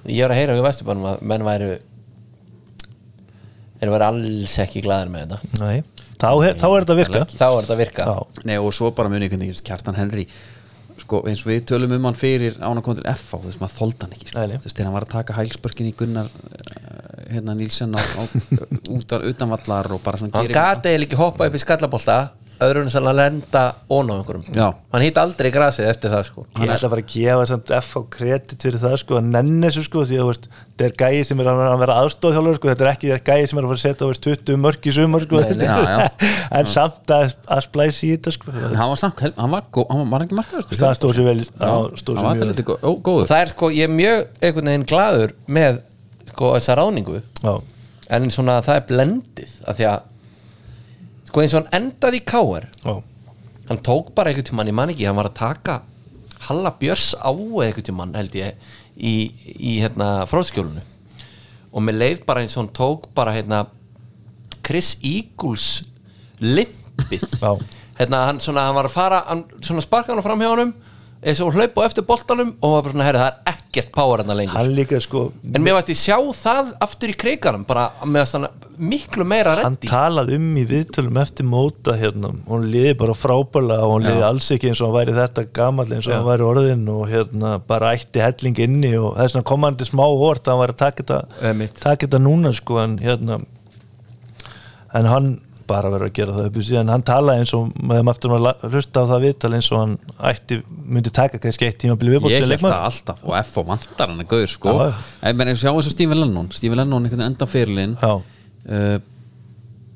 [SPEAKER 2] ég var að heyra í Vesturbænum að menn væru þeir væru alls ekki glæðir með þetta
[SPEAKER 3] Nei, þá, er- þá er þetta að virka
[SPEAKER 2] þá er þetta að virka
[SPEAKER 3] já,
[SPEAKER 1] nei og svo bara muni hvernig just, Kjartan Henry sko, eins og við tölum um hann fyrir ánakondir FH þú veist maður þoldi hann ekki sko.
[SPEAKER 3] Nei, nei.
[SPEAKER 1] þú veist þegar hann var að taka hælspörkin í Gunnar eh, hérna Nílsen á, á, útar utanvallar og bara svona
[SPEAKER 2] hann
[SPEAKER 1] gerir-
[SPEAKER 2] gati eiginlega ekki hoppa upp í skallabólta öðru en sann að lenda ón á einhverjum
[SPEAKER 1] Já.
[SPEAKER 2] hann hitt aldrei grasið eftir það sko
[SPEAKER 3] Ég ætla bara að gefa samt FH kredit fyrir það sko, að nenni þessu sko, því að þú veist, þetta er gæi sem er að að vera aðstóðhjálfur sko, þetta er ekki þetta gæi sem er að fara að setja þú veist, 20 mörg í sumar sko,
[SPEAKER 1] nei, já,
[SPEAKER 3] en samt að, að splæsi í þetta sko,
[SPEAKER 1] En hann var samt, hann var, gó, hann var ekki markaður sko.
[SPEAKER 3] það stóð sér vel það stóð
[SPEAKER 1] hann var
[SPEAKER 3] sér
[SPEAKER 1] alltaf
[SPEAKER 3] mjög
[SPEAKER 1] lítið
[SPEAKER 3] vel
[SPEAKER 1] góð, góður
[SPEAKER 2] það er sko, ég er mjög einhvern veginn glaður með sko þessa ráningu
[SPEAKER 3] Já,
[SPEAKER 2] en svona það er blendið af því að sko eins og hann endaði í káar
[SPEAKER 3] já,
[SPEAKER 2] hann tók bara einhvern tímann, ég man ekki hann var að taka Halla Björns á einhvern tímann held ég í, í hérna fróðskjólunu og mér leið bara eins og hann tók bara hérna Chris Eagles limpið
[SPEAKER 3] Já.
[SPEAKER 2] hérna hann svona, hann var að fara hann svona sparkaði hann fram hjá honum eins og hún hlaup á eftir boltanum og hún var bara svona, herri, það er ekkert power hérna lengur
[SPEAKER 3] hann líka sko
[SPEAKER 2] en mér varst ég sjá það aftur í kreikanum bara með svona miklu meira
[SPEAKER 3] hann
[SPEAKER 2] reddi
[SPEAKER 3] talaði um í viðtölum eftir móta hérna, hún liði bara frábælega og hún liði alls ekki eins og hann væri þetta gamall eins og
[SPEAKER 2] Já.
[SPEAKER 3] hann væri orðin og hérna bara ætti helling inni og þess vegna kom hann til smá hort að hann væri að taka þetta,
[SPEAKER 2] Einmitt.
[SPEAKER 3] taka þetta núna sko en hérna en hann bara verið að gera það upp í síðan hann talaði eins og maður aftur að hlusta á það viðtal eins og hann ætti myndi taka kannski eitt tíma að bli viðbótt
[SPEAKER 1] ég
[SPEAKER 3] sem
[SPEAKER 1] held það
[SPEAKER 3] leikmaður
[SPEAKER 1] alltaf og F og vantar hann að gauður sko
[SPEAKER 3] Já.
[SPEAKER 1] en menn eins og sjá eins og Stephen Lennon Stephen Lennon einhvern veginn enda fyrirlin
[SPEAKER 3] Já.
[SPEAKER 1] uh,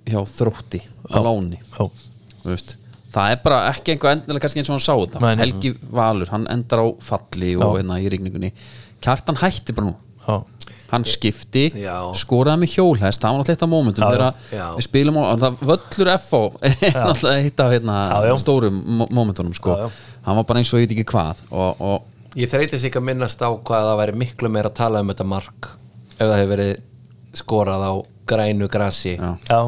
[SPEAKER 1] hjá þrótti á láni
[SPEAKER 3] Já.
[SPEAKER 1] Þú veist, það er bara ekki einhver endilega kannski eins og hann sá þetta
[SPEAKER 3] Nei, nei.
[SPEAKER 1] Helgi Valur, hann endar á falli og hérna í rigningunni Kjartan hætti bara nú
[SPEAKER 3] Já.
[SPEAKER 1] hann skipti,
[SPEAKER 2] Já.
[SPEAKER 1] skoraði með hjólhest það var náttúrulega eitt af momentum
[SPEAKER 2] Já.
[SPEAKER 1] þegar við spilum á, en það völlur FO er náttúrulega eitt af hérna,
[SPEAKER 3] já.
[SPEAKER 1] stórum mo- momentunum sko.
[SPEAKER 3] Já, já.
[SPEAKER 1] hann var bara eins og ég veit ekki hvað og, og
[SPEAKER 2] ég þreytist ekki að minnast á hvað það væri miklu meira að tala um þetta mark ef það hefur verið skorað á grænu grasi
[SPEAKER 1] Já.
[SPEAKER 3] Já.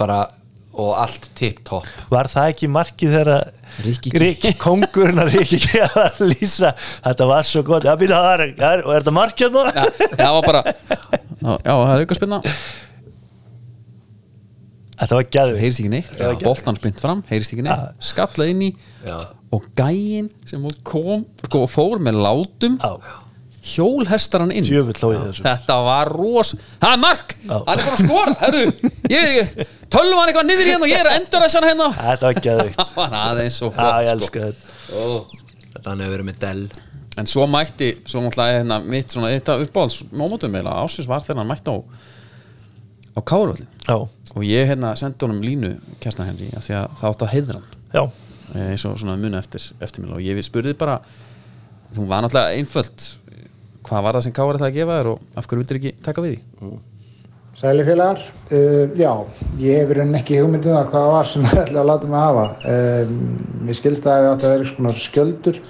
[SPEAKER 2] bara og allt tipptopp
[SPEAKER 3] var það ekki markið þegar
[SPEAKER 1] Rikki G.
[SPEAKER 3] Rik, kongurinn að Rikki G var að lýsa þetta var svo gott, já býta það er, það er, og er þetta markið þá?
[SPEAKER 1] ja, það var bara já, já, það er auka spilna,
[SPEAKER 3] Þetta var gæðvig
[SPEAKER 1] heyrist ekki neitt boltan spint fram, heyrist ekki neitt, skalla inn í
[SPEAKER 2] Já.
[SPEAKER 1] og gæin sem kom, sko, fór með látum hjólhestar hann inn
[SPEAKER 3] Sjöfull þó ég þessu
[SPEAKER 1] Þetta var ros Það er mark,
[SPEAKER 3] Já.
[SPEAKER 1] hann er búin að skora Herðu, ég er tölum hann eitthvað niður hérna og ég er að endur að sjana hérna
[SPEAKER 3] Þetta var gæðvig
[SPEAKER 1] Það var aðeins svo
[SPEAKER 3] Já, ég
[SPEAKER 1] flott sko.
[SPEAKER 3] elska þetta
[SPEAKER 2] þetta hann hefur verið með Dell
[SPEAKER 1] En svo mætti, svo náttúrulega hérna, mitt svona þetta uppáhalds mómótum eða ásins var þegar hann mætti á á Káruvallin
[SPEAKER 3] Já,
[SPEAKER 1] og ég hérna sendi honum línu Kerstan Henry af því að það átti að heiðra hann
[SPEAKER 3] já,
[SPEAKER 1] eh, eins og svona muna eftir, eftir mér og ég spurði bara þú var náttúrulega einföld hvað var það sem Káruvallin ætlaði að gefa þér og af hverju vildir ekki taka við því
[SPEAKER 9] Sæli félagar, uh, já, ég hefur enn ekki hugmyndið það hvað það var sem það ætlaði að láta mig hafa. Um, mér skilst að það átti að vera eitthvað svona skjöldur,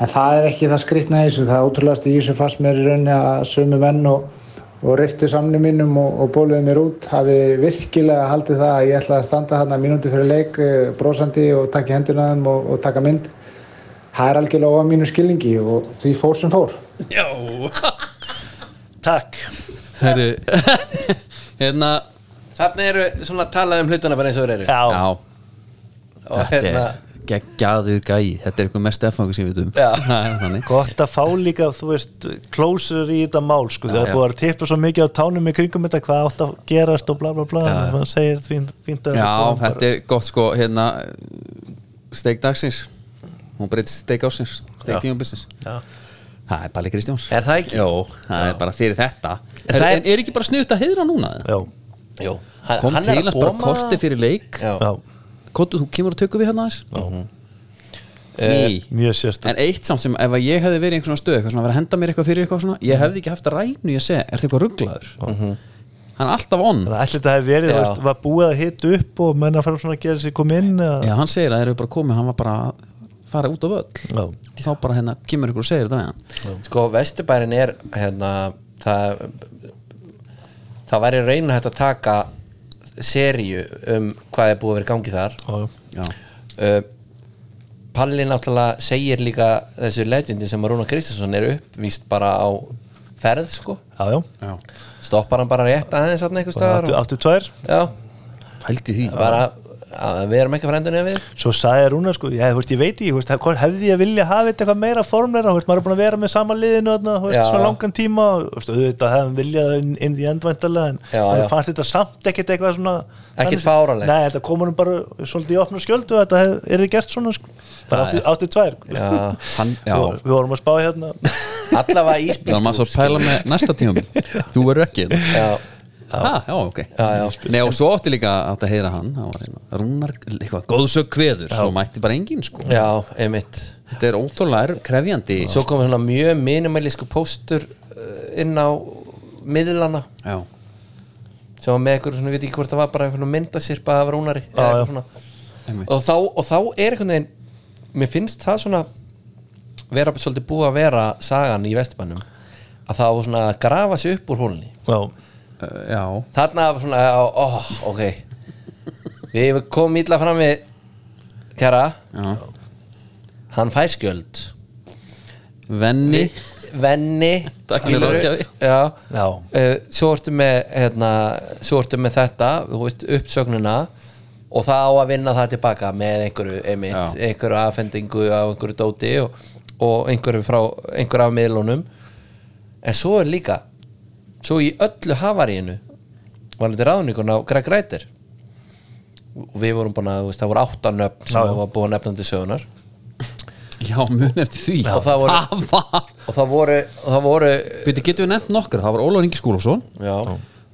[SPEAKER 9] en það er ekki það skrýtna í þessu. Það ótrúlegast í þessu fannst mér í rauninni að sömu menn og, og reyftu samni mínum og, og bóluðu mér út. Hafi virkilega haldið það að ég ætlaði að standa þarna mínúti fyrir leik, uh, brosandi og taka hendina að þeim og, og taka mynd. Það er algjörlega á mínu skilningi og því fór sem fór.
[SPEAKER 3] takk
[SPEAKER 1] Herru Hérna
[SPEAKER 2] þarna eru svona talað um hlutana bara eins og þeir eru
[SPEAKER 3] Já,
[SPEAKER 1] Já,
[SPEAKER 2] og
[SPEAKER 1] þetta
[SPEAKER 2] hérna
[SPEAKER 1] er geggjaður gæi Þetta er eitthvað mest effangu sem við veitum
[SPEAKER 2] Já.
[SPEAKER 1] Það er þannig.
[SPEAKER 3] gott að fá líka, þú veist closer í þetta mál, sko það er búið að tippa svo mikið á tánum í kringum þetta hvað átt að gerast og bla bla bla og maður segir fínt, fínt að
[SPEAKER 1] Já,
[SPEAKER 3] kom bara-
[SPEAKER 1] þetta er gott sko Hérna Steik dagsins Hún breytist í steik ásins Steik tímabilsins Það er Palli Kristjáns
[SPEAKER 2] Er það ekki?
[SPEAKER 1] Jó, það er bara fyrir þetta
[SPEAKER 2] En
[SPEAKER 1] Herru,
[SPEAKER 2] það er-
[SPEAKER 1] En er ekki bara snuðt að heiðra núna? eða?
[SPEAKER 3] Já,
[SPEAKER 2] Jú, hann,
[SPEAKER 1] Kom
[SPEAKER 2] hann
[SPEAKER 1] til
[SPEAKER 2] er að
[SPEAKER 1] hans bara
[SPEAKER 2] koma-
[SPEAKER 1] korti fyrir leik
[SPEAKER 2] Já.
[SPEAKER 3] já,
[SPEAKER 1] Kottu, þú kemur og tökum við hérna aðeins
[SPEAKER 2] Eh,
[SPEAKER 1] Ný
[SPEAKER 3] mjög sérstu
[SPEAKER 1] En eitt samt sem ef að ég hefði verið í einhvern stöð eitthvað svona að vera að henda mér eitthvað fyrir eitthvað svona
[SPEAKER 2] Mhm.
[SPEAKER 1] ég hefði ekki haft að rænu ég að segja, er þetta eitthvað rugglaður hann er alltaf onn
[SPEAKER 3] Þannig að allir þetta hefði verið, þú
[SPEAKER 2] Já.
[SPEAKER 3] veist, var búið að hita upp og menna fara svona að gera sér kom inn að...
[SPEAKER 1] Já, hann segir að þeir eru bara komið, hann var bara að fara út á völl
[SPEAKER 3] Já.
[SPEAKER 1] þá bara hérna, kemur ykkur og segir þetta við hann
[SPEAKER 2] sko vesturbærin er hérna það það væri reyna hægt að taka seríu um hvað er búið að vera í gangi þar
[SPEAKER 3] Já.
[SPEAKER 1] Já,
[SPEAKER 2] uh, Palli náttúrulega segir líka þessu legendi sem að Rúna Kristinsson er uppvíst bara á ferð sko
[SPEAKER 3] Já, já,
[SPEAKER 1] já,
[SPEAKER 2] stoppar hann bara rétt aðeins hann eitthvað
[SPEAKER 3] bara áttu,
[SPEAKER 2] staðar og,
[SPEAKER 3] áttu tvær
[SPEAKER 2] já,
[SPEAKER 1] pældi því
[SPEAKER 2] bara að, við erum ekki frændunni við
[SPEAKER 3] Svo sagði Rúnar sko, já, þú veist, ég veit ekki, þú veist, hvort hefði ég vilja hafa þetta eitthvað meira formleira, þú veist, maður er búin að vera með sama liðinu, þarna, þú veist,
[SPEAKER 2] Já.
[SPEAKER 3] svo langan tíma og, þú veist, auðvitað hefðum viljað inn, inn í endvæntalega, en
[SPEAKER 2] Já, já.
[SPEAKER 3] hann fannst þetta samt ekkit eitthvað svona
[SPEAKER 2] Ekkit
[SPEAKER 3] þannig-
[SPEAKER 2] fáránlegt.
[SPEAKER 3] Nei, þetta komur hann bara svolítið í opnum skjöldu, þetta hef, er þið gert svona, sko, bara áttu, áttu tvær
[SPEAKER 2] já,
[SPEAKER 1] hann, Já,
[SPEAKER 3] Við- Við vorum að spá hérna
[SPEAKER 2] allavega
[SPEAKER 1] það var maður svo
[SPEAKER 2] íspiltúr
[SPEAKER 1] að pæla með næsta tíma þú verður ekki hérna.
[SPEAKER 2] já,
[SPEAKER 1] Ha, já, ok
[SPEAKER 2] já, já.
[SPEAKER 1] Nei, og svo átti líka átti að heyra hann, hann var, hérna, rúnar eitthvað góðsög kveður, svo mætti bara enginn sko.
[SPEAKER 2] já, einmitt
[SPEAKER 1] þetta er ótrúlega krefjandi
[SPEAKER 2] svo kom svona mjög minimalísku póstur uh, inn á miðlana
[SPEAKER 1] Já,
[SPEAKER 2] sem var með eitthvað svona, ég veit ekki hvort það var bara einhvern myndasirpa af rúnari eða eitthvað svona.
[SPEAKER 1] Einmitt.
[SPEAKER 2] og, þá, og þá er einhvern veginn mér finnst það svona vera svolítið búið að vera sagan í vesturbænum að það á svona að grafa sig upp úr hólni
[SPEAKER 3] Já,
[SPEAKER 1] uh, já,
[SPEAKER 2] þarna var svona, á, ó, ok við komum ítla fram við kæra
[SPEAKER 1] já
[SPEAKER 2] hann fær skjöld
[SPEAKER 1] Venni
[SPEAKER 2] venni
[SPEAKER 1] Tæknilegur
[SPEAKER 2] skilurðu.
[SPEAKER 1] ráðgjafi.
[SPEAKER 2] já.
[SPEAKER 3] Já.
[SPEAKER 2] Eh, svo ertu með hérna, svo ertu með þetta þú veist, uppsögnina og það á að vinna það tilbaka með einhverju einmitt,
[SPEAKER 1] Já.
[SPEAKER 2] einhverju afhendingu af einhverju dóti og, og einhverju frá einhverju af miðlunum en svo er líka svo í öllu havaríinu var þetta ráðninguna á Greg Reiter og við vorum búin að þú veist, það voru áttanöfn sem
[SPEAKER 3] Já, já.
[SPEAKER 2] það var búin að nefna til sögunar
[SPEAKER 1] Já, mun eftir því
[SPEAKER 2] Og það voru-
[SPEAKER 1] var
[SPEAKER 2] og það voru, og það voru
[SPEAKER 1] Býttu, getum við nefnt nokkra Það var Ólaf Ingi Skúlason
[SPEAKER 2] já,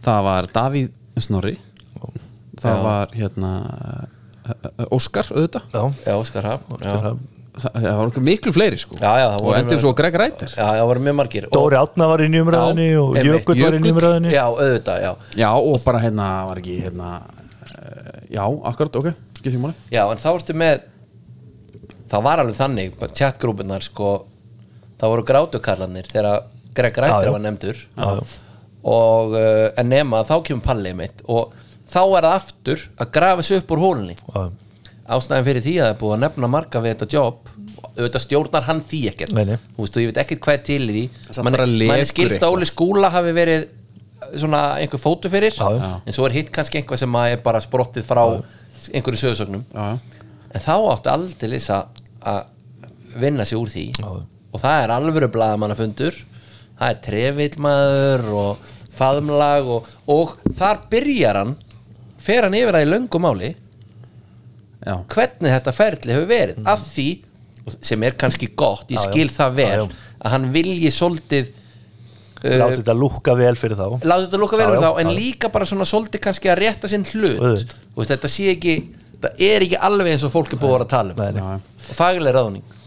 [SPEAKER 1] Það var Davíð Snorri Það var hérna Ö- Ö- Óskar auðvitað
[SPEAKER 3] já,
[SPEAKER 2] já, Óskar Hafn já.
[SPEAKER 1] Það, það var okkur miklu fleiri sko
[SPEAKER 2] Já, já, það
[SPEAKER 1] Og
[SPEAKER 2] voru
[SPEAKER 1] endur
[SPEAKER 2] mjög-
[SPEAKER 1] svo Greg Rættir
[SPEAKER 2] Já, það voru mjög margir
[SPEAKER 3] Dóri Átna var inn í umræðinni
[SPEAKER 2] Já,
[SPEAKER 3] og
[SPEAKER 2] einmitt.
[SPEAKER 3] Jökull var inn í
[SPEAKER 1] Jökull,
[SPEAKER 3] umræðinni
[SPEAKER 2] Já, auðvitað, já
[SPEAKER 1] Já, og bara hérna var ekki hérna eh, Já, akkurat, ok, skipt ekki máli
[SPEAKER 2] Já, en þá ertu með Það var alveg þannig, bara chatgrúpunar sko Það voru grátukallanir þegar Greg
[SPEAKER 3] Já, já.
[SPEAKER 2] Rættir var nefndur
[SPEAKER 3] Já, já.
[SPEAKER 2] og uh, en nema þá kemur pallið mitt og þá er það aftur að grafa sig upp úr hólunni
[SPEAKER 3] Já.
[SPEAKER 2] ástæðan fyrir því að það er búið að nefna marga við þetta jobb auðvitað stjórnar hann því ekkert
[SPEAKER 3] Nei, nei.
[SPEAKER 2] þú veist og ég veit ekkert hvað er til í
[SPEAKER 1] Samt
[SPEAKER 2] því mann
[SPEAKER 1] bara lekur
[SPEAKER 2] skilst
[SPEAKER 1] eitthvað.
[SPEAKER 2] að Óli skúla hafi verið uh, svona einhver fótu fyrir
[SPEAKER 3] Já, já.
[SPEAKER 2] en svo er hitt kannski einhvað sem að er bara sprottið frá einhverju sögursögnum
[SPEAKER 1] Já, já
[SPEAKER 2] en þá átti aldrei að að vinna sér úr því
[SPEAKER 3] Já.
[SPEAKER 2] og það er alvöru blaðamannafundur það er trefillmaður og faðmlag og, og þar byrjar hann fer hann yfir það í löngu máli
[SPEAKER 1] Já,
[SPEAKER 2] hvernig þetta ferli hefur verið af því, og sem er kannski gott ég
[SPEAKER 3] Mm. Já, já.
[SPEAKER 2] skil það vel,
[SPEAKER 3] Já, já.
[SPEAKER 2] að hann vilji svolítið uh,
[SPEAKER 3] Látti þetta lúkka vel fyrir þá
[SPEAKER 2] láta þetta lúka vel
[SPEAKER 3] Já,
[SPEAKER 2] við
[SPEAKER 3] já,
[SPEAKER 2] þá en
[SPEAKER 3] já.
[SPEAKER 2] líka bara svona svolítið kannski að rétta sinn hlut
[SPEAKER 3] Auðvitað.
[SPEAKER 2] Þú veist, þetta sé ekki það er ekki alveg eins og fólk er búið að vera að tala um
[SPEAKER 3] Nei, nei.
[SPEAKER 1] já,
[SPEAKER 2] og fagileg ráðning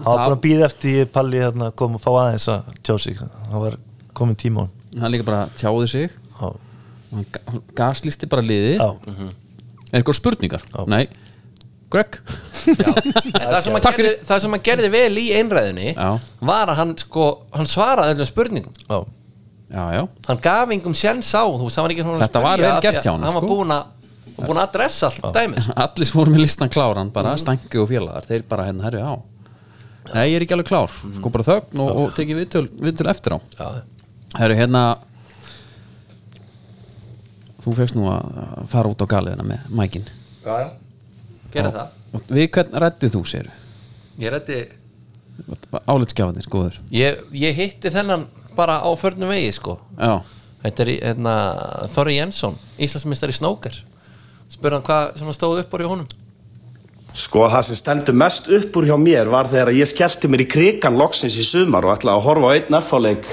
[SPEAKER 3] Það var búin að býða eftir ég palli hérna kom að fá aðeins að tjá sig Það var komin tíma á hann
[SPEAKER 1] hann líka bara tjáði sig
[SPEAKER 3] Já,
[SPEAKER 1] og hann ga- hann gaslisti bara liði
[SPEAKER 3] já,
[SPEAKER 1] Er eitthvað spurningar?
[SPEAKER 3] Já.
[SPEAKER 1] Nei Greg
[SPEAKER 2] En það sem, hann gerði, það sem hann gerði vel í einræðinni
[SPEAKER 1] Já.
[SPEAKER 2] var að hann, sko, hann svaraði öllum spurningum
[SPEAKER 3] já,
[SPEAKER 1] Já, já,
[SPEAKER 2] hann gaf engum sjens á þú veist, hann var ekki svona að
[SPEAKER 1] Þetta var
[SPEAKER 2] spyrja
[SPEAKER 1] vel
[SPEAKER 2] af því að
[SPEAKER 1] gert hjá honum,
[SPEAKER 2] hann var
[SPEAKER 1] sko.
[SPEAKER 2] búin að, var búin að adressa allt sko. dæmis
[SPEAKER 1] allir sem voru með listan kláran bara mm. og félagar, þeir bara hérna herri á Nei, ég er ekki alveg klár sko bara þögn og, og tekið viðtöl, viðtöl eftir á
[SPEAKER 2] já,
[SPEAKER 1] Herru, hérna Þú fegst nú að að fara út á galiðina með mækin
[SPEAKER 2] já, já. gerði það
[SPEAKER 1] og við hvern rættið þú sér
[SPEAKER 2] ég, reddi,
[SPEAKER 1] álitskjafanir, góður
[SPEAKER 2] ég, ég hitti þennan bara á förnum vegi sko
[SPEAKER 1] Já,
[SPEAKER 2] Þetta er í- hérna, Þorri Jensson, Íslandsmeistar í snóker Spurði hann hvað sem hann stóð upp úr í honum
[SPEAKER 10] Sko það sem stendur mest upp úr hjá mér var þegar ég skellti mér í krikan loksins í sumar og ætlaði að horfa á einn erfáleik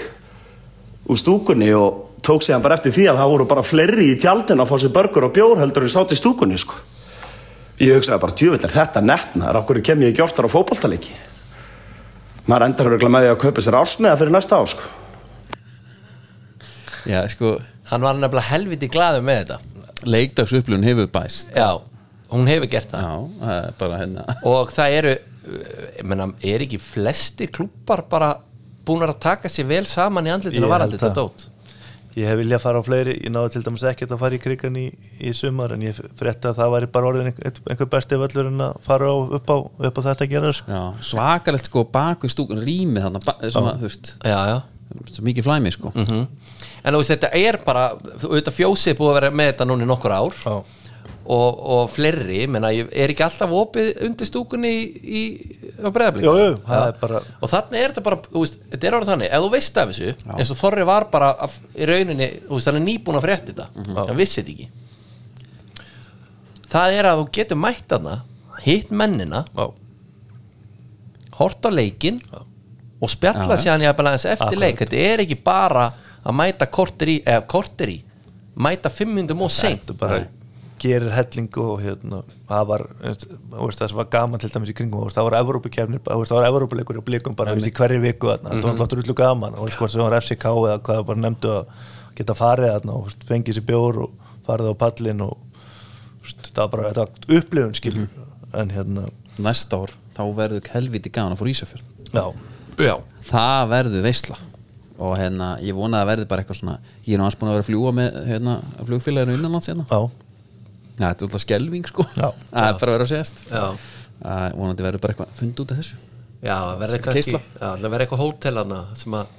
[SPEAKER 10] úr stúkunni og tók sig hann bara eftir því að það voru bara fleiri í tjaldin að fá sér börgur og bjór heldur en sátt í stúkunni sko. Ég hugsaði bara djúvill er þetta netnar, okkur kem ég ekki oftar á fótboltaleiki. Maður endar örgulega með því að kaupa sér ársmiða fyrir næsta ár sko.
[SPEAKER 1] já sko
[SPEAKER 2] Hann var nefnilega helviti glaðu með þetta
[SPEAKER 1] leikdagsupplun hefur bæst
[SPEAKER 2] Já, hún hefur gert það
[SPEAKER 1] Já, það er bara hérna
[SPEAKER 2] Og það eru, uh, ég menna, er ekki flestir klúpar bara búnar að taka sér vel saman í andlitinu
[SPEAKER 3] Ég
[SPEAKER 2] varandi
[SPEAKER 3] held
[SPEAKER 2] þetta
[SPEAKER 3] það.
[SPEAKER 2] dót
[SPEAKER 3] Ég hef viljað fara á fleiri, ég náði til dæmis ekkert að fara í krigan í, í sumar en ég frétta að það væri bara orðin einhver, einhver besti völlur en að fara á, upp, á, upp á þetta að gera sko.
[SPEAKER 1] Já, svakalegt sko baku í stúkun rými þarna, ba- svona, þú veist
[SPEAKER 2] Já, já
[SPEAKER 1] svo mikið flæmi sko
[SPEAKER 2] En þú veist, þetta er bara, þú- auðvitað fjósið er búið að vera með þetta núna í nokkur ár
[SPEAKER 3] Já.
[SPEAKER 2] og, og fleiri, menna, er ekki alltaf opið undir stúkunni í, í, á breðablík?
[SPEAKER 3] Jú, jú, það er bara
[SPEAKER 2] og þannig er þetta bara, þú veist, þetta er orðið þannig ef þú veist af þessu, eins og Þorri var bara af, í rauninni, þú veist, hann er nýbúin að frétta þetta
[SPEAKER 3] Mhm.
[SPEAKER 2] hann vissi þetta ekki það er að þú getur mætt hana, hitt mennina
[SPEAKER 3] Já,
[SPEAKER 2] hort á leikin og spjalla
[SPEAKER 1] Já, já.
[SPEAKER 2] síðan jafnvel aðeins eftir
[SPEAKER 3] Akkurat.
[SPEAKER 2] leik þetta er ekki bara að mæta korter í, eða korter í mæta fimm myndum og seint
[SPEAKER 3] þetta bara gerir helling og hérna, það var þú veist, það sem var gaman til dæmis í kringum þú veist, það var Evrópukefnir, þú veist, það var Evrópuleikur í blikum bara þú veist, í hverju viku þarna, það var láttur útlu gaman og sko sem var FCK eða hvað bara nefndu að geta farið þarna og þú veist, fengið sér bjór og farið á pallin og þú veist, þetta var bara þetta var upplifun skilur en hérna,
[SPEAKER 1] Næsta ár, þá verður helviti gaman að fór Ísafjörð
[SPEAKER 3] já,
[SPEAKER 2] já,
[SPEAKER 1] það verður veisla og hérna, ég vona að það verði bara eitthvað svona ég er nú aðeins búin að vera að fljúa með hérna, flugfélaginu innanlands hérna,
[SPEAKER 3] já,
[SPEAKER 1] Já, þetta er alltaf skelving sko
[SPEAKER 3] Já.
[SPEAKER 1] það er bara að vera að séast
[SPEAKER 2] já,
[SPEAKER 1] að vonandi verður bara eitthvað fund út af þessu
[SPEAKER 2] Já, það verður
[SPEAKER 1] Sem
[SPEAKER 2] kannski
[SPEAKER 1] keisla.
[SPEAKER 2] já, Það verður eitthvað hótelana sem að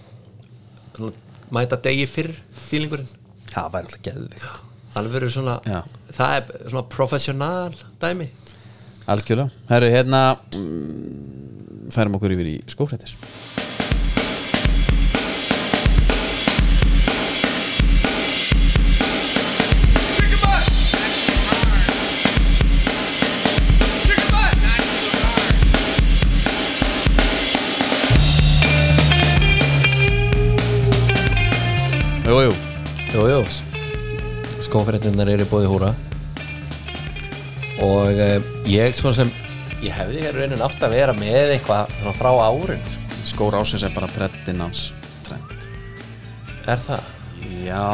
[SPEAKER 2] svona, mæta degi fyrr fílingurinn
[SPEAKER 1] það væri alltaf geðvikt
[SPEAKER 2] Það verður svona
[SPEAKER 1] Já.
[SPEAKER 2] það er svona professional dæmi
[SPEAKER 1] algjörlega, herru hérna mm, færum okkur yfir í skófrættis Jú, jú,
[SPEAKER 2] Jú, jú Skófréttinnar eru búið húra Og eh, ég svona sem Ég hefði hér raunin átt að vera með eitthvað svona frá árun sko.
[SPEAKER 1] skór ásins er bara breddinn hans trend
[SPEAKER 2] Er það?
[SPEAKER 1] Já,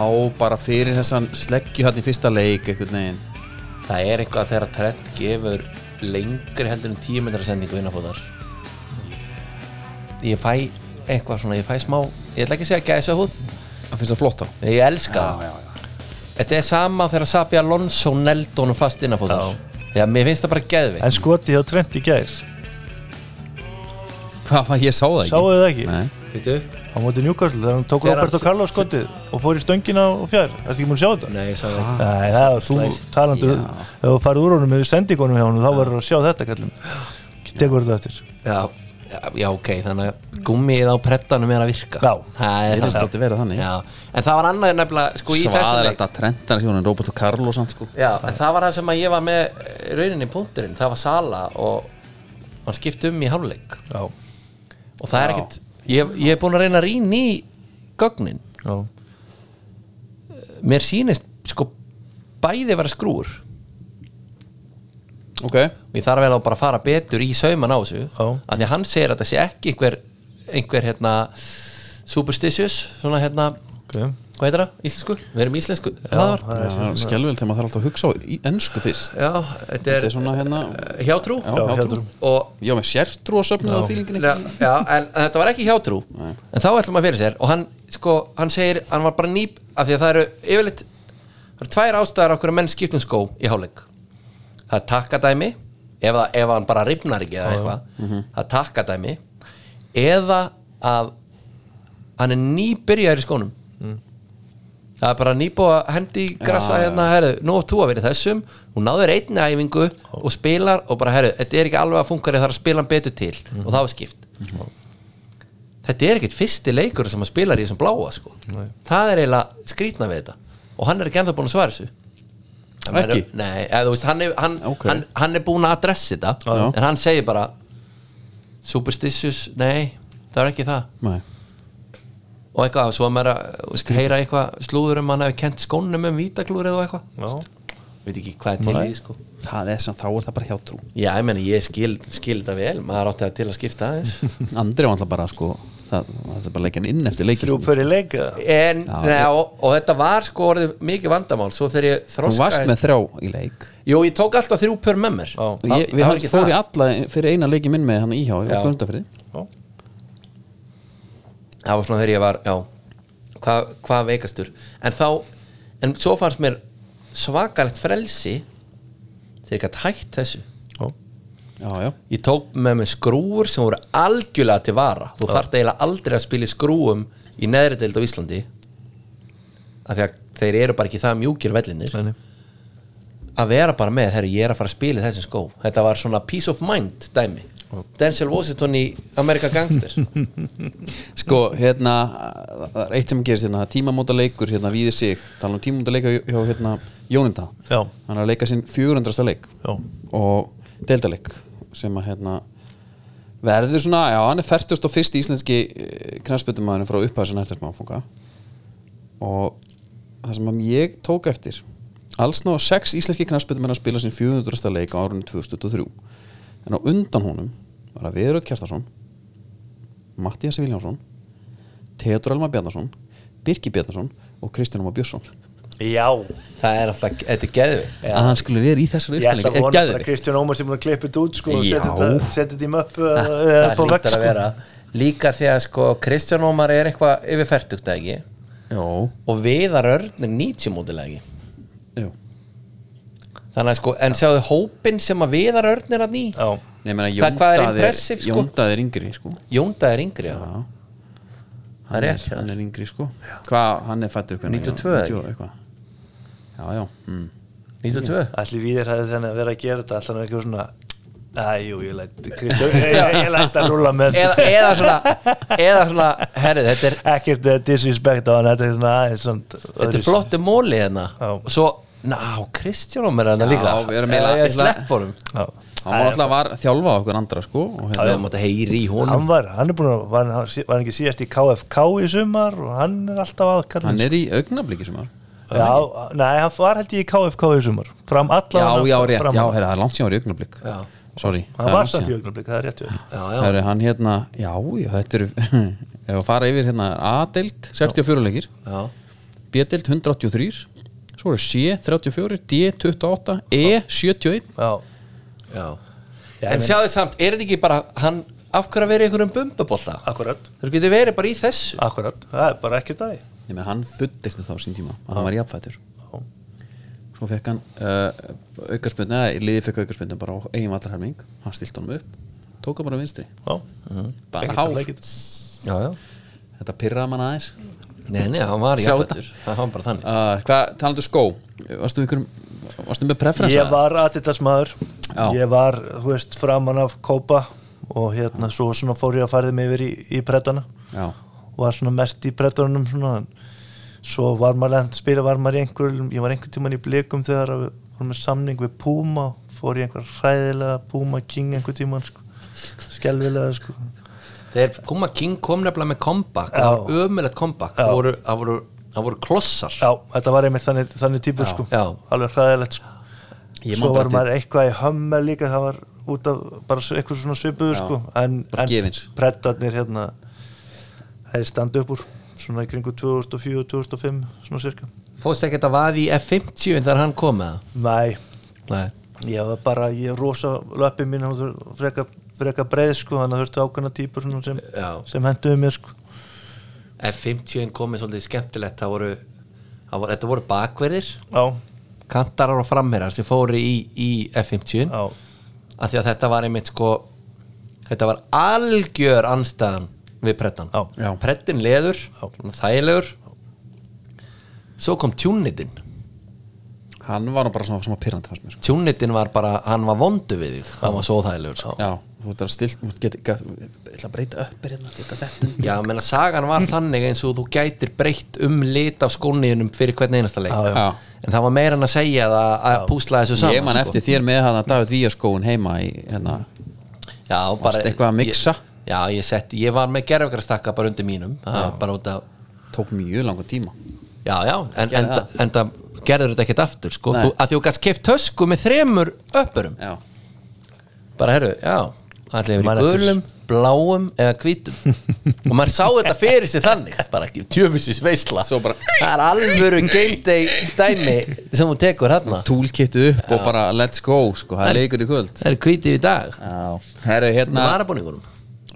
[SPEAKER 1] bara fyrir þessan sleggju hann í fyrsta leik einhvern veginn
[SPEAKER 2] Það er eitthvað þegar trend gefur lengri heldur en 10 metra sendingu innafóðar Ég fæ eitthvað svona, ég fæ smá Ég ætla ekki að segja gæsa húð
[SPEAKER 1] Það finnst það flott á
[SPEAKER 2] Ég elska það Þetta er sama þegar Sabi Alonso neldi honum fast innafóðar Já, mér finnst það bara geðveikt
[SPEAKER 3] En skotið á trend í gær
[SPEAKER 1] Hvað var ég sá það ekki?
[SPEAKER 3] Sáu þið það ekki?
[SPEAKER 1] Nei,
[SPEAKER 2] Veitu?
[SPEAKER 3] Á móti Newcastle þegar hann tók
[SPEAKER 2] Þegar hann-
[SPEAKER 3] Roberto Carlos skotið og fór í stöngina og fjær Ertu ekki múin að sjá þetta?
[SPEAKER 2] Nei, ég sagði ekki
[SPEAKER 3] Nei, það var þú talandi ef þú farið úr honum eða sendið honum hjá honum þá verður að sjá þetta kallum Tekur þetta eftir
[SPEAKER 2] já, já, já, ok, þannig að gummið á prettanum er að virka
[SPEAKER 3] Já.
[SPEAKER 2] það er
[SPEAKER 1] það finnst
[SPEAKER 2] það
[SPEAKER 1] alltaf verið þannig
[SPEAKER 2] já. En það var annað nefnilega, sko, í þessum
[SPEAKER 1] Svaðar
[SPEAKER 2] leik
[SPEAKER 1] þetta trendar sem hún er Roberto Carlos hans sko
[SPEAKER 2] Já, en það var það sem að ég var með eh, rauninni í punkturinn, það var Sala og hann skipti um í hálfleik
[SPEAKER 3] Já,
[SPEAKER 2] og það er ekkert, ég, ég er búin að reyna að rýna í gögnin,
[SPEAKER 3] já,
[SPEAKER 2] mér sýnist sko bæði vera skrúur
[SPEAKER 1] Ok
[SPEAKER 2] og ég þarf vel að bara fara betur í sauman á þessu
[SPEAKER 3] Já.
[SPEAKER 2] að því að hann segir að þetta sé ekki einhver, einhver hérna superstitious, svona hérna
[SPEAKER 3] ok Já,
[SPEAKER 2] hvað heitir það, íslensku? Við erum íslensku hlaðvarp.
[SPEAKER 3] það er
[SPEAKER 1] Það er skelvel þegar maður þarf alltaf að hugsa á í ennsku fyrst
[SPEAKER 2] Já, þetta er,
[SPEAKER 1] Þetta er svona hérna
[SPEAKER 2] eh, hjátrú
[SPEAKER 1] Já, hjátrú.
[SPEAKER 3] hjátrú.
[SPEAKER 2] og
[SPEAKER 1] Já, með sértrú að söfnu á fílinginni
[SPEAKER 2] Já, já, en, en þetta var ekki hjátrú En þá ætlum maður fyrir sér Og hann, sko, hann segir, hann var bara nýp Af því að það eru yfirleitt Það eru tvær ástæðar okkur að menn skiptum skó í hálfleik Það er takkadæmi Ef, það, ef hann bara ripnar ekki eða eitthvað Það er takkadæmi Eða að Hann er nýbyrjaður í skónum Það er bara nýbúið að hendi í grassa hérna, herru, nú átt þú að vera í þessum hún náður einni æfingu og spilar og bara, herru, þetta er ekki alveg að funka það er að spila hann betur til og það var skipt
[SPEAKER 1] Mhm.
[SPEAKER 2] þetta er ekkit fyrsti leikur sem að spila í þessum bláa sko. það er eiginlega skrýtna við þetta og hann er ekki ennþá búin að svara þessu Það
[SPEAKER 1] Ekki?
[SPEAKER 2] verður- Nei, eða, þú veist, hann, er, hann,
[SPEAKER 1] Ok.
[SPEAKER 2] hann, hann er búin að adressi þetta
[SPEAKER 1] Já.
[SPEAKER 2] en hann segir bara superstitious, nei það er ekki það
[SPEAKER 1] Nei
[SPEAKER 2] og eitthvað, svo að maður að þú veist, heyra eitthvað slúður um hann hefur kent skónum um vítaglúrið og eitthvað veit ekki hvað er til í því sko
[SPEAKER 1] Það er sem þá er það bara hjátrú
[SPEAKER 2] já, ég meni, ég skil, skil þetta vel maður átti það til að skipta aðeins
[SPEAKER 1] Andri var alltaf bara sko Það, það er bara leikjan inn eftir sko. leikin
[SPEAKER 3] Þrjú pöri leik eða?
[SPEAKER 2] en,
[SPEAKER 1] Já,
[SPEAKER 2] nei,
[SPEAKER 1] ég-
[SPEAKER 2] og, og þetta var sko orðið mikið vandamál svo þegar
[SPEAKER 1] Þú
[SPEAKER 2] ég
[SPEAKER 1] varst
[SPEAKER 2] þroskaðist
[SPEAKER 1] með þrjá í leik
[SPEAKER 2] jú, ég tók alltaf þrjú pör með mér
[SPEAKER 3] Já.
[SPEAKER 1] Og Ég, við
[SPEAKER 2] Það- það var
[SPEAKER 1] hafum
[SPEAKER 2] ekki
[SPEAKER 1] fór í
[SPEAKER 2] það.
[SPEAKER 1] alla fyrir eina leikin minn með hann íhjá og
[SPEAKER 2] Já.
[SPEAKER 1] Grundafyrði
[SPEAKER 2] það var svona þegar ég var, já hvað hva veikastur en þá, en svo fannst mér svakalegt frelsi þegar ég gæti hægt þessu
[SPEAKER 3] Já,
[SPEAKER 1] Já, já,
[SPEAKER 2] ég tók með mig skrúur sem voru algjörlega til vara þú þarft eiginlega aldrei að spila í skrúum í neðri deild á Íslandi af því að þeir eru bara ekki það mjúkir vellinir
[SPEAKER 3] Nei, nei.
[SPEAKER 2] að vera bara með, herru, ég er að fara að spila í þessum skó þetta var svona peace of mind dæmi Denzel Washington í America Gangster
[SPEAKER 1] Sko, hérna, það er eitt sem gerist hérna, það er tímamóta leikur, hérna, víðir sig tala um tímamóta leika hjá, hérna, Jóninda
[SPEAKER 3] Já.
[SPEAKER 1] hann er að leika sinn 400. leik
[SPEAKER 3] Já.
[SPEAKER 1] og deildaleik sem að, hérna verður svona, já, hann er 41. íslenski knæspötumæðinu frá upphæðu sem nættast máfunga og það sem að ég tók eftir alls ná sex íslenski knæspötumæðinu að spila sinn 400. leik á árunni 2023 en á undan honum var að Viðröð Kjartason Mattias Viljánsson Teodor Elmar Bjarnason Birki Bjarnason og Kristján Ómar Björnsson
[SPEAKER 3] Já,
[SPEAKER 2] það er alltaf, þetta er geðvikt
[SPEAKER 1] að hann skulle vera í þessari
[SPEAKER 3] ég ætla
[SPEAKER 1] upptalningu er
[SPEAKER 3] að vona bara að
[SPEAKER 1] gæðið
[SPEAKER 3] Kristján Ómar sem búin að klippa þetta út sko, og
[SPEAKER 1] Já.
[SPEAKER 3] setja þetta- setja þetta í möpp
[SPEAKER 2] það
[SPEAKER 3] eða på vekk
[SPEAKER 2] hlýtar að
[SPEAKER 3] sko.
[SPEAKER 2] vera líka því að sko Kristján Ómar er eitthvað yfir fertugt eða ekki og Viðar Örn er 90 mótilega ekki
[SPEAKER 1] Jú,
[SPEAKER 2] þannig að sko, en sjáðu hópin sem að Viðar Örn er að ný
[SPEAKER 3] Já,
[SPEAKER 1] Nei, ég meina,
[SPEAKER 2] Það hvað er
[SPEAKER 1] Jón Daði
[SPEAKER 2] impressive, sko?
[SPEAKER 1] Jón Daði er yngri sko.
[SPEAKER 2] Jónda er yngri já.
[SPEAKER 1] Hann
[SPEAKER 2] er rétt hjá
[SPEAKER 1] hann er yngri sko Hvað, hann er fættur
[SPEAKER 2] 92
[SPEAKER 1] eða eitthvað Já, já
[SPEAKER 2] Hmm.
[SPEAKER 1] mm.
[SPEAKER 2] 92
[SPEAKER 3] Allir við er hæði þannig að vera að gera þetta Allan er eitthvað svona Æjú, ég lætt Kristján Ég, ég, ég lætt að rúla með
[SPEAKER 2] eða, eða svona, eða svona herri, þetta er,
[SPEAKER 3] Ekkert eh, disrespect á hann Þetta er svona aðeins svona
[SPEAKER 2] þetta er
[SPEAKER 3] öðruvísi.
[SPEAKER 2] flottu móli hérna
[SPEAKER 3] Já.
[SPEAKER 2] og svo, ná, Kristjánum er hérna
[SPEAKER 1] Já,
[SPEAKER 2] líka
[SPEAKER 1] við erum eiginlega-
[SPEAKER 2] eða ég slepp honum
[SPEAKER 3] Já.
[SPEAKER 1] Hann var alltaf var þjálfa okkur andra sko og hérna,
[SPEAKER 2] við mátt að heyri í honum
[SPEAKER 3] Hann var, hann er búin að var, hann sí- var ekki síðast í KFK í sumar og hann er alltaf aðkall
[SPEAKER 1] hann er í augnabliki sem var
[SPEAKER 3] Já, nei, hann var held ég í KFK í sumar Fram
[SPEAKER 1] Já,
[SPEAKER 3] allan
[SPEAKER 1] já, rétt,
[SPEAKER 3] fram-
[SPEAKER 1] já, heyrðu, það er langt sem var í augnablik
[SPEAKER 2] Já.
[SPEAKER 1] Sorry, það
[SPEAKER 3] Hann
[SPEAKER 1] er
[SPEAKER 3] var
[SPEAKER 1] langt
[SPEAKER 3] samt í
[SPEAKER 1] síðan.
[SPEAKER 3] augnablik, það er rétt við
[SPEAKER 2] já, já,
[SPEAKER 1] Heyrðu, hann hérna, já, já, þetta eru ef að fara yfir hérna A-deild 64 leikir,
[SPEAKER 2] já,
[SPEAKER 1] B-deild 183 svo eru C 34, D 28 E 71
[SPEAKER 3] Já,
[SPEAKER 2] já.
[SPEAKER 3] Já, ég
[SPEAKER 2] en sjáðu samt, er þetta ekki bara hann, af hverju að vera í einhverjum bumbubólta
[SPEAKER 3] akkurat,
[SPEAKER 2] þeir getur verið bara í þessu
[SPEAKER 3] akkurat Það er bara ekkert aðeins
[SPEAKER 1] Ég meina, hann fullist þá sín tíma að hann var jafnfættur svo fekk hann uh, aukarspöndu, eða liðið fekk aukarspöndu bara á eigin vallarhelming, hann stilt honum upp tók hann bara vinstri,
[SPEAKER 3] Já,
[SPEAKER 1] bara
[SPEAKER 3] ekkert
[SPEAKER 1] hár
[SPEAKER 3] að leikit
[SPEAKER 2] já, já.
[SPEAKER 1] þetta pirraði mann aðeins
[SPEAKER 2] Nei, nei, hann var
[SPEAKER 1] Sjá
[SPEAKER 2] jafnvættur Það var bara þannig
[SPEAKER 1] uh, hvað, talandu skó varstu, ykkur, varstu með preference
[SPEAKER 3] Ég var Adidas maður
[SPEAKER 1] Já.
[SPEAKER 3] Ég var, þú veist, framan af kópa og hérna, svo svona fór ég að færði mig yfir í, í brettana
[SPEAKER 1] já,
[SPEAKER 3] og var svona mest í brettunum svona en svo var maður lent að spila var maður í einhverjum, ég var einhvern tíman í blikum þegar að við vorum með samning við Puma fór í einhver hræðilega Puma King einhvern tíman sko skelvilega sko
[SPEAKER 2] Þegar Puma King kom nefnilega með comeback
[SPEAKER 3] Já.
[SPEAKER 2] Það var ömulegt comeback Það voru, það voru, það voru klossar
[SPEAKER 3] já, þetta var einmitt þannig, þannig típur sko
[SPEAKER 2] Já.
[SPEAKER 3] alveg hræðilegt sko
[SPEAKER 1] Ég man
[SPEAKER 3] svo
[SPEAKER 1] bara
[SPEAKER 3] var maður eitthvað í hömmel líka það var út af bara svo- eitthvað svona svipuðu sko en,
[SPEAKER 1] Bara
[SPEAKER 3] en
[SPEAKER 1] gefins.
[SPEAKER 3] brettarnir hérna þeir standa upp úr svona í kringu 2004-2005 svona cirka
[SPEAKER 2] Fóðst ekki að það var í F50 en þegar hann kom með
[SPEAKER 3] nei,
[SPEAKER 2] það Nei
[SPEAKER 3] Ég var bara, ég er rosa löppi mín hún þur- freka, freka breið sko þannig að þurfti ákveðna típur svona sem,
[SPEAKER 2] Já.
[SPEAKER 3] sem henduðu mér sko
[SPEAKER 2] F50 komið svolítið skemmtilegt Það voru, það voru, þetta voru bakverðir
[SPEAKER 3] Já,
[SPEAKER 2] Kantarar og framherjar sem fóru í, í F50
[SPEAKER 3] já,
[SPEAKER 2] Af því að þetta var einmitt sko Þetta var algjör anstæðan við prettan
[SPEAKER 3] Já.
[SPEAKER 1] Já.
[SPEAKER 2] Prettin leður,
[SPEAKER 3] Já.
[SPEAKER 2] þægilegur Svo kom tjúnnitin
[SPEAKER 1] hann var nú bara svona, svona pirrandi fannst mér sko.
[SPEAKER 2] tjúnitin var bara, hann var vondu við þig hann var svo þægilegur sko.
[SPEAKER 1] já, þú ert að stilt þú get, get, ég ætla að breyta upp hérna, þetta þetta
[SPEAKER 2] já, ég meina, sagan var þannig eins og þú gætir breytt um lit af skóniðunum fyrir hvern einasta leik
[SPEAKER 3] Já,
[SPEAKER 1] já.
[SPEAKER 2] en það var meira en að segja það að púsla þessu saman sko.
[SPEAKER 1] ég man eftir þér með hann að David Víaskóun heima í hérna
[SPEAKER 2] já, bara,
[SPEAKER 1] Varstu eitthvað að mixa?
[SPEAKER 2] ég, já, ég, sett, ég var með gerfgrastakka bara undir mínum já. bara út af
[SPEAKER 1] tók mjög langa tíma
[SPEAKER 2] já, já, en, en,
[SPEAKER 1] það.
[SPEAKER 2] en það gerður þetta ekkert aftur sko,
[SPEAKER 1] Nei.
[SPEAKER 2] þú, að því þú gæst keft tösku með þremur öppurum
[SPEAKER 1] já,
[SPEAKER 2] bara herru, já hann ætlaði
[SPEAKER 3] Man
[SPEAKER 2] verið
[SPEAKER 3] eftir
[SPEAKER 2] gulum, bláum eða hvítum og maður sá þetta fyrir sig þannig bara ekki tjöfisins veisla
[SPEAKER 1] Svo bara-
[SPEAKER 2] það er alvöru game day dæmi sem hún tekur hérna. hann það
[SPEAKER 1] toolkitið upp og bara let's go sko, það er leikur í kvöld
[SPEAKER 2] er hvítið í dag
[SPEAKER 1] Herru, hérna eh,
[SPEAKER 2] með varabúningunum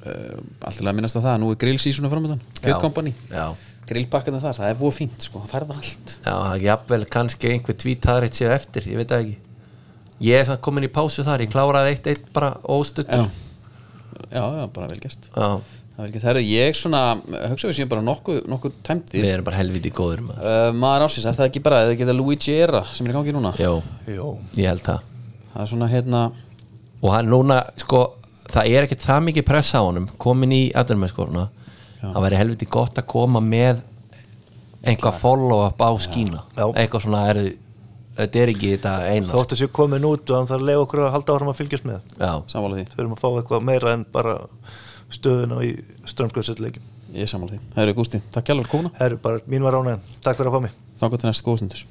[SPEAKER 1] Alltaf að minnast á það, nú er grillsísuna framöndan
[SPEAKER 2] Já.
[SPEAKER 1] Good Company,
[SPEAKER 2] já,
[SPEAKER 1] grillbakkana þar Það er fóð fínt, sko, það færða allt
[SPEAKER 2] já, jafnvel kannski einhver tvítaðrið séu eftir, ég veit það ekki ég er samt komin í pásu þar, ég kláraði eitt eitt bara
[SPEAKER 1] Já,
[SPEAKER 2] óstuttur
[SPEAKER 1] já, já bara vel gert
[SPEAKER 2] já,
[SPEAKER 1] Það er vel gert, herru, ég svona Hugsa við séum bara nokkuð, nokkuð tæmdi
[SPEAKER 2] við erum bara helviti góður maður
[SPEAKER 1] uh, Maður ásins, er það ekki bara, er það ekki það Luigi Era sem er í gangi núna
[SPEAKER 2] já,
[SPEAKER 3] já,
[SPEAKER 2] ég held það
[SPEAKER 1] Það er svona, hérna,
[SPEAKER 2] og hann núna sko það er ekkert það mikið pressa á honum komin í aðdurmennskórna það væri helviti gott að koma með einhvað follow-up á skína
[SPEAKER 3] Já.
[SPEAKER 2] eitthvað svona er þetta er ekki þetta eina sko.
[SPEAKER 3] þótt að séu komin út og hann þarf að leiða okkur að halda áfram að fylgjast með
[SPEAKER 2] já,
[SPEAKER 1] sammála því
[SPEAKER 3] þurfum að fá eitthvað meira en bara stöðuna í strömmkvæðsettleikin
[SPEAKER 1] Ég er sammála því, herru Gústi, takk hjálfur kona
[SPEAKER 3] Herru, bara mín var ánægðan, takk fyrir að fá mig
[SPEAKER 1] Þangar til næst góðstundur